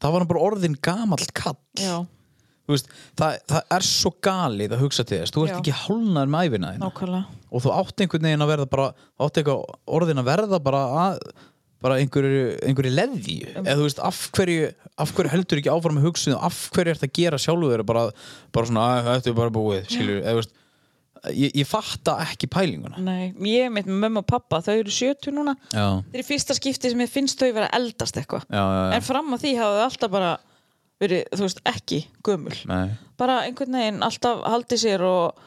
Speaker 1: það var hann bara orðin gamalt kall
Speaker 3: já,
Speaker 1: Þú veist, það, það er svo galið að hugsa til þess þú ert
Speaker 3: Já.
Speaker 1: ekki hálnaður með æfina þína
Speaker 3: nákvæmlega
Speaker 1: og þú átt einhvern veginn að verða bara þú átt eitthvað orðin að verða bara að, bara einhverju, einhverju leði
Speaker 3: Um.
Speaker 1: eða þú veist, af hverju, af hverju heldur ekki áfram með hugsun og af hverju ert að gera sjálfu þeirra bara, bara svona, að þetta er bara búið skilur, eða þú veist ég, ég fatta ekki pælinguna
Speaker 3: Nei, ég mitt með mömmu og pappa, þau eru 70 núna
Speaker 1: já,
Speaker 3: þetta er í fyrsta skipti sem ég finnst þau vera að eldast eitthvað
Speaker 1: já, já,
Speaker 3: en fram að því hafa þau alltaf bara verið, þú veist, ekki gömul
Speaker 1: Nei.
Speaker 3: bara einhvern veginn alltaf haldið sér og,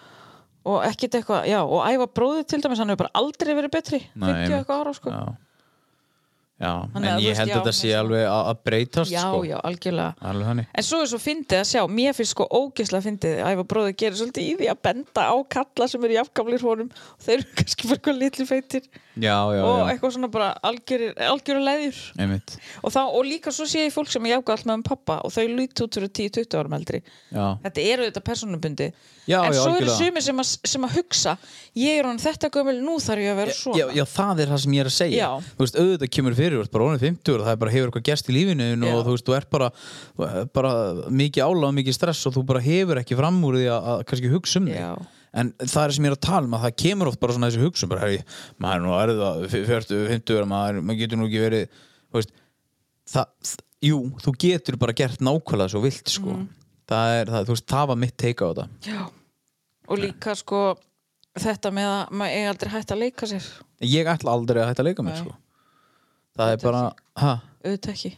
Speaker 3: og ekkert eitthvað já, og æfa bróðið til dæmis, hann hefur bara aldrei verið betri
Speaker 1: Nei,
Speaker 3: 50
Speaker 1: einmitt.
Speaker 3: eitthvað ára sko.
Speaker 1: já. já.
Speaker 3: Þannig
Speaker 1: en
Speaker 3: að þú
Speaker 1: ég
Speaker 3: veist,
Speaker 1: held
Speaker 3: já,
Speaker 1: að þetta sé
Speaker 3: mér-
Speaker 1: alveg að að breytast
Speaker 3: já,
Speaker 1: sko.
Speaker 3: já, algjörlega
Speaker 1: alveg þannig
Speaker 3: en svo er svo fyndið að sjá, mér finnst sko ógeðslega fyndið að æfa bróðið gerir svolítið í því að benda á kalla sem eru jafngamlir honum og þeir eru (laughs) kannski bara eitthvað litlu feitir
Speaker 1: já, já,
Speaker 3: og
Speaker 1: já,
Speaker 3: eitthvað svona bara algjörir, algjörir leðjur
Speaker 1: einmitt
Speaker 3: og, þá, og líka svo sé ég fólk sem er jafngall með um pappa og þau lít út fyrir 10-20 árum eldri
Speaker 1: já,
Speaker 3: þetta eru þetta personabundi
Speaker 1: Já,
Speaker 3: en
Speaker 1: já,
Speaker 3: svo eru
Speaker 1: algjörlega.
Speaker 3: sumir sem, að- sem að hugsa ég er hann þetta gömul, nú þarf ég að vera svona
Speaker 1: já, já, það er það sem ég er að segja
Speaker 3: Já.
Speaker 1: Þú veist, auðvitað kemur fyrir, þú ert bara orðin 50 og það er bara hefur eitthvað gerst í lífinu þínu
Speaker 3: Já.
Speaker 1: og þú veist, þú ert bara, bara mikið álag, mikið stress og þú bara hefur ekki fram úr því að, að kannski hugsa um
Speaker 3: Já.
Speaker 1: þig en það er sem ég er að tala um að það kemur oft bara svona þessi hugsun bara, hey, maður er nú að erða 40, 50 ára, maður, maður getur nú ekki verið þú veist, það, jú, þú getur bara gert nákvæmlega svo vilt sko.
Speaker 3: Mm.
Speaker 1: það er, það, þú veist, það var mitt teika á þetta
Speaker 3: og líka sko þetta með að maður er aldrei hægt að leika sér
Speaker 1: ég ætla aldrei að hætta að leika mér
Speaker 3: Nei.
Speaker 1: sko. það er bara, hæ?
Speaker 3: auðvitað ekki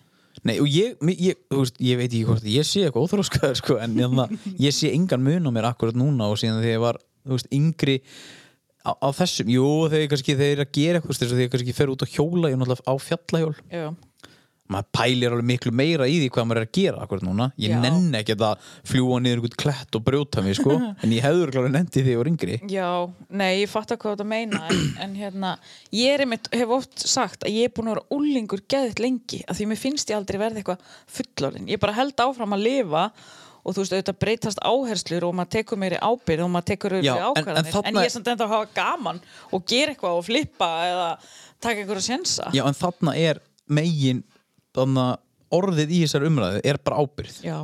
Speaker 1: Nei, og ég, mi- ég, þú veist, ég veit ekki hvort að ég sé eitthvað óþróskaður sko, en jæna, ég sé engan mun á mér akkurat núna og síðan þegar ég var þú veist, yngri á, á þessum, jú, þegar ég kannski þegar ég er að gera eitthvað þú veist, eins og þegar ég kannski fer út á hjóla, ég er náttúrulega á fjallahjól
Speaker 3: já,
Speaker 1: maður pælir alveg miklu meira í því hvað maður er að gera akkurat núna, ég
Speaker 3: Já.
Speaker 1: nenni ekki að fljúa niður einhvern klett og brjóta mig sko, en ég hefur klára nenni því þegar ég var yngri
Speaker 3: já nei, ég fatt að hvað þetta meina en, en hérna, ég er einmitt, hef oft sagt að ég er búin að vera úlingur geðið lengi af því mér finnst ég aldrei verða eitthvað fullorinn ég bara held áfram að lifa og þú veist, auðvitað breytast áherslur og maður tekur meiri ábyrð og maður tekur
Speaker 1: Já,
Speaker 3: auðvitað
Speaker 1: en- en þarna-
Speaker 3: ákvarðanir en, ég er samt enda að hafa gaman og gera eitthvað og flippa eða taka einhverja sjensa
Speaker 1: já, en þarna er megin þarna, orðið í þessar umræðu er bara ábyrð
Speaker 3: já,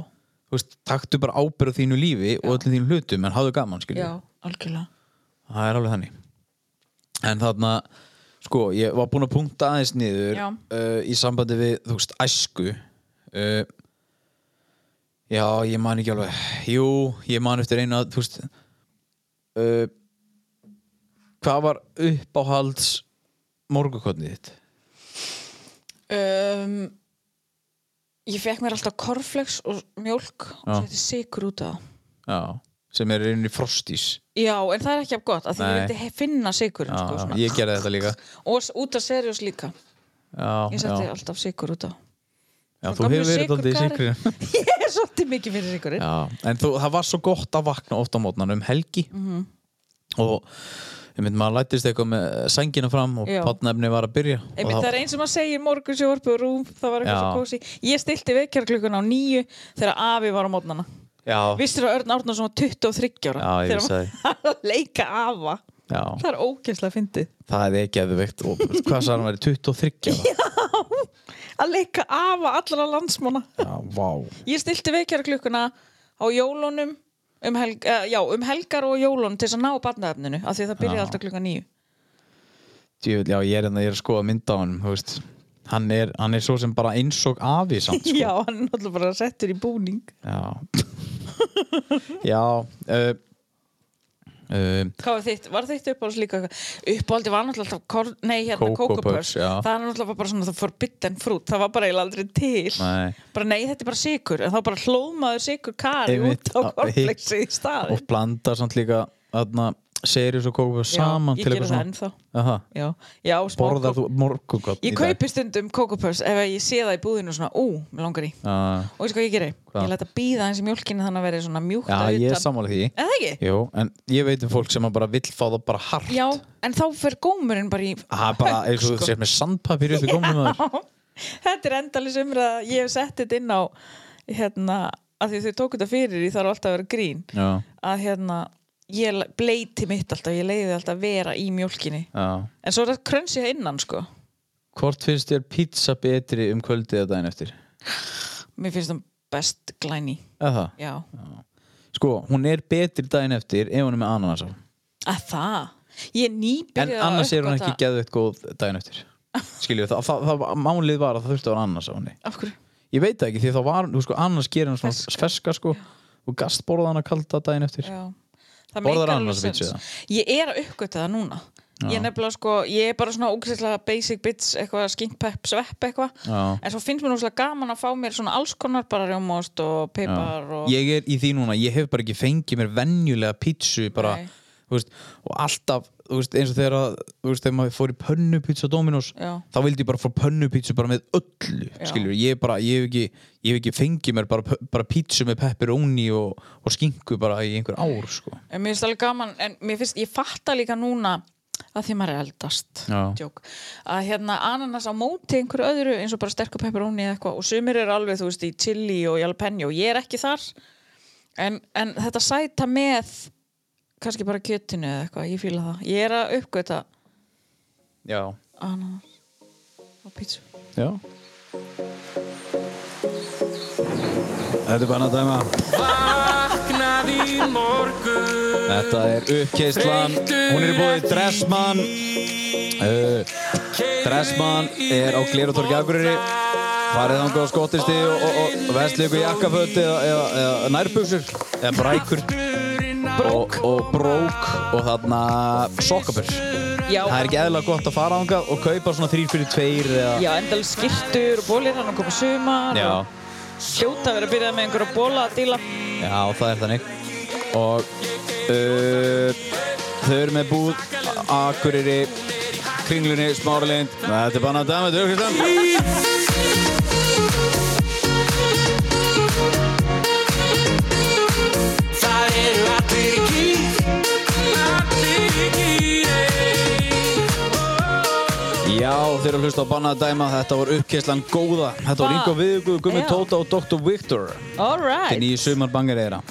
Speaker 1: þú veist, taktu bara ábyrð á þínu lífi og öllum þínum hlutum en hafðu gaman, skilju
Speaker 3: já algjörlega
Speaker 1: það er alveg þannig en þarna, sko, ég var búinn að punkta aðeins niður
Speaker 3: Já.
Speaker 1: uh, í sambandi við, þú veist, æsku uh, já, ég man ekki alveg jú, ég man eftir einu að, þú veist uh, hvað var uppáhalds morgukotnið þitt?
Speaker 3: Um, ég fekk mér alltaf korflex og mjólk og
Speaker 1: Já.
Speaker 3: setti sigur út af það.
Speaker 1: já, sem er einu frostís
Speaker 3: Já, en það er ekki af gott, af því ég
Speaker 1: Nei.
Speaker 3: vildi he- finna sigurinn,
Speaker 1: já,
Speaker 3: sko, svona.
Speaker 1: ég gerði þetta líka
Speaker 3: Og s- út af seriós líka.
Speaker 1: já,
Speaker 3: Ég setti
Speaker 1: já,
Speaker 3: alltaf sigur út af
Speaker 1: já,
Speaker 3: Svo
Speaker 1: þú
Speaker 3: gömlu
Speaker 1: hefur verið daldið í
Speaker 3: sykurgari.
Speaker 1: sikrinu
Speaker 3: (laughs) Ég er svolítið mikið fyrir sigurinn.
Speaker 1: Já, en þú, það var svo gott að vakna oft á mótnan um helgi
Speaker 3: Mhm.
Speaker 1: og ég mynd maður lættist eitthvað með sængina fram og
Speaker 3: Já.
Speaker 1: potnefni var að byrja
Speaker 3: Einmitt,
Speaker 1: og
Speaker 3: það er eins og maður segir morgun sjórpu og rúm, það var eitthvað
Speaker 1: Já.
Speaker 3: svo kósi. Ég stilti vekjarklukkan á nýju þegar afi var á mótnana.
Speaker 1: Já,
Speaker 3: Vissir að Örn Árnason var 23 ára
Speaker 1: Já, ég
Speaker 3: þegar
Speaker 1: vissi
Speaker 3: hann var (laughs) að leika afa.
Speaker 1: já,
Speaker 3: Það er ógæslega fyndið.
Speaker 1: það er geðveikt og hvað sagði hann verið
Speaker 3: (laughs)
Speaker 1: 23 ára?
Speaker 3: Að leika afa allra landsmána.
Speaker 1: Já, vá
Speaker 3: Ég stilti vekjarklukkuna á jólunum um, helg, uh, já, um helgar og jólunum til þess að ná barnaefninu af því að það byrja
Speaker 1: Já.
Speaker 3: alltaf klukka nýju
Speaker 1: Djöfull, Já, ég er, hérna- ég er að skoða mynda á hann hann er, hann er svo sem bara eins og afi samt sko.
Speaker 3: Já, hann er náttúrulega bara settur í búning
Speaker 1: Já (laughs) Já uh, uh,
Speaker 3: Hvað var þitt? Var þitt uppáhalds líka? eitthvað? Uppáhaldi var náttúrulega alltaf kor, Nei, hérna
Speaker 1: Coco
Speaker 3: Coco
Speaker 1: Puffs,
Speaker 3: Puffs
Speaker 1: já.
Speaker 3: Það er náttúrulega bara svona það forbidden fruit Það var bara eiginlega aldrei til
Speaker 1: Nei.
Speaker 3: Bara nei, þetta er bara sigur En þá bara hlóðmaður sigur kari
Speaker 1: Einmitt,
Speaker 3: út á
Speaker 1: á- hitt-
Speaker 3: korflexi í
Speaker 1: og
Speaker 3: staði
Speaker 1: blanda samt líka þarna segir þessu kókuböð
Speaker 3: Já,
Speaker 1: saman
Speaker 3: ég
Speaker 1: til
Speaker 3: geri
Speaker 1: eitthvað
Speaker 3: það ennþá.
Speaker 1: Aha,
Speaker 3: Já, já smá
Speaker 1: borðar
Speaker 3: kók-
Speaker 1: þú morgungott
Speaker 3: Ég kaupi stundum kókupöss ef ég sé það í búðinu svona, ú, mér langar í
Speaker 1: uh,
Speaker 3: Og veistu hvað ég geri?
Speaker 1: Hvað?
Speaker 3: Ég læt að býða eins í mjólkinu þannig að vera svona mjúkt
Speaker 1: Já,
Speaker 3: að
Speaker 1: ég er
Speaker 3: utan.
Speaker 1: sammála því
Speaker 3: Er það ekki?
Speaker 1: Jú, en ég veit um fólk sem að bara vill fá það bara hart
Speaker 3: Já, Sko. en þá fer gómurinn bara í
Speaker 1: Það er bara eins og þú sér með sandpapir upp í gómum að
Speaker 3: Þetta er endalis umræða Ég hef sett þetta inn á hérna, að því þau tóku þetta fyrir í þarf alltaf að vera grín
Speaker 1: Já,
Speaker 3: að hérna, ég le- bleiti mitt alltaf ég leiði alltaf að vera í mjólkinni
Speaker 1: já
Speaker 3: en svo er þetta krönsi það innan sko
Speaker 1: Hvort finnst þér pizza betri um kvöldið að daginn eftir?
Speaker 3: mér finnst það best glæni
Speaker 1: Eða það?
Speaker 3: já,
Speaker 1: Sko, hún er betri daginn eftir ef hún er með ananas á
Speaker 3: að það ég er
Speaker 1: En
Speaker 3: nýbyrjuð að
Speaker 1: annars er hún
Speaker 3: uppgötva-
Speaker 1: ekki geðveitt góð daginn eftir Skiljum við það, það, það, það Málið var að það þurfti að vera ananas á henni
Speaker 3: af hverju?
Speaker 1: Ég veit það ekki því þá var hún, þú sko, annars gerir hann svona
Speaker 3: Ferska.
Speaker 1: ferska, sko og gast borða hann að kalda daginn eftir
Speaker 3: Já. Það
Speaker 1: Borðar
Speaker 3: meikar
Speaker 1: annars
Speaker 3: alveg
Speaker 1: pizzu,
Speaker 3: sens. Ég er að uppgöta það núna Ég er nefnilega sko, ég er bara svona ógæslega basic bits, eitthvað skink, pepp, svepp eitthvað,
Speaker 1: Já.
Speaker 3: en svo finnst mér núslega gaman að fá mér svona alls konar bara rjómást og pipar og
Speaker 1: Ég er í því núna, ég hef bara ekki fengið mér venjulega pítsu bara,
Speaker 3: Nei.
Speaker 1: þú veist, og alltaf, þú veist, eins og þegar að, þú veist, þegar maður fór í pönnupítsu á Dominos,
Speaker 3: Já.
Speaker 1: þá vildi ég bara fá pönnupítsu bara með öllu,
Speaker 3: Já.
Speaker 1: skilur ég bara, ég hef ekki, ég hef ekki fengið mér bara, pö- bara pítsu með pepperoni og, og skinku bara í einhver ár, sko
Speaker 3: En mér finnst alveg gaman, en mér finnst, ég fatta líka núna að því maður er eldast
Speaker 1: Já.
Speaker 3: djók, að hérna ananas á móti einhverju öðru eins og bara sterkur pepperoni eða eitthvað og sumir eru alveg, þú veist, í chili og jalpenni og ég er ekki þar en, en þetta sæta með kannski bara kjötinu eða eitthvað, ég fíla það ég er að uppgöta
Speaker 1: Já,
Speaker 3: ananas á pítsu
Speaker 1: já Þetta er bara að dæma Þetta er uppkeislan Hún er búið Dressmann uh, Dressmann er á Glerotorgi Akureyri Farið þangað á skottisti og, og, og, og vestlíku jakkaföt eða, eða, eða nærbuksur eða brækur og, og brók og þarna sokkabur
Speaker 3: Já,
Speaker 1: Það er ekki eðla gott að fara þangað og kaupa svona þrýr fyrir tveir eða
Speaker 3: já endal skirtur og bólir hann að koma sumar
Speaker 1: Já,
Speaker 3: og hljóta að vera að byrja með einhverju bóla að díla
Speaker 1: já, það er þannig og uh, þau eru með búð Akureyri Kringlunni, Smáralind Þetta er bara að dæma, þetta er uppkeislan
Speaker 6: Það eru allir ekki Allir ekki
Speaker 1: Já, þeir eru að hlusta á Bannað dæma, þetta voru uppkesslan góða. Þetta voru
Speaker 3: Ha,
Speaker 1: Ingo Viðugu, Gummi
Speaker 3: já.
Speaker 1: Tóta og Dr. Victor. Þetta
Speaker 3: All
Speaker 1: er
Speaker 3: right,
Speaker 1: nýju sumarbangir eðra.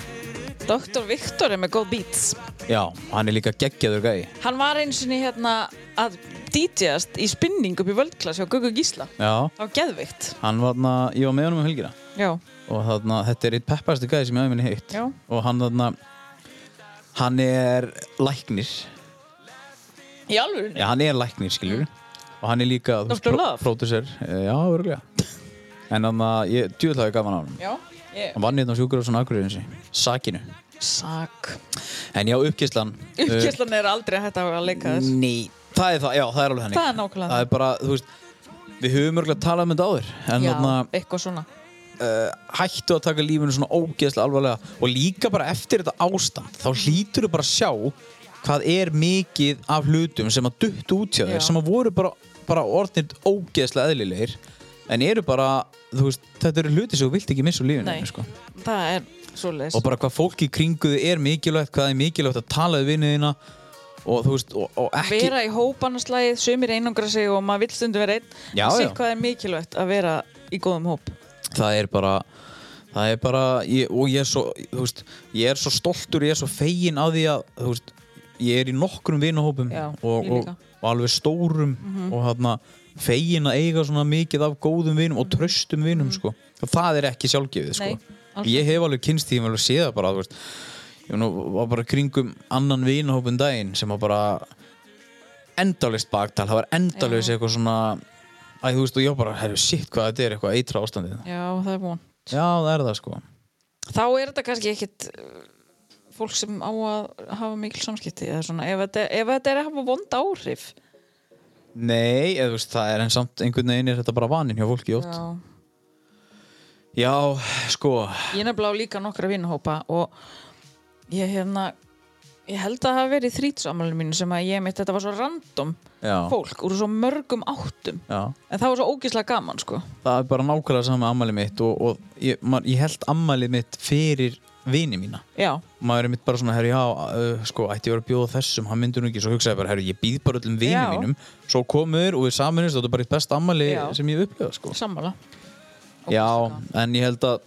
Speaker 3: Dr. Viktor er með góð beats
Speaker 1: Já, hann er líka geggjaður gæi.
Speaker 3: Hann var eins og hérna að DJ-ast í spinning upp í völdklass hjá Guggu Gísla.
Speaker 1: Já,
Speaker 3: Það var geðvikt.
Speaker 1: hann var þarna, ég var með honum um helgina
Speaker 3: Já.
Speaker 1: og þarna, þetta er eitt peppastu gæi sem ég hafi minni heitt.
Speaker 3: Já.
Speaker 1: Og hann þarna, hann er læknir.
Speaker 3: Í alvörunni?
Speaker 1: Já, hann er læknir, skiljur. Og hann er líka, þú
Speaker 3: Dr. Mm. Love?
Speaker 1: pródusser. Já, örgulega. en þarna, ég djúðlaði gaman á hann.
Speaker 3: Já. Ég...
Speaker 1: Hann vann hérna á sjúkurafsson Akureyrinsi, Sakinu.
Speaker 3: Sak.
Speaker 1: En já, uppkesslan.
Speaker 3: Uppkjöldlan er aldrei að hætta að leika þess.
Speaker 1: Nei, það er það, já, það er alveg henni
Speaker 3: Það er nákvæmlega
Speaker 1: Það er bara, þú veist, við höfum örgulega talað um þetta áður En
Speaker 3: Já,
Speaker 1: þarna
Speaker 3: eitthvað svona.
Speaker 1: hættu að taka lífinu svona ógeðslega alvarlega Og líka bara eftir þetta ástand Þá hlýtur þú bara að sjá hvað er mikið af hlutum sem að dutt út hjá
Speaker 3: Já.
Speaker 1: þér Sem að voru bara, bara orðnir ógeðslega eðlilegir En eru bara, þú veist, þetta eru hluti sem þú vilt ekki missa úr lífinu
Speaker 3: Nei.
Speaker 1: sko.
Speaker 3: Það er svoleiðis.
Speaker 1: og bara hvað fólk í kringuðu er mikilvægt Hvað er mikilvægt að tala við vinnuðina Og þú veist, og, og ekki
Speaker 3: Vera í hópanaslægið, sumir einangra sig og maður vill stundum vera einn.
Speaker 1: Já,
Speaker 3: Sér
Speaker 1: já.
Speaker 3: hvað er mikilvægt að vera í góðum hóp.
Speaker 1: það er bara það er bara ég, og ég er svo þú veist, ég er svo stoltur, ég er svo fegin að því að þú veist, ég er í nokkrum vinahópum
Speaker 3: Já,
Speaker 1: og,
Speaker 3: ég
Speaker 1: og,
Speaker 3: líka. Mhm.
Speaker 1: og alveg stórum og þarna fegin að eiga svona mikið af góðum vinum og tröstum vinum sko. og það er ekki sjálfgefið sko.
Speaker 3: Mhm. Nei, alls
Speaker 1: ég hef alveg kynst því, ég hef alveg séð það bara þú veist, ég nú, var bara kringum annan vinahópum daginn sem var bara endalist baktal, það var endalist eitthvað svona Æ, þú veist, og ég var bara, herru, shit, hvað þetta er eitthvað eitra ástandið
Speaker 3: Já, það er von.
Speaker 1: Já, það er það sko
Speaker 3: Þá er þetta kannski ekkit uh, fólk sem á að hafa mikil samskipti eða svona, ef þetta, ef þetta er að hafa vond áhrif
Speaker 1: Nei, eða, þú veist, það er en samt einhvern veginn er þetta bara vaninn hjá fólki ótt Já,
Speaker 3: Já.
Speaker 1: sko
Speaker 3: Ég er nefnilega á líka nokkra vinnhópa og ég hérna ég held að það hafi verið þrýtsamælinu mínu sem að ég mitt, þetta var svo random
Speaker 1: Já.
Speaker 3: fólk úr svo mörgum áttum
Speaker 1: Já.
Speaker 3: en það var svo ógislega gaman sko
Speaker 1: það er bara nákvæmlega saman með ammælið mitt og, og ég, man, ég held ammælið mitt fyrir vini mína
Speaker 3: já,
Speaker 1: maður er mitt bara svona, herri, já, uh, sko, ætti ég verið að bjóða þessum, hann myndur nú ekki, svo hugsaði ég bara, herri, ég býð bara öllum vini
Speaker 3: Já.
Speaker 1: mínum, svo komur og við saminist, þetta er bara eitt best ammæli
Speaker 3: Já.
Speaker 1: sem ég hef upplifað, sko.
Speaker 3: sammála
Speaker 1: Já, en ég held að,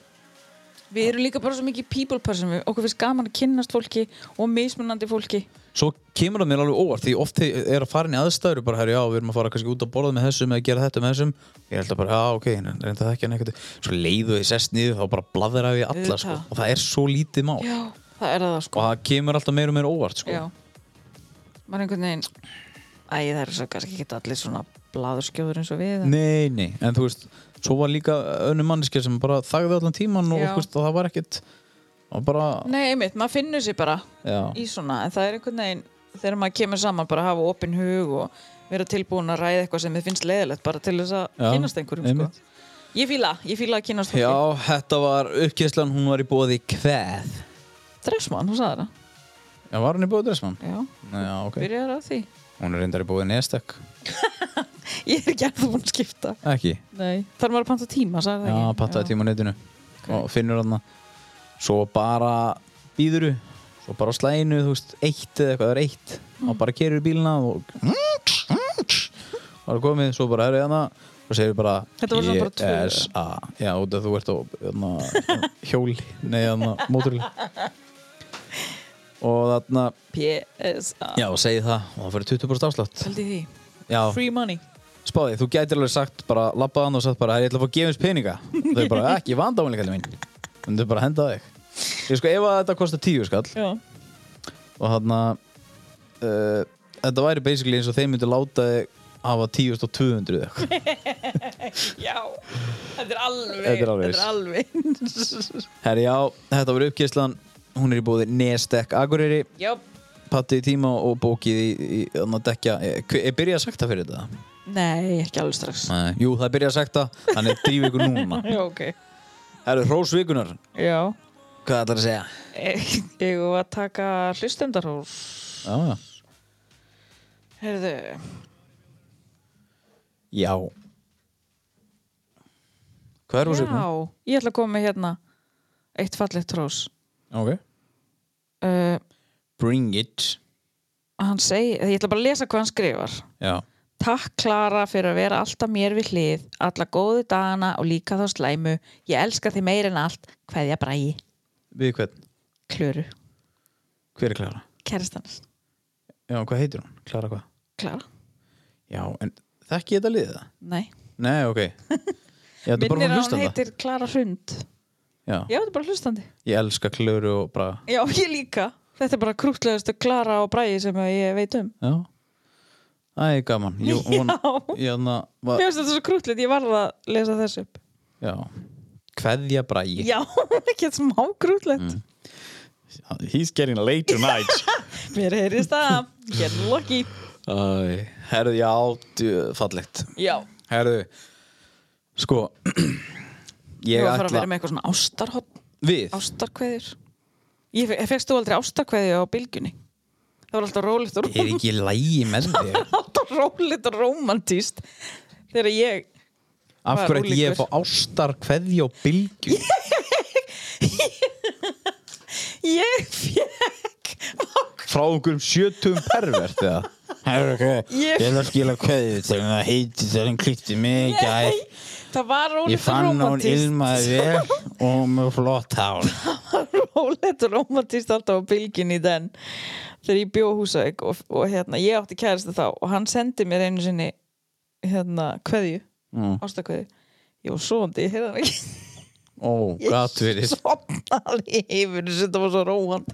Speaker 3: við erum líka bara svo mikið people person við, okkur finnst gaman að kynnast fólki og mismunandi fólki
Speaker 1: svo kemur það mér alveg óvart, því oft þið er að fara inn í aðstæður og bara, herri, já, við erum að fara kannski út að borða með þessum eða gera þetta með þessum, ég held að bara, já, ok, reynda það ekki hann eitthvað, svo leiðu ég sest niður, þá bara bladra við alla,
Speaker 3: Auðvitað.
Speaker 1: sko, og það er svo lítið mál,
Speaker 3: já, það er það sko
Speaker 1: og það kemur alltaf meira og meira óvart, sko.
Speaker 3: já, maður einhvern veginn æ, það er svo kannski ekki allir svona bladurskjóður eins og við en-
Speaker 1: Nei, nei, en þú veist Svo var líka önnum manneskja sem bara þagði allan tíman og,
Speaker 3: Já.
Speaker 1: þú veist, og það var ekkert og bara,
Speaker 3: nei, einmitt, maður finnur sér bara
Speaker 1: já,
Speaker 3: í svona, en það er einhvern veginn þegar maður kemur saman bara að hafa opinn hug og vera tilbúin að ræða eitthvað sem þið finnst leiðilegt bara til þess að
Speaker 1: Já,
Speaker 3: kynast einhverjum
Speaker 1: einmitt.
Speaker 3: sko. ég fíla, ég fíla að kynast
Speaker 1: já,
Speaker 3: fólki
Speaker 1: þetta var uppkjæslan, hún var í bóði kveð
Speaker 3: Dressmann, þú sagði það
Speaker 1: Já, var hún í bóði dressmann?
Speaker 3: já,
Speaker 1: Já, ok,
Speaker 3: byrjar á því
Speaker 1: hún er reyndar í bóði nestek
Speaker 3: ég er ekki ennþá búin að skipta
Speaker 1: Ekki,
Speaker 3: Nei. þar maður að panta tíma, sagði
Speaker 1: já,
Speaker 3: það ekki
Speaker 1: pattaði tíma á netinu og finnur hann svo bara býðuru svo bara á slæginu, þú veist, eitt eða eitthvað, það er eitt
Speaker 3: Mm.
Speaker 1: og bara kerur bílina og bara komið, svo bara herrið hana og segir bara
Speaker 3: Þetta var svona bara tvö.
Speaker 1: ISA. já, út af þú ert á hana, hjóli, nei, hana,
Speaker 3: (laughs)
Speaker 1: móturli og þarna
Speaker 3: PSA,
Speaker 1: já, og segir það, og það fyrir 20% afslátt
Speaker 3: held í því
Speaker 1: já,
Speaker 3: free money,
Speaker 1: spáði, þú gætir alveg sagt bara labbaðan og sagt bara, "Herra, ég ætla að fá að gefa eins peninga og þau bara, ekki vandáinlega kallir mín en þau bara henda þig ég sko, ef að þetta kostar tíu skall
Speaker 3: já,
Speaker 1: og þarna uh, þetta væri basically eins og þeim myndu láta þig hafa 10.200 eða eitthvað.
Speaker 3: já þetta er alveg,
Speaker 1: Þetta er alveg
Speaker 3: alveg.
Speaker 1: herri já, þetta var uppkesslan hún er í búði Nestek Akureyri
Speaker 3: já,
Speaker 1: patti í tíma og bókið í, í, Eh, í að dekja, ég, ég byrja að sakta fyrir þetta
Speaker 3: nei, ekki alveg strax
Speaker 1: Nei. jú, það byrja að sakta, þannig drífi ykkur núna
Speaker 3: já, ok,
Speaker 1: herri, hrósvikunar,
Speaker 3: já
Speaker 1: hvað ætlar að segja?
Speaker 3: E, Ég var að taka hlustendarhús
Speaker 1: já, já
Speaker 3: Heyrðu,
Speaker 1: Já Hvað er
Speaker 3: já,
Speaker 1: húsöknum?
Speaker 3: ég ætla að koma með hérna eitt fallegt hrós
Speaker 1: Ok
Speaker 3: uh,
Speaker 1: Bring it
Speaker 3: Hann segi, ég ætla bara að lesa hvað hann skrifar
Speaker 1: Já
Speaker 3: Takk Klara fyrir að vera alltaf mér við hlið alla góðu dagana og líka þá slæmu Ég elska þið meir en allt Kveðja bræði,
Speaker 1: Við hvern?
Speaker 3: klöru,
Speaker 1: Hver er Klara?
Speaker 3: kerstans
Speaker 1: Já, hvað heitir hún? Klara hvað?
Speaker 3: Klara,
Speaker 1: Já, en þekki ég þetta liðið það?
Speaker 3: nei
Speaker 1: Nei,
Speaker 3: (laughs)
Speaker 1: ok Ég ætla bara
Speaker 3: Minnir
Speaker 1: að
Speaker 3: að
Speaker 1: hlusta
Speaker 3: hún
Speaker 1: það
Speaker 3: heitir Klara Hrund
Speaker 1: Já,
Speaker 3: Já, þetta er bara hlustandi
Speaker 1: ég elska Klöru og Braga
Speaker 3: Já, ég líka Þetta er bara krútlegastu Klara og bræði sem að ég veit um
Speaker 1: Já Æ, gaman Jú, hún,
Speaker 3: (laughs)
Speaker 1: hérna,
Speaker 3: Já.
Speaker 1: Ég hann var
Speaker 3: (laughs) Mér finnst þetta svo krútlegt, ég varð að lesa þess upp
Speaker 1: Já Kveðja Bragi
Speaker 3: Já, (laughs) ekki þetta smá krútlegt
Speaker 1: He's getting late
Speaker 3: (laughs)
Speaker 1: tonight
Speaker 3: Mér heyrist það, hérna lokki
Speaker 1: Æ, herðu, já, djú- fallegt
Speaker 3: Já,
Speaker 1: Herðu Sko (clears throat)
Speaker 3: þú
Speaker 1: Ég
Speaker 3: var að fara að
Speaker 1: ætla
Speaker 3: vera með eitthvað svona ástarhótt
Speaker 1: Við
Speaker 3: Ástarkveðjur Ég fe- fékkst þú aldrei ástarkveðju á bylgjunni Það var alltaf rólegt og
Speaker 1: er ekki lægi
Speaker 10: (laughs)
Speaker 1: með þig
Speaker 3: (laughs) alltaf rólegt og rómantíst Þegar ég,
Speaker 1: af
Speaker 3: Var
Speaker 1: hverju ætti ég að
Speaker 3: ólíkur.
Speaker 1: fá ástar kveðja og bylgju
Speaker 3: ég fekk
Speaker 1: frá einhverjum sjötum pervert eða
Speaker 10: (laughs) Herra, ok,
Speaker 3: Ég-
Speaker 10: ég ætla að skila kveðið til hann að heiti þegar hann klippti mig í gær.
Speaker 3: (laughs) Það var
Speaker 10: Ég
Speaker 3: rólegt og
Speaker 10: fann að hún
Speaker 3: rómantíst
Speaker 10: ilmaði vel og með flott hár.
Speaker 3: Rólegt og rómantíst alltaf á bylgjunni í den Þegar ég bjó á húsauk og, og hérna, ég átti kæristu þá Og hann sendi mér einu sinni hérna, kveðju
Speaker 1: Mm.
Speaker 3: Ástarkveðju Ég var svoandi, ég heyrði hann ekki
Speaker 1: ó, gatt verið
Speaker 3: sopnaði yfir þessu, þetta var svo róan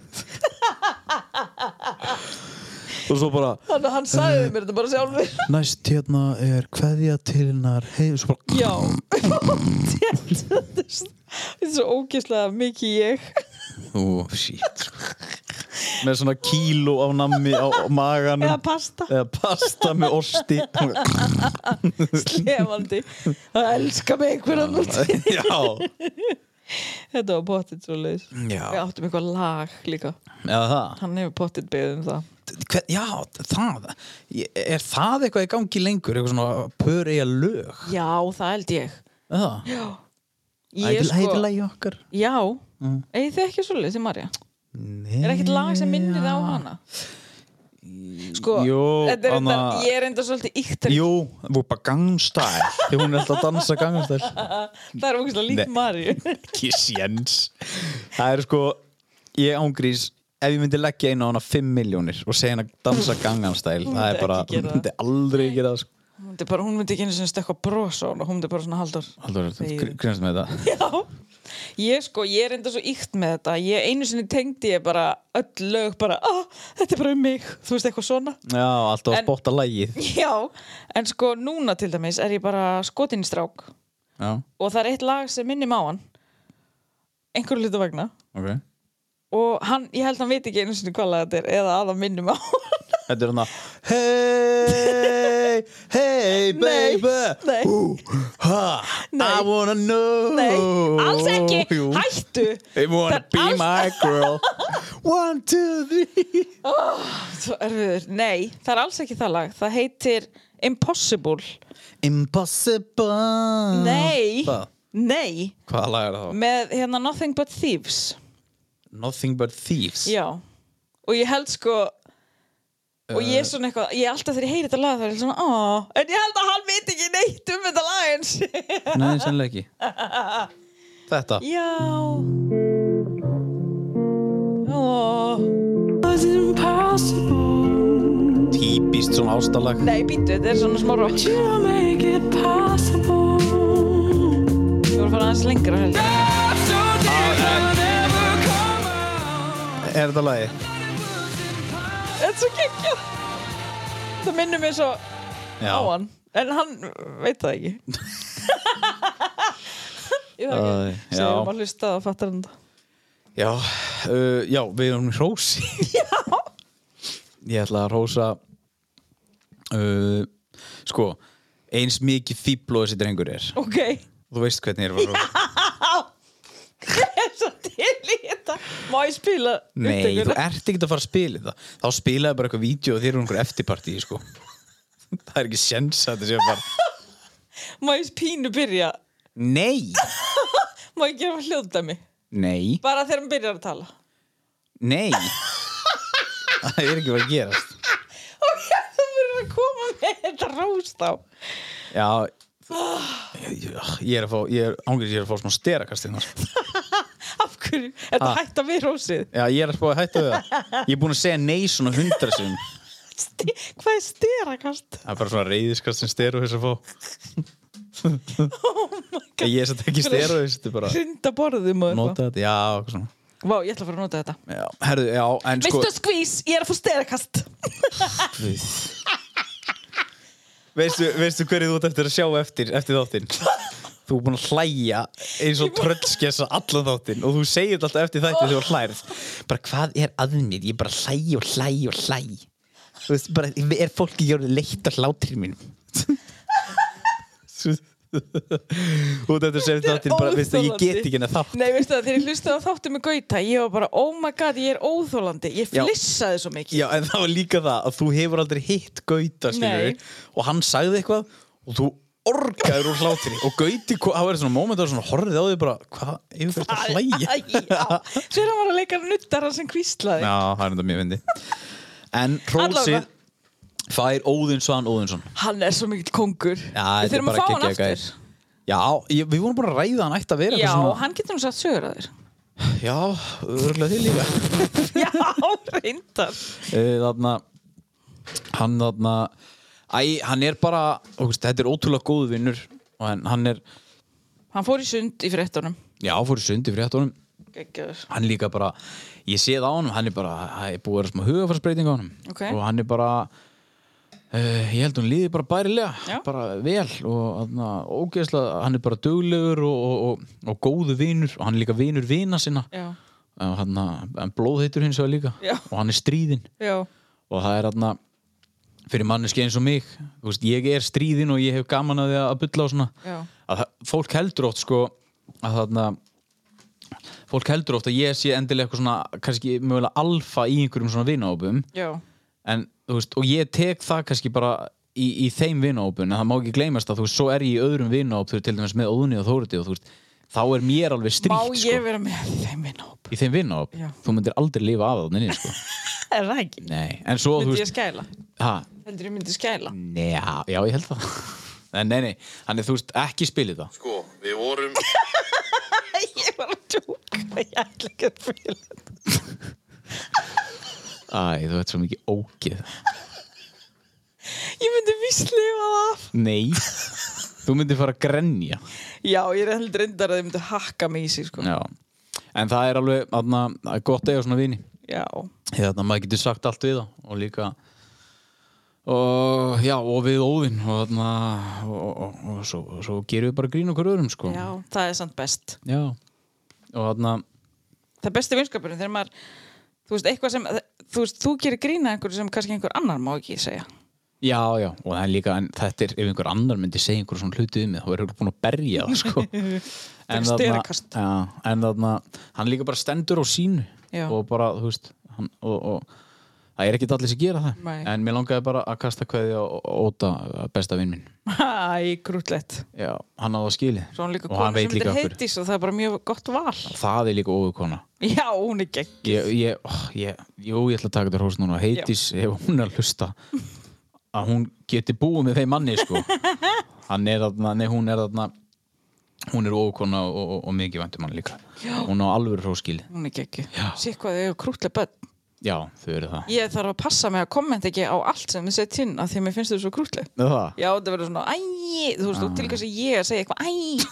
Speaker 1: og svo bara,
Speaker 3: þannig að hann sagði mér þetta bara sjálfur
Speaker 1: næst hérna er kveðja til hennar hei, svo bara,
Speaker 3: já Þétt, þetta er svo- þetta er svo ógeðslega mikið ég
Speaker 1: ó, shit með svona kíló af nammi á, á maganum
Speaker 3: eða pasta
Speaker 1: eða pasta með osti
Speaker 3: slefandi að elska mig einhverja núti
Speaker 1: já
Speaker 3: Þetta var pottit svo leiðis
Speaker 1: Já.
Speaker 3: Við áttum eitthvað lag líka
Speaker 1: eða það
Speaker 3: Hann hefur pottit beðið um það
Speaker 1: Hver, já, það, Ég- er það eitthvað í gangi lengur eitthvað svona pör eiga lög
Speaker 3: Já, það held ég
Speaker 1: Er það,
Speaker 3: Ég sko
Speaker 1: ætlagi okkar
Speaker 3: Já, mm. eigið þið ekki svo leiðis í Marja?
Speaker 1: Nei.
Speaker 3: Er ekkert lag sem minnir á hana? Sko,
Speaker 1: Jú,
Speaker 3: þetta er
Speaker 1: hana-
Speaker 3: enda, ég er enda svolítið yktar
Speaker 1: Jú, Vupa Gangstæl Því hún er alltaf að dansa Gangstæl
Speaker 3: Það er ógæslega líkt
Speaker 1: Nei.
Speaker 3: Marju
Speaker 1: (laughs) Ekki séns Það er sko, ég ángrís Ef ég myndi leggja einu á hana 5 miljónir Og segja hana dansa Gangstæl
Speaker 3: Hún
Speaker 1: Það er
Speaker 3: myndi
Speaker 1: bara,
Speaker 3: ekki gera það.
Speaker 1: myndi aldrei gera það sko.
Speaker 3: Hún myndi bara- hún myndi ekki einu sinni stökka bros á hana Hún myndi bara svona haldur
Speaker 1: Haldur, þú
Speaker 3: Þegiðu.
Speaker 1: grunst með þetta
Speaker 3: Já, ég sko, ég er enda svo ykt með þetta Ég einu sinni tengdi ég bara öll lög bara, ah, þetta er bara um mig Þú veist eitthvað svona
Speaker 1: Já, alltaf að
Speaker 3: En-
Speaker 1: spotta lagið
Speaker 3: Já, en sko núna til dæmis er ég bara skotin í strák
Speaker 1: Já,
Speaker 3: og það er eitt lag sem minnir mig á hann einhverju hlutu vegna
Speaker 1: ok
Speaker 3: og hann, ég held að hann veit ekki einu sinni hvað lag þetta er eða að það minnir mig á hann
Speaker 1: Þetta er hann að Hey, hey
Speaker 3: Nei,
Speaker 1: baby
Speaker 3: nei.
Speaker 1: Ooh, ha, I
Speaker 3: Nei.
Speaker 1: wanna know
Speaker 3: Nei, alls ekki,
Speaker 1: Jú.
Speaker 3: hættu
Speaker 1: They
Speaker 3: Það
Speaker 1: wanna
Speaker 3: er
Speaker 1: be
Speaker 3: alls-
Speaker 1: my
Speaker 3: (laughs)
Speaker 1: girl One, two, three
Speaker 3: Svo erfiður. Nei, það er alls ekki það lag Það heitir Impossible
Speaker 1: Impossible
Speaker 3: Nei,
Speaker 1: Hvað?
Speaker 3: nei
Speaker 1: Hvaða lag er það?
Speaker 3: með hérna Nothing But Thieves
Speaker 1: Nothing but thieves
Speaker 3: Já, og ég held sko og ég er svona eitthvað ég er alltaf þegar ég heyri þetta lag þá er ég svona "Aw." en ég held að hann veit ekki neitt um þetta lag eins
Speaker 1: Nei, sannlega
Speaker 3: (laughs)
Speaker 1: ekki Þetta
Speaker 3: Já Aw. Was it impossible?
Speaker 1: Típist svona ástalag
Speaker 3: Nei, býttu, þetta er svona smá rock You make it possible Þú voru að fara aðeins lengra held ég
Speaker 1: Er þetta lagi?
Speaker 3: (laughs) Þetta er svo geggjað Það minnir mér svo
Speaker 1: Já
Speaker 3: á hann en hann veit það ekki (laughs) ég það
Speaker 1: Æ,
Speaker 3: ekki
Speaker 1: já.
Speaker 3: segjum að hlusta og fattar hann það
Speaker 1: Já, uh, já við erum
Speaker 3: (laughs)
Speaker 1: hrósi Ég ætla að hrósa uh, Sko Eins mikið fíbl og þessi drengur er
Speaker 3: ok, (laughs) ég
Speaker 1: Þú veist hvernig ég er að fara að
Speaker 3: (laughs)
Speaker 1: hrósa
Speaker 3: er svo til í þetta má ég spila
Speaker 1: Nei, þú
Speaker 3: upptökuna?
Speaker 1: ert ekkert að fara að spila það Þá spilaði bara eitthvað vídeo og þér eru einhver eftirparti sko. (laughs) Það er ekki sjens að þetta sé bara
Speaker 3: má ég pínu byrja
Speaker 1: Nei,
Speaker 3: má ég gera hljóðdæmi
Speaker 1: nei,
Speaker 3: bara þegar hann byrjar að tala
Speaker 1: nei Það er ekki bara að gerast
Speaker 3: ok, þú verður að koma með þetta róst á
Speaker 1: Já Ég, ég er að fá, ég er ángriðis ég er að fá smá sterakast hérna sko.
Speaker 3: af hverju, er þetta
Speaker 1: Ha.
Speaker 3: hægt að við rósið
Speaker 1: Já, ég er að spá að hætta við það. Ég er búin að segja nei svona hundra sinn.
Speaker 3: Sti, hvað er styrakast
Speaker 1: Það er bara svona reyðiskast sem steru þess að fá.
Speaker 3: oh my god,
Speaker 1: Ég er satt ekki steru þess, þetta er bara
Speaker 3: hrinda borðum og eitthvað
Speaker 1: nota Sko- þetta. Já, eitthvað svona.
Speaker 3: vá, ég ætla að fara að nota þetta
Speaker 1: Já, herðu, já, en sko,
Speaker 3: Mr. Squeeze, ég er að fá styrakast
Speaker 1: veistu, veistu hverju þú ert eftir að sjá eftir, eftir þáttinn? Þú er búin að hlæja eins og tröllskessa allan þáttinn og þú segir þetta alltaf eftir þætti þegar þú hlærið. Bara hvað er að mér? Ég bara hlæj og hlæj og hlæj. Þú veist, bara, er fólki gjörðið leitt að hlátrið mínum? Þú ert eftir að segja eftir þáttinn bara, veistu, ég get ekki henni þátt.
Speaker 3: Nei, veistu það, þegar ég hlustaði á þáttu með Gauta Ég var bara, oh my god, ég er óþólandi Ég
Speaker 1: Já.
Speaker 3: flissaði svo mikið
Speaker 1: Já, en það var líka það að þú hefur aldrei hitt Gauta, skilur
Speaker 3: Nei.
Speaker 1: og hann sagði eitthvað og þú orgaður úr hlátri og Gauti, ko- það var svona moment og svona horfið á því bara, hvað, yfir þetta að hlæja?
Speaker 3: Já, Svo er hann var að leika nuttara sem
Speaker 1: (laughs)
Speaker 3: kvíslaði
Speaker 1: Já, það er þetta mjög fyndi. En hrósið
Speaker 3: Allavega.
Speaker 1: fær Óðinsson Óðinsson.
Speaker 3: Hann er svo mikill kongur
Speaker 1: Já, þetta er
Speaker 3: Við þurfum að
Speaker 1: bara
Speaker 3: fá hann
Speaker 1: geggjaður
Speaker 3: aftur
Speaker 1: gæir. Já, ég, við vorum bara að ræða hann ætti að vera
Speaker 3: Já,
Speaker 1: eitthvað svona.
Speaker 3: hann getur nú satt sögur að þér
Speaker 1: Já, örgulega þig líka.
Speaker 3: Já, (laughs) reyndar
Speaker 1: Þannig hann þarna Æ, hann er bara, þú veist, þetta er ótrúlega góð vinnur og hann- hann er
Speaker 3: Hann fór í sund í fréttunum
Speaker 1: Já, fór í sundi fyrir hættunum
Speaker 3: Geggjaður
Speaker 1: Hann líka bara, ég sé það á honum Hann er bara, það er búið að vera smá hugafarsbreyting á honum
Speaker 3: Ok.
Speaker 1: Og hann er bara uh, Ég held hún líði bara bærilega
Speaker 3: Já.
Speaker 1: Bara vel og þarna, ógeðslega Hann er bara duglegur og, og, og, og góðu vinur Og hann er líka vinur vina sinna
Speaker 3: Já,
Speaker 1: og hann, hann blóðheitur hins vegar líka
Speaker 3: Já.
Speaker 1: Og hann er stríðinn
Speaker 3: já,
Speaker 1: og það er þarna fyrir manneski eins og mig þú veist, ég er stríðin og ég hef gaman að því að bulla og svona
Speaker 3: Já.
Speaker 1: að það- fólk heldur ótt sko að þarna fólk heldur oft að ég sé endilega eitthvað svona kannski mögulega alfa í einhverjum svona vinahópum
Speaker 3: já,
Speaker 1: en, þú veist, og ég tek það kannski bara í, í þeim vinahópun en það má ekki gleymast að þú veist, svo er ég í öðrum vinahóp þú veist, til dæmis með Óðunni og Þóriti og þú veist þá er mér alveg
Speaker 3: má
Speaker 1: stríkt
Speaker 3: ég
Speaker 1: sko,
Speaker 3: vera með þeim vinahóp
Speaker 1: í þeim vinahóp
Speaker 3: Já.
Speaker 1: þú myndir aldrei lifa að þannig
Speaker 3: (laughs)
Speaker 1: sko.
Speaker 3: er það ekki?
Speaker 1: nei, en svo þú
Speaker 3: myndi ég
Speaker 1: veist
Speaker 3: skæla?
Speaker 1: ha,
Speaker 3: heldur ég myndi skæla?
Speaker 1: Mm. Njá, já, ég held það (laughs) En nei, nei, hann er þú veist ekki spilið það
Speaker 11: Sko, við vorum
Speaker 3: ég var að tjóka, ég ætla ekki að fíla þetta.
Speaker 1: Æ, þú veit svo mikið ógeð
Speaker 3: ég myndi víslifa það af
Speaker 1: Nei, (laughs) þú myndir fara að grenja
Speaker 3: já, ég er heldur reyndar að þið myndi hakka mig í sig sko.
Speaker 1: Já, en það er alveg aðna, gott eiga svona vini
Speaker 3: já,
Speaker 1: Þannig að maður getur sagt allt við það og líka og já, og við óðinn og þarna og, og, og, og svo, svo gerum við bara grín okkur öðrum sko
Speaker 3: já, það er samt best
Speaker 1: Já. og þarna
Speaker 3: það er besti vinskapurinn þegar maður þú veist, eitthvað sem, þú veist, þú gerir grína einhverju sem kannski einhver annar má ekki segja
Speaker 1: Já, já, og það er líka, en þetta er ef einhver annar myndi segja einhver svona hluti um mig þá er hann búin að berja það,
Speaker 3: (laughs)
Speaker 1: sko En
Speaker 3: Fyrir
Speaker 1: þarna-
Speaker 3: styrikast.
Speaker 1: já, en þarna, hann líka bara stendur á sínu
Speaker 3: Já.
Speaker 1: og bara, þú veist hann, og, og það er ekki allir sem gera það
Speaker 3: Nei.
Speaker 1: en mér langaði bara að kasta kveði á Óta, besta vinn minn
Speaker 3: æ, grútlegt
Speaker 1: já, hann á það skilið
Speaker 3: svo hann líka
Speaker 1: og hann
Speaker 3: kona
Speaker 1: veit
Speaker 3: sem
Speaker 1: líka
Speaker 3: heitir
Speaker 1: okkur
Speaker 3: heitís og það er bara mjög gott val
Speaker 1: það er líka óðukona
Speaker 3: já, hún er gegn
Speaker 1: ég, ég, ó, ég, jú, ég ætla að taka þetta hrós núna heitis, ef hún er að hlusta að hún geti búið með þeim manni sko. hann er þarna nei, hún er þarna hún er ókona og, og, og mikið væntum hann líka já. hún á alvöru hróskili
Speaker 3: hún er gegn,
Speaker 1: Já.
Speaker 3: sík hvað þau eru krútleg börn
Speaker 1: já, þau eru það,
Speaker 3: ég þarf að passa mig að kommenta ekki á allt sem þið sett inn af því að mér finnst þau svo krútleg
Speaker 1: Með það?
Speaker 3: já, það verður svona, æ, þú veist,
Speaker 1: Ah.
Speaker 3: og til hvers að ég að segja eitthvað, æ,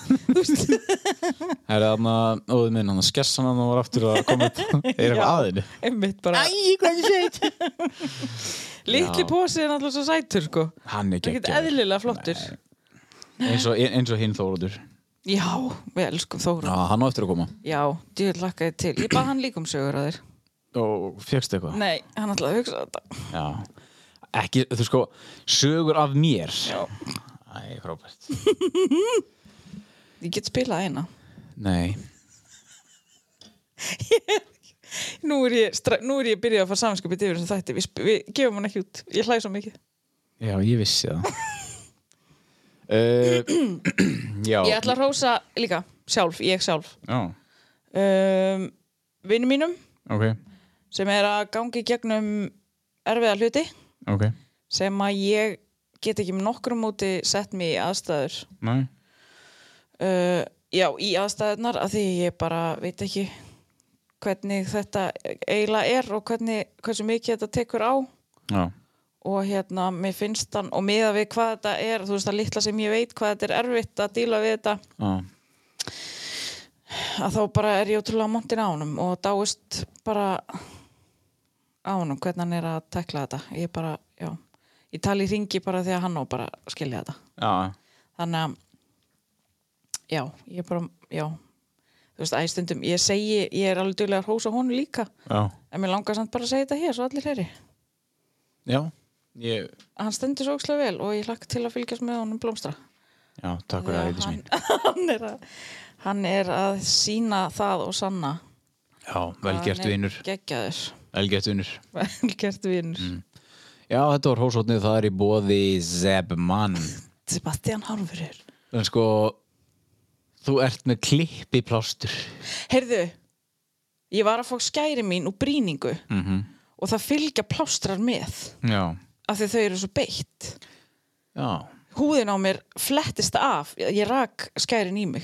Speaker 3: (laughs) þú veist
Speaker 1: það er þarna óður minn hann skessan hann og var aftur að koma (laughs) upp er eitthvað aðinu
Speaker 3: einmitt bara, æ, hvað þið sett (laughs) litli
Speaker 1: Já.
Speaker 3: pósið er náttúrulega svo sætur, sko
Speaker 1: hann er
Speaker 3: ekkert
Speaker 1: geggjaður.
Speaker 3: eðlilega flottur
Speaker 1: eins og, eins og hinn Þórótur
Speaker 3: já, við elskum Þóra
Speaker 1: já, hann á eftir að koma
Speaker 3: já, djúið lakkaði til, ég bað hann líka um sögur að þér
Speaker 1: og fegst eitthvað
Speaker 3: nei, hann ætlaði að hugsa um þetta
Speaker 1: Já, ekki, þú sko, sögur af mér Já Æ, frábært
Speaker 3: ég get spilað eina
Speaker 1: Nei,
Speaker 3: nú er ég, stra- nú er ég byrjað að fara samanskapið yfir þessum þætti, við, sp- við gefum hann ekki út ég hlæði svo mikið,
Speaker 1: já, ég vissi (laughs) það uh, (clears throat) Já
Speaker 3: ég ætla að hrósa líka, sjálf, ég sjálf
Speaker 1: Já,
Speaker 3: um, vinnum mínum
Speaker 1: ok,
Speaker 3: sem er að gangi gegnum erfiða hluti
Speaker 1: ok
Speaker 3: sem að ég get ekki með nokkrum móti sett mig í aðstæður
Speaker 1: Nei,
Speaker 3: uh, já, í aðstæðunar af því ég bara veit ekki hvernig þetta eiginlega er og hvernig, hversu mikið þetta tekur á
Speaker 1: já,
Speaker 3: og hérna, mér finnst hann og miða við hvað þetta er, þú veist það litla sem ég veit hvað þetta er erfitt að díla við þetta
Speaker 1: já
Speaker 3: að þá bara er ég ótrúlega montin á honum og dáist bara á honum hvernig hann er að tekla þetta ég bara, já, ég tali í ringi bara því að hann á bara að skilja þetta
Speaker 1: Já,
Speaker 3: þannig að já, ég bara, já þú veist, æstundum, ég segi ég er alveg duglega að hrósa honum líka
Speaker 1: já,
Speaker 3: en mér langar samt bara að segja þetta hér svo allir heyri
Speaker 1: já Ég,
Speaker 3: hann stendur svo ókslega vel og ég lakka til að fylgjast með honum blómstra
Speaker 1: já, takk fyrir að reytis
Speaker 3: hann,
Speaker 1: mín
Speaker 3: hann (laughs) er að hann er að sína það og sanna
Speaker 1: Já, velgert vinnur,
Speaker 3: geggjaður (laughs)
Speaker 1: velgert vinnur
Speaker 3: velgert vinnur
Speaker 1: Mm. Já, þetta var hósóttnið, það er í bóði Zebman
Speaker 3: Sebastian Harfurir
Speaker 1: En sko, þú ert með klippi plástur
Speaker 3: Heyrðu, ég var að fá skæri mín og brýningu
Speaker 1: Mhm.
Speaker 3: og það fylgja plástrar með
Speaker 1: Já,
Speaker 3: af því þau eru svo beitt
Speaker 1: já
Speaker 3: húðin á mér flettist af ég rak skærin í mig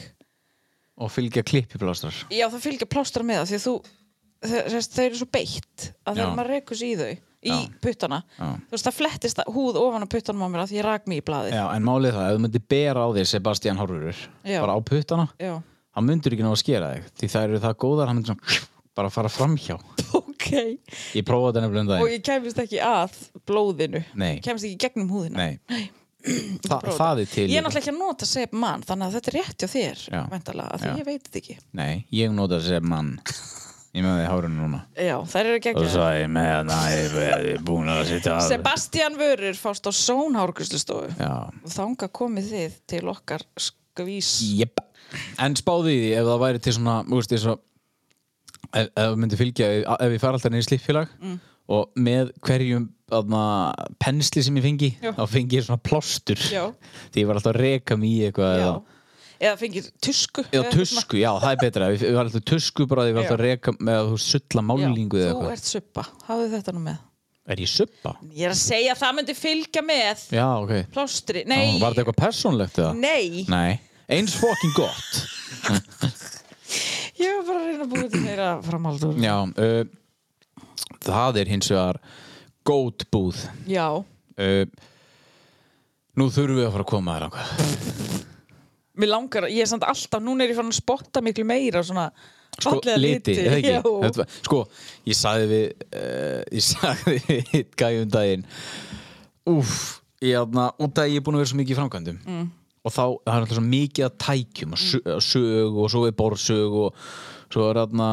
Speaker 1: og fylgja klippiplastrar
Speaker 3: já það fylgja plástra með af því að þú þau- þess- þau eru svo beitt að
Speaker 1: Já.
Speaker 3: þegar maður rekur sér í þau í
Speaker 1: Já.
Speaker 3: puttana
Speaker 1: Já.
Speaker 3: þú veist það flettist að- húð ofan á puttanum á mér af því ég rak mig í blaðið
Speaker 1: Já, en málið er það, ef þú myndir bera á þér Sebastian Horfurur,
Speaker 3: Já.
Speaker 1: bara á puttana
Speaker 3: Já. (laughs)
Speaker 1: hann myndur ekki ná að skera þig því það eru það góðar, hann myndur svona bara að fara framhjá
Speaker 3: ok
Speaker 1: ég prófaði þetta nefnilega um
Speaker 3: og
Speaker 1: daginn
Speaker 3: ég kemist ekki að blóðinu
Speaker 1: Nei.
Speaker 3: kemist ekki í gegnum húðina
Speaker 1: Nei, Þa,
Speaker 3: prófaði
Speaker 1: það er til
Speaker 3: Ég er náttúrulega ekki að nota sep mann þannig að þetta er rétt hjá þér
Speaker 1: Já.
Speaker 3: væntanlega, af því
Speaker 1: Já.
Speaker 3: ég veit þetta ekki
Speaker 1: Nei, ég nota sem mann ég með því hárun núna
Speaker 3: Já, þær eru
Speaker 10: Og
Speaker 3: geggjað
Speaker 10: svo er ég með hana, ég er búin að setja að
Speaker 3: Sebastian Vörur fást á Són hárgrunslustofu
Speaker 1: Já,
Speaker 3: og þanga komið þið til okkar skvís
Speaker 1: jep En spáði því ef það væri til svona, þú veist, þess að ef, ef þú myndir fylgja ef, ef ég fara alltaf niður í slippfélag
Speaker 3: Mm.
Speaker 1: og með hverjum aðna, pensli sem ég fengi
Speaker 3: Já.
Speaker 1: þá fengi ég svona plástur
Speaker 3: Já.
Speaker 1: því ég var alltaf að reka mig í eitthvað
Speaker 3: Já.
Speaker 1: eða,
Speaker 3: eða fengið tusku
Speaker 1: Já,
Speaker 3: eða eitthvað svona.
Speaker 1: tusku, já, það er betra Við við varum alltaf tusku bara, því við varum alltaf að reka með að þú sulla málingu
Speaker 3: Já,
Speaker 1: eða
Speaker 3: þú
Speaker 1: eitthvað
Speaker 3: ert suppa, hafðu þetta nú með
Speaker 1: Er ég suppa?
Speaker 3: ég er að segja að það myndi fylgja með
Speaker 1: Já, ok
Speaker 3: plástri,
Speaker 1: Já,
Speaker 3: nei,
Speaker 1: Var þetta eitthvað persónlegt eða?
Speaker 3: nei
Speaker 1: Nei Eins fucking gott
Speaker 3: ég var bara að reyna að búið til meira framaldur
Speaker 1: Já, uh, það er hins vegar gót búð
Speaker 3: já,
Speaker 1: uh, Nú þurfum við að fara að koma þér langar
Speaker 3: mér langar, ég er samt alltaf núna er ég fann að spotta miklu meira svona
Speaker 1: sko,
Speaker 3: fallega
Speaker 1: liti, eða ekki
Speaker 3: já.
Speaker 1: Þetta var- sko, ég sagði við uh, ég (laughs) sagði við hitt gæjum daginn úff ég aðna, út að ég er búin að vera svo mikið í framkvæmdum mm. og þá það er alltaf svo mikið að tækjum og su- og sög og svo er borsög og svo er aðna,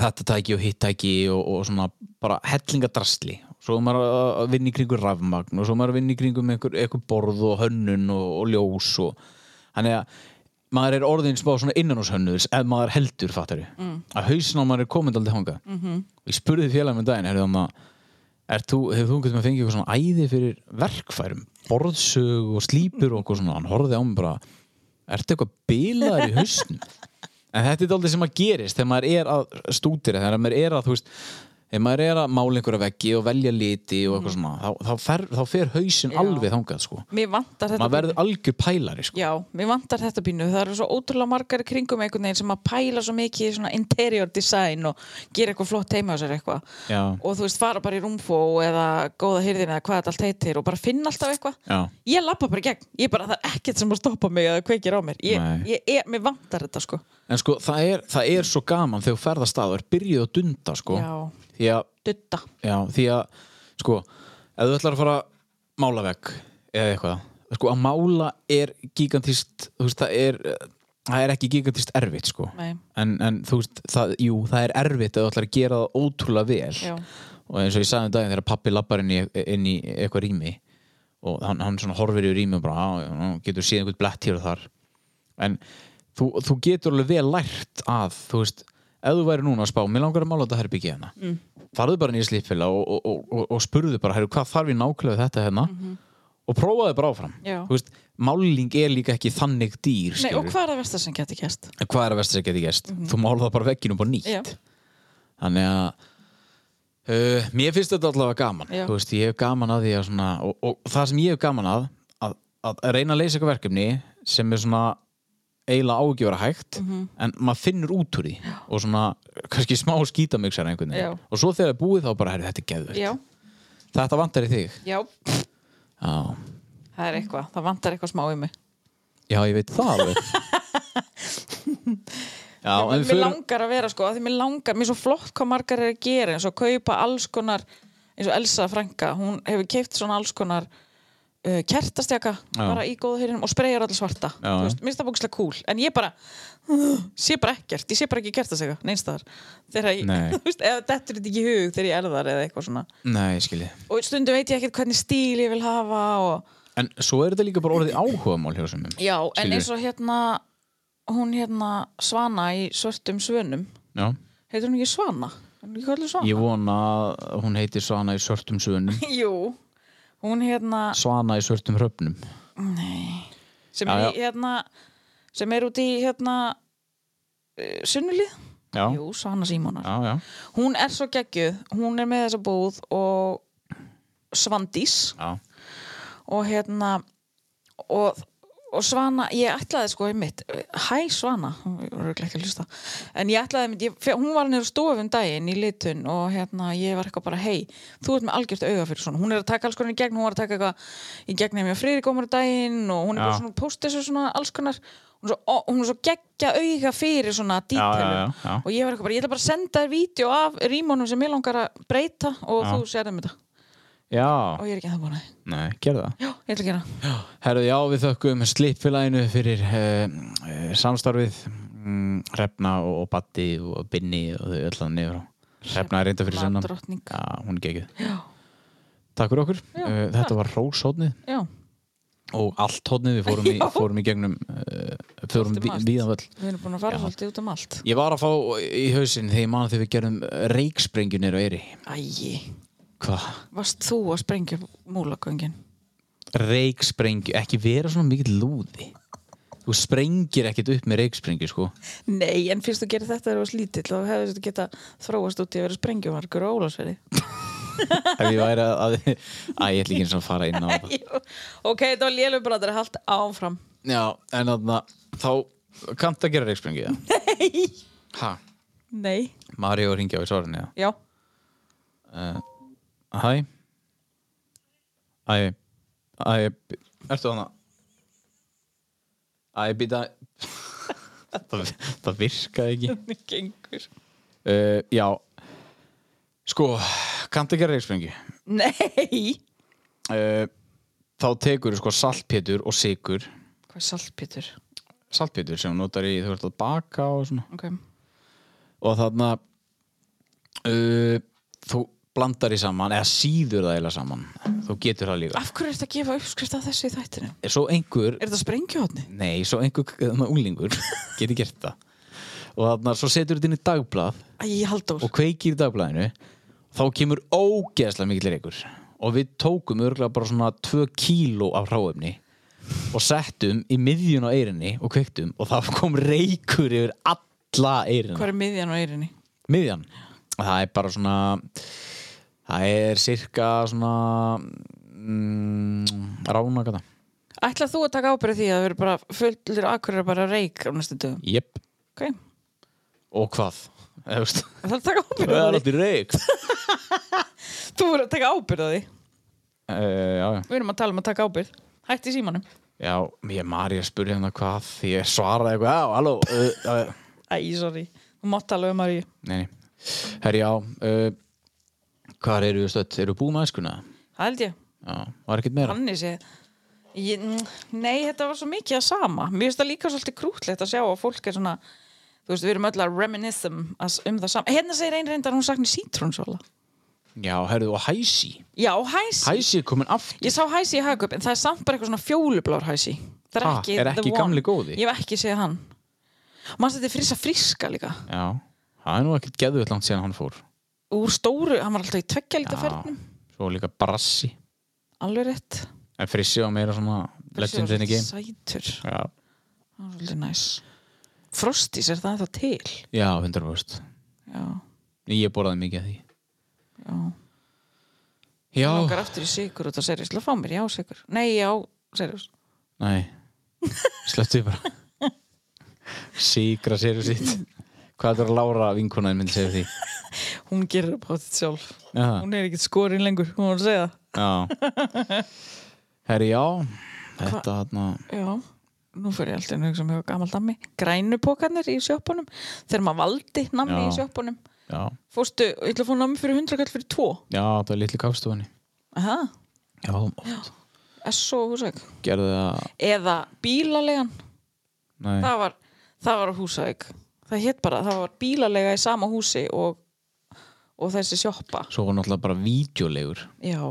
Speaker 1: þetta tæki og hitt tæki og, og svona bara hellingadrasli svo er maður að- að vinna í kringum rafmagn og svo er maður að vinna í kringum einhver, einhver borð og hönnun og, og ljós og þannig að maður er orðin smá svona innanúshönnuður ef maður heldur fattar við mm. að hausin á maður er komin aldrei hanga mm -hmm. og ég spurði félagum um daginn heyrðu, amma, er þú, hefur þú einhvern veginn fengið eitthvað svona æði fyrir verkfærum borðsög og slípur og eitthvað svona hann horfði á mig bara ertu eitthvað bilaður í hausnum en þetta er aldrei sem maður gerist þegar maður er að stúdira þegar maður er að þú veist þegar maður er að mála einhverja veggi og velja liti og
Speaker 3: Mm.
Speaker 1: eitthvað svona þá, þá, fer, þá fer hausin alveg þangað sko
Speaker 3: mér vantar þetta
Speaker 1: maður verður algjör pælari sko
Speaker 3: Já, mér vantar þetta pínu. Það eru svo ótrúlega margar í kringum einhvern veginn sem að pæla svo mikið í svona interior design og gera eitthvað flott heima á sér eitthvað.
Speaker 1: Já.
Speaker 3: Og þú veist, fara bara í rúmfó eða góða hyrðin eða hvað þetta allt heitir og bara finna alltaf eitthvað.
Speaker 1: Já.
Speaker 3: Ég lappa bara í gegn. Ég bara, það er ekkert sem að stoppa mig eða kveikir á mér.
Speaker 1: Nei.
Speaker 3: Ég, ég, ég, mér vantar þetta sko.
Speaker 1: En sko, það er, það er svo gaman þegar þú ferð að stað og er byrjuð að dunda, sko.
Speaker 3: Já.
Speaker 1: Því að,
Speaker 3: Dutta.
Speaker 1: já, því að, sko, ef þú ætlar að fara að mála vekk eða eitthvað, sko, að mála er gigantist, þú veist, það er, eh, það er ekki gigantist erfitt, sko.
Speaker 3: Nei.
Speaker 1: En, en þú veist, það, jú, það er erfitt ef þú ætlar að gera það ótrúlega vel.
Speaker 3: Já.
Speaker 1: Og eins og ég sagði um daginn þegar pappi lappar inn í, inn í eitthvað rými og hann, hann svona horfir í rými og bara, "Á, já, nú getur séð einhvern blett hér og þar en þú, þú getur alveg vel lært að þú veist, ef þú væri núna að spá mér langar að mála þetta herbyggið hérna mm. farðu bara nýja slípfélag og, og, og, og, og spurðu bara herru, hvað þarf ég nákvæmlega við þetta hérna og prófaðu bara áfram
Speaker 3: Mhm. Já.
Speaker 1: Þú veist, máling er líka ekki þannig dýr
Speaker 3: Nei,
Speaker 1: skilurðu.
Speaker 3: og hvað er það versta sem getur kæst?
Speaker 1: hvað er að versta sem geti gæst þú mála það bara vegginu bara nýtt
Speaker 3: Mhm. Já.
Speaker 1: þannig að uh, mér finnst þetta allavega gaman
Speaker 3: Já.
Speaker 1: Þú veist, ég hef gaman að því að svona, og, og það sem ég hef gaman að, að að reyna að leysa eitthvað verkefni sem er svona eiginlega ágjöfara hægt
Speaker 3: Mhm.
Speaker 1: en maður finnur út úr því og svona kannski smá skítamiksar einhvern veginn
Speaker 3: Já.
Speaker 1: og svo þegar það er búið þá bara herri þetta er geðveikt
Speaker 3: Já.
Speaker 1: þetta vantar í þig
Speaker 3: Já.
Speaker 1: já,
Speaker 3: Það er eitthvað. Það vantar eitthvað smá í mig.
Speaker 1: já ég veit það
Speaker 3: (laughs)
Speaker 1: alveg já, en
Speaker 3: mér langar að vera sko, af því mér langar, mér er svo flott hvað margar er að gera eins og kaupa alls konar eins og Elsa Franka, hún hefur keift svona alls konar uh, kertastjaka bara í góðu heyrinum og spreyjar allir svarta
Speaker 1: Já.
Speaker 3: Þú veist, mér finnst það bókislega cool, en ég bara (sighs) sé bara ekkert, ég sé bara ekki kertastjaka neinstæðar, þegar ég
Speaker 1: Nei.
Speaker 3: (laughs) þú veist, eða dettur þetta ekki í hug þegar ég erðar eða eitthvað svona,
Speaker 1: nei, ég skilji
Speaker 3: og stundum veit ég ekkert hvernig stíl ég vil hafa og
Speaker 1: En svo er þetta líka bara orðið áhugamál hjá sem
Speaker 3: já, en eins og hérna hún hérna Svana í svörtum svönum
Speaker 1: Já.
Speaker 3: heitir hún ekki Svana? Er hún ekki kallið Svana?
Speaker 1: Ég vona að hún heiti Svana í svörtum svönum
Speaker 3: (laughs) Jú, hún hérna
Speaker 1: Svana í svörtum hröfnum
Speaker 3: sem,
Speaker 1: Já,
Speaker 3: er,
Speaker 1: já.
Speaker 3: í- hérna sem er út í hérna eh, sunnulið
Speaker 1: Já,
Speaker 3: Jú, Svana Símonar
Speaker 1: já, já
Speaker 3: Hún er svo geggjuð, hún er með þessa búð og Svandís
Speaker 1: Já,
Speaker 3: og hérna og, og Svana, ég ætlaði sko einmitt, hæ Svana hún er örugglega ekki að hlusta en ég ætlaði einmitt, ég, fe- hún var niður á stofum daginn í litun og hérna ég var eitthvað bara hei, þú ert með algjört auga fyrir svona hún er að taka alls konar í gegn, hún var að taka eitthvað í gegn hérna hefði frýri komur daginn og hún er bara
Speaker 1: Já.
Speaker 3: svona að posta þessu svona alls konar hún er svo, ó, hún er svo geggja auga fyrir svona
Speaker 1: já,
Speaker 3: dítelum
Speaker 1: já.
Speaker 3: og ég var eitthvað bara, ég ætla bara að senda þér vídeo af rímónum sem ég langar að breyta og þú sérðum þetta
Speaker 1: já,
Speaker 3: og ég er ekki að það búin að því.
Speaker 1: nei, gerðu það
Speaker 3: Já, ég ætla að gera það.
Speaker 1: Herðu, já, við þökkum slipfélaginu fyrir uh, samstarfið mm, Hrefna og, og Batti og Binni og þau öll að niður Hrefna er reynda fyrir
Speaker 3: Hrefna
Speaker 1: sunnan
Speaker 3: drottning.
Speaker 1: Já, hún er gekkið Takk fyrir okkur, uh, þetta var Róshóðnið
Speaker 3: Já,
Speaker 1: og allt hóðnið, við fórum í, fórum í gegnum uh, förum
Speaker 3: Út um allt.
Speaker 1: víðan völl
Speaker 3: Við erum búin að fara svolítið út um allt
Speaker 1: Ég var að fá í hausinn þegar ég man þegar við gerum reiksprengjunir á Eyri
Speaker 3: Æi,
Speaker 1: Hvað?
Speaker 3: varst þú að sprengja múlagöngin?
Speaker 1: Reiksprengju, ekki vera svona mikið lúði Þú sprengir ekkert upp með reiksprengju sko
Speaker 3: Nei, en fyrst þú gerir þetta þegar þú var slítill þá hefur þetta geta þróast út í að vera sprengjumarkur og ólásveri
Speaker 1: Ef ég væri að, að Æ, ég ætla ekki eins og að fara inn á það
Speaker 3: Ok, þetta var lélubræður að halda áfram
Speaker 1: Já, en þarna Þá kanntu að gera reiksprengju Nei Ha,
Speaker 3: Nei,
Speaker 1: Mario ringja á í svarinu já.
Speaker 3: já
Speaker 1: Hæ Æ Æ Ertu hana Æ býta (laughs) það, það virkaði ekki
Speaker 3: Hvernig gengur?
Speaker 1: uh, Já Sko, kanntu ekki að reiksprengi
Speaker 3: Nei
Speaker 1: uh, Þá tekur sko saltpétur og sykur
Speaker 3: Hvað er saltpítur?
Speaker 1: Saltpétur sem þú notar í, þú ert að baka og svona
Speaker 3: Ok,
Speaker 1: og þarna uh, þú blandar í saman eða síður það eða saman þú getur það líka
Speaker 3: af hverju ertu að gefa uppskrift af þessu í þættinu?
Speaker 1: Svo einhver
Speaker 3: Er þetta sprengjuhotni?
Speaker 1: Nei, svo einhver þarna (laughs) úlingur geti gert það og þarna svo setur þetta inn í dagblað
Speaker 3: Æ, Halldór
Speaker 1: og kveikir í dagblaðinu þá kemur ógeðslega mikill reykur og við tókum örgulega bara svona 2 kíló af ráefni og settum í miðjun á eirinni og kveiktum og það kom reykur yfir alla
Speaker 3: Hvað
Speaker 1: eirinna
Speaker 3: er miðjan á eirinni?
Speaker 1: miðjan, það er bara svona það er cirka svona mm, ránagata
Speaker 3: Ætlar þú að taka ábyrði því að vera bara fullir akkurir bara reik á næstu dögum?
Speaker 1: jep,
Speaker 3: Ok,
Speaker 1: og hvað Eða, þú veist,
Speaker 3: það er að taka ábyrði
Speaker 1: það
Speaker 3: á
Speaker 1: er
Speaker 3: því
Speaker 1: alltaf reyk
Speaker 3: Þú verður að taka ábyrði á því
Speaker 1: Uh, já, já.
Speaker 3: Við erum að tala um að taka ábyrð Hætti í símanum
Speaker 1: já, ég Marja spurði hérna hvað ég svaraði eitthvað, já, halló uh, uh,
Speaker 3: Æ, sorry Þú mátt tala um að ég
Speaker 1: Nei, nei, herri, já uh, Hvar eru við stödd? Eru við búið með æskuna?
Speaker 3: Það held ég
Speaker 1: Já, var ekkert meira
Speaker 3: Hannes ég Ég- mm, Nei, þetta var svo mikið að sama Mér finnst það líka svolítið krútlegt að sjá að fólk er svona Þú veist, við erum öll að reminism as- um það sama Hérna segir ein reyndar að hún sakni sítrúnsóla
Speaker 1: Já, herðu, og hæsi
Speaker 3: Já, hæsi
Speaker 1: Hæsi er komin aftur
Speaker 3: Ég sá hæsi í Hagup en það er samt bara eitthvað svona fjólublár hæsi Það er
Speaker 1: Ha,
Speaker 3: ekki,
Speaker 1: er
Speaker 3: the
Speaker 1: ekki
Speaker 3: one.
Speaker 1: gamli góði?
Speaker 3: Ég hef ekki séð hann Manst þetta er frisa friska líka
Speaker 1: Já, það er nú ekkert geðvöld langt síðan hann fór
Speaker 3: Úr stóru, hann var alltaf í tveggja lítið
Speaker 1: Já,
Speaker 3: fernum
Speaker 1: svo líka Brassi
Speaker 3: Alveg rétt
Speaker 1: En Frissi var meira svona Legend in the game
Speaker 3: Sætur,
Speaker 1: Já,
Speaker 3: það var svolítið næs Frostis, er það ennþá til?
Speaker 1: já 100%
Speaker 3: Já
Speaker 1: Ég borðaði mikið af því
Speaker 3: Já.
Speaker 1: Já,
Speaker 3: Ég langar aftur í sigur út á seriós Til að fá mér, já sigur Nei, já, seriós (laughs)
Speaker 1: Nei, slepptu því bara Sýkra sér og sitt Hvað er að Lára vinkonaðin myndi segja við
Speaker 3: (laughs)
Speaker 1: því?
Speaker 3: Hún gerir upp á þetta sjálf
Speaker 1: Já,
Speaker 3: Hún er ekkert skorinn lengur, hún var að segja það.
Speaker 1: já (laughs) Herri, já Þetta þarna
Speaker 3: Já, nú fyrir ég alltaf einu að hugsa um mjög gammal dammi Grænupokarnir í sjoppunum Þegar maður valdi nammi
Speaker 1: Já.
Speaker 3: í sjoppunum
Speaker 1: Já,
Speaker 3: Fórstu, ég ætla að fá nammi fyrir 100 kall fyrir 2
Speaker 1: já það var litli kafstofunni
Speaker 3: Aha,
Speaker 1: Já, oft
Speaker 3: S.O. Húsæk
Speaker 1: Gerðu það
Speaker 3: Eða bílalegan
Speaker 1: Nei,
Speaker 3: Það var, það var á Húsæk Það hétt bara, það var bílalega í sama húsi og, og þessi sjoppa
Speaker 1: svo var náttúrulega bara vídjólegur
Speaker 3: Já,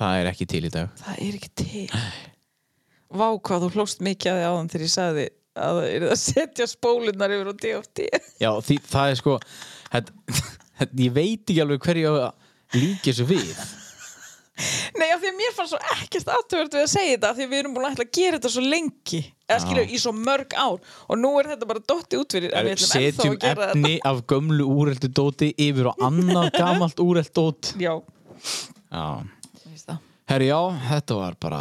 Speaker 1: Það er ekki til í dag
Speaker 3: það er ekki til Vá hvað þú hlóst mikið að þið áðan þegar ég sagði að það er að setja spólunar yfir á DFT
Speaker 1: Já, því, það er sko þetta, þetta, Ég veit ekki alveg hverju á að líka þessu við
Speaker 3: Nei, af því að mér fannst svo ekkert aðtöfvert við að segja þetta af því að við erum búin að ætla að gera þetta svo lengi eða skilur í svo mörg ár og nú er þetta bara dotti út fyrir en við ætlum ennþá
Speaker 1: Setjum
Speaker 3: að gera
Speaker 1: efni af gömlu úreldu dóti yfir á
Speaker 3: (laughs)
Speaker 1: annað gamalt úreld dót
Speaker 3: þetta Já,
Speaker 1: Já,
Speaker 3: ég veist það
Speaker 1: herri já, þetta var bara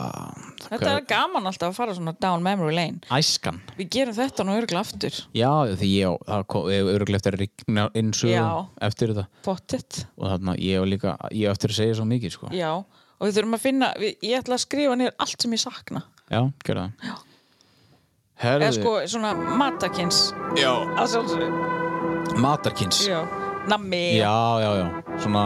Speaker 3: Þetta er gaman alltaf að fara svona down memory lane
Speaker 1: Æskan
Speaker 3: Við gerum þetta nú örgulega aftur
Speaker 1: Já, því ég á- það kom öruglega eftir að rigna inn sögum
Speaker 3: Já.
Speaker 1: eftir þetta
Speaker 3: Pottet
Speaker 1: og þarna ég á líka, ég á eftir að segja svo mikið sko.
Speaker 3: Já, og við þurfum að finna við, Ég ætla að skrifa niður allt sem ég sakna
Speaker 1: Já, gerðu það
Speaker 3: Eða
Speaker 1: Herðu,
Speaker 3: sko svona matakins
Speaker 12: Já,
Speaker 3: að sjálfsögum
Speaker 1: matarkins já.
Speaker 3: Já, nammi
Speaker 1: já, já, svona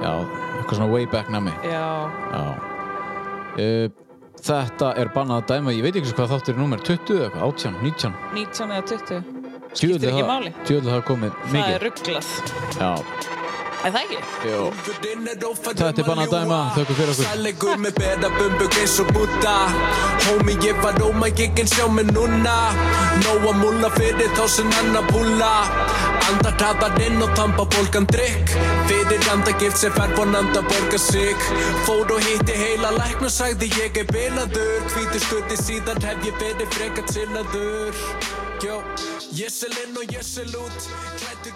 Speaker 1: já, eitthvað svona way back nami
Speaker 3: Já,
Speaker 1: Já uh, Þetta er bannað að dæma, ég veit ekki hvað þáttur er númer 20 eða eitthvað, 18, 19
Speaker 3: 19 eða 20
Speaker 1: Skiptir
Speaker 3: ekki máli.
Speaker 1: Djöðu það er komið
Speaker 3: Það er
Speaker 1: mikið
Speaker 3: rugglað
Speaker 1: Já
Speaker 7: Er það ekki?
Speaker 1: Þetta er bara að dæma, þökkum fyrir okkur.
Speaker 6: Sannleikur með beðabömbug eins og Buddha Homie ég var óma, ég kann sjá mig núna Nóa múla fyrir þá sem annar búla Andar taðar inn og tampa fólkan drikk Fyrir andagift sem fær vonanda borga sig Fór og hitti heila lækn og sagði ég er bilaður Hvítur stutti síðan hef ég verið frekar tillaður Jó, ég sel inn og ég sel út Klættur í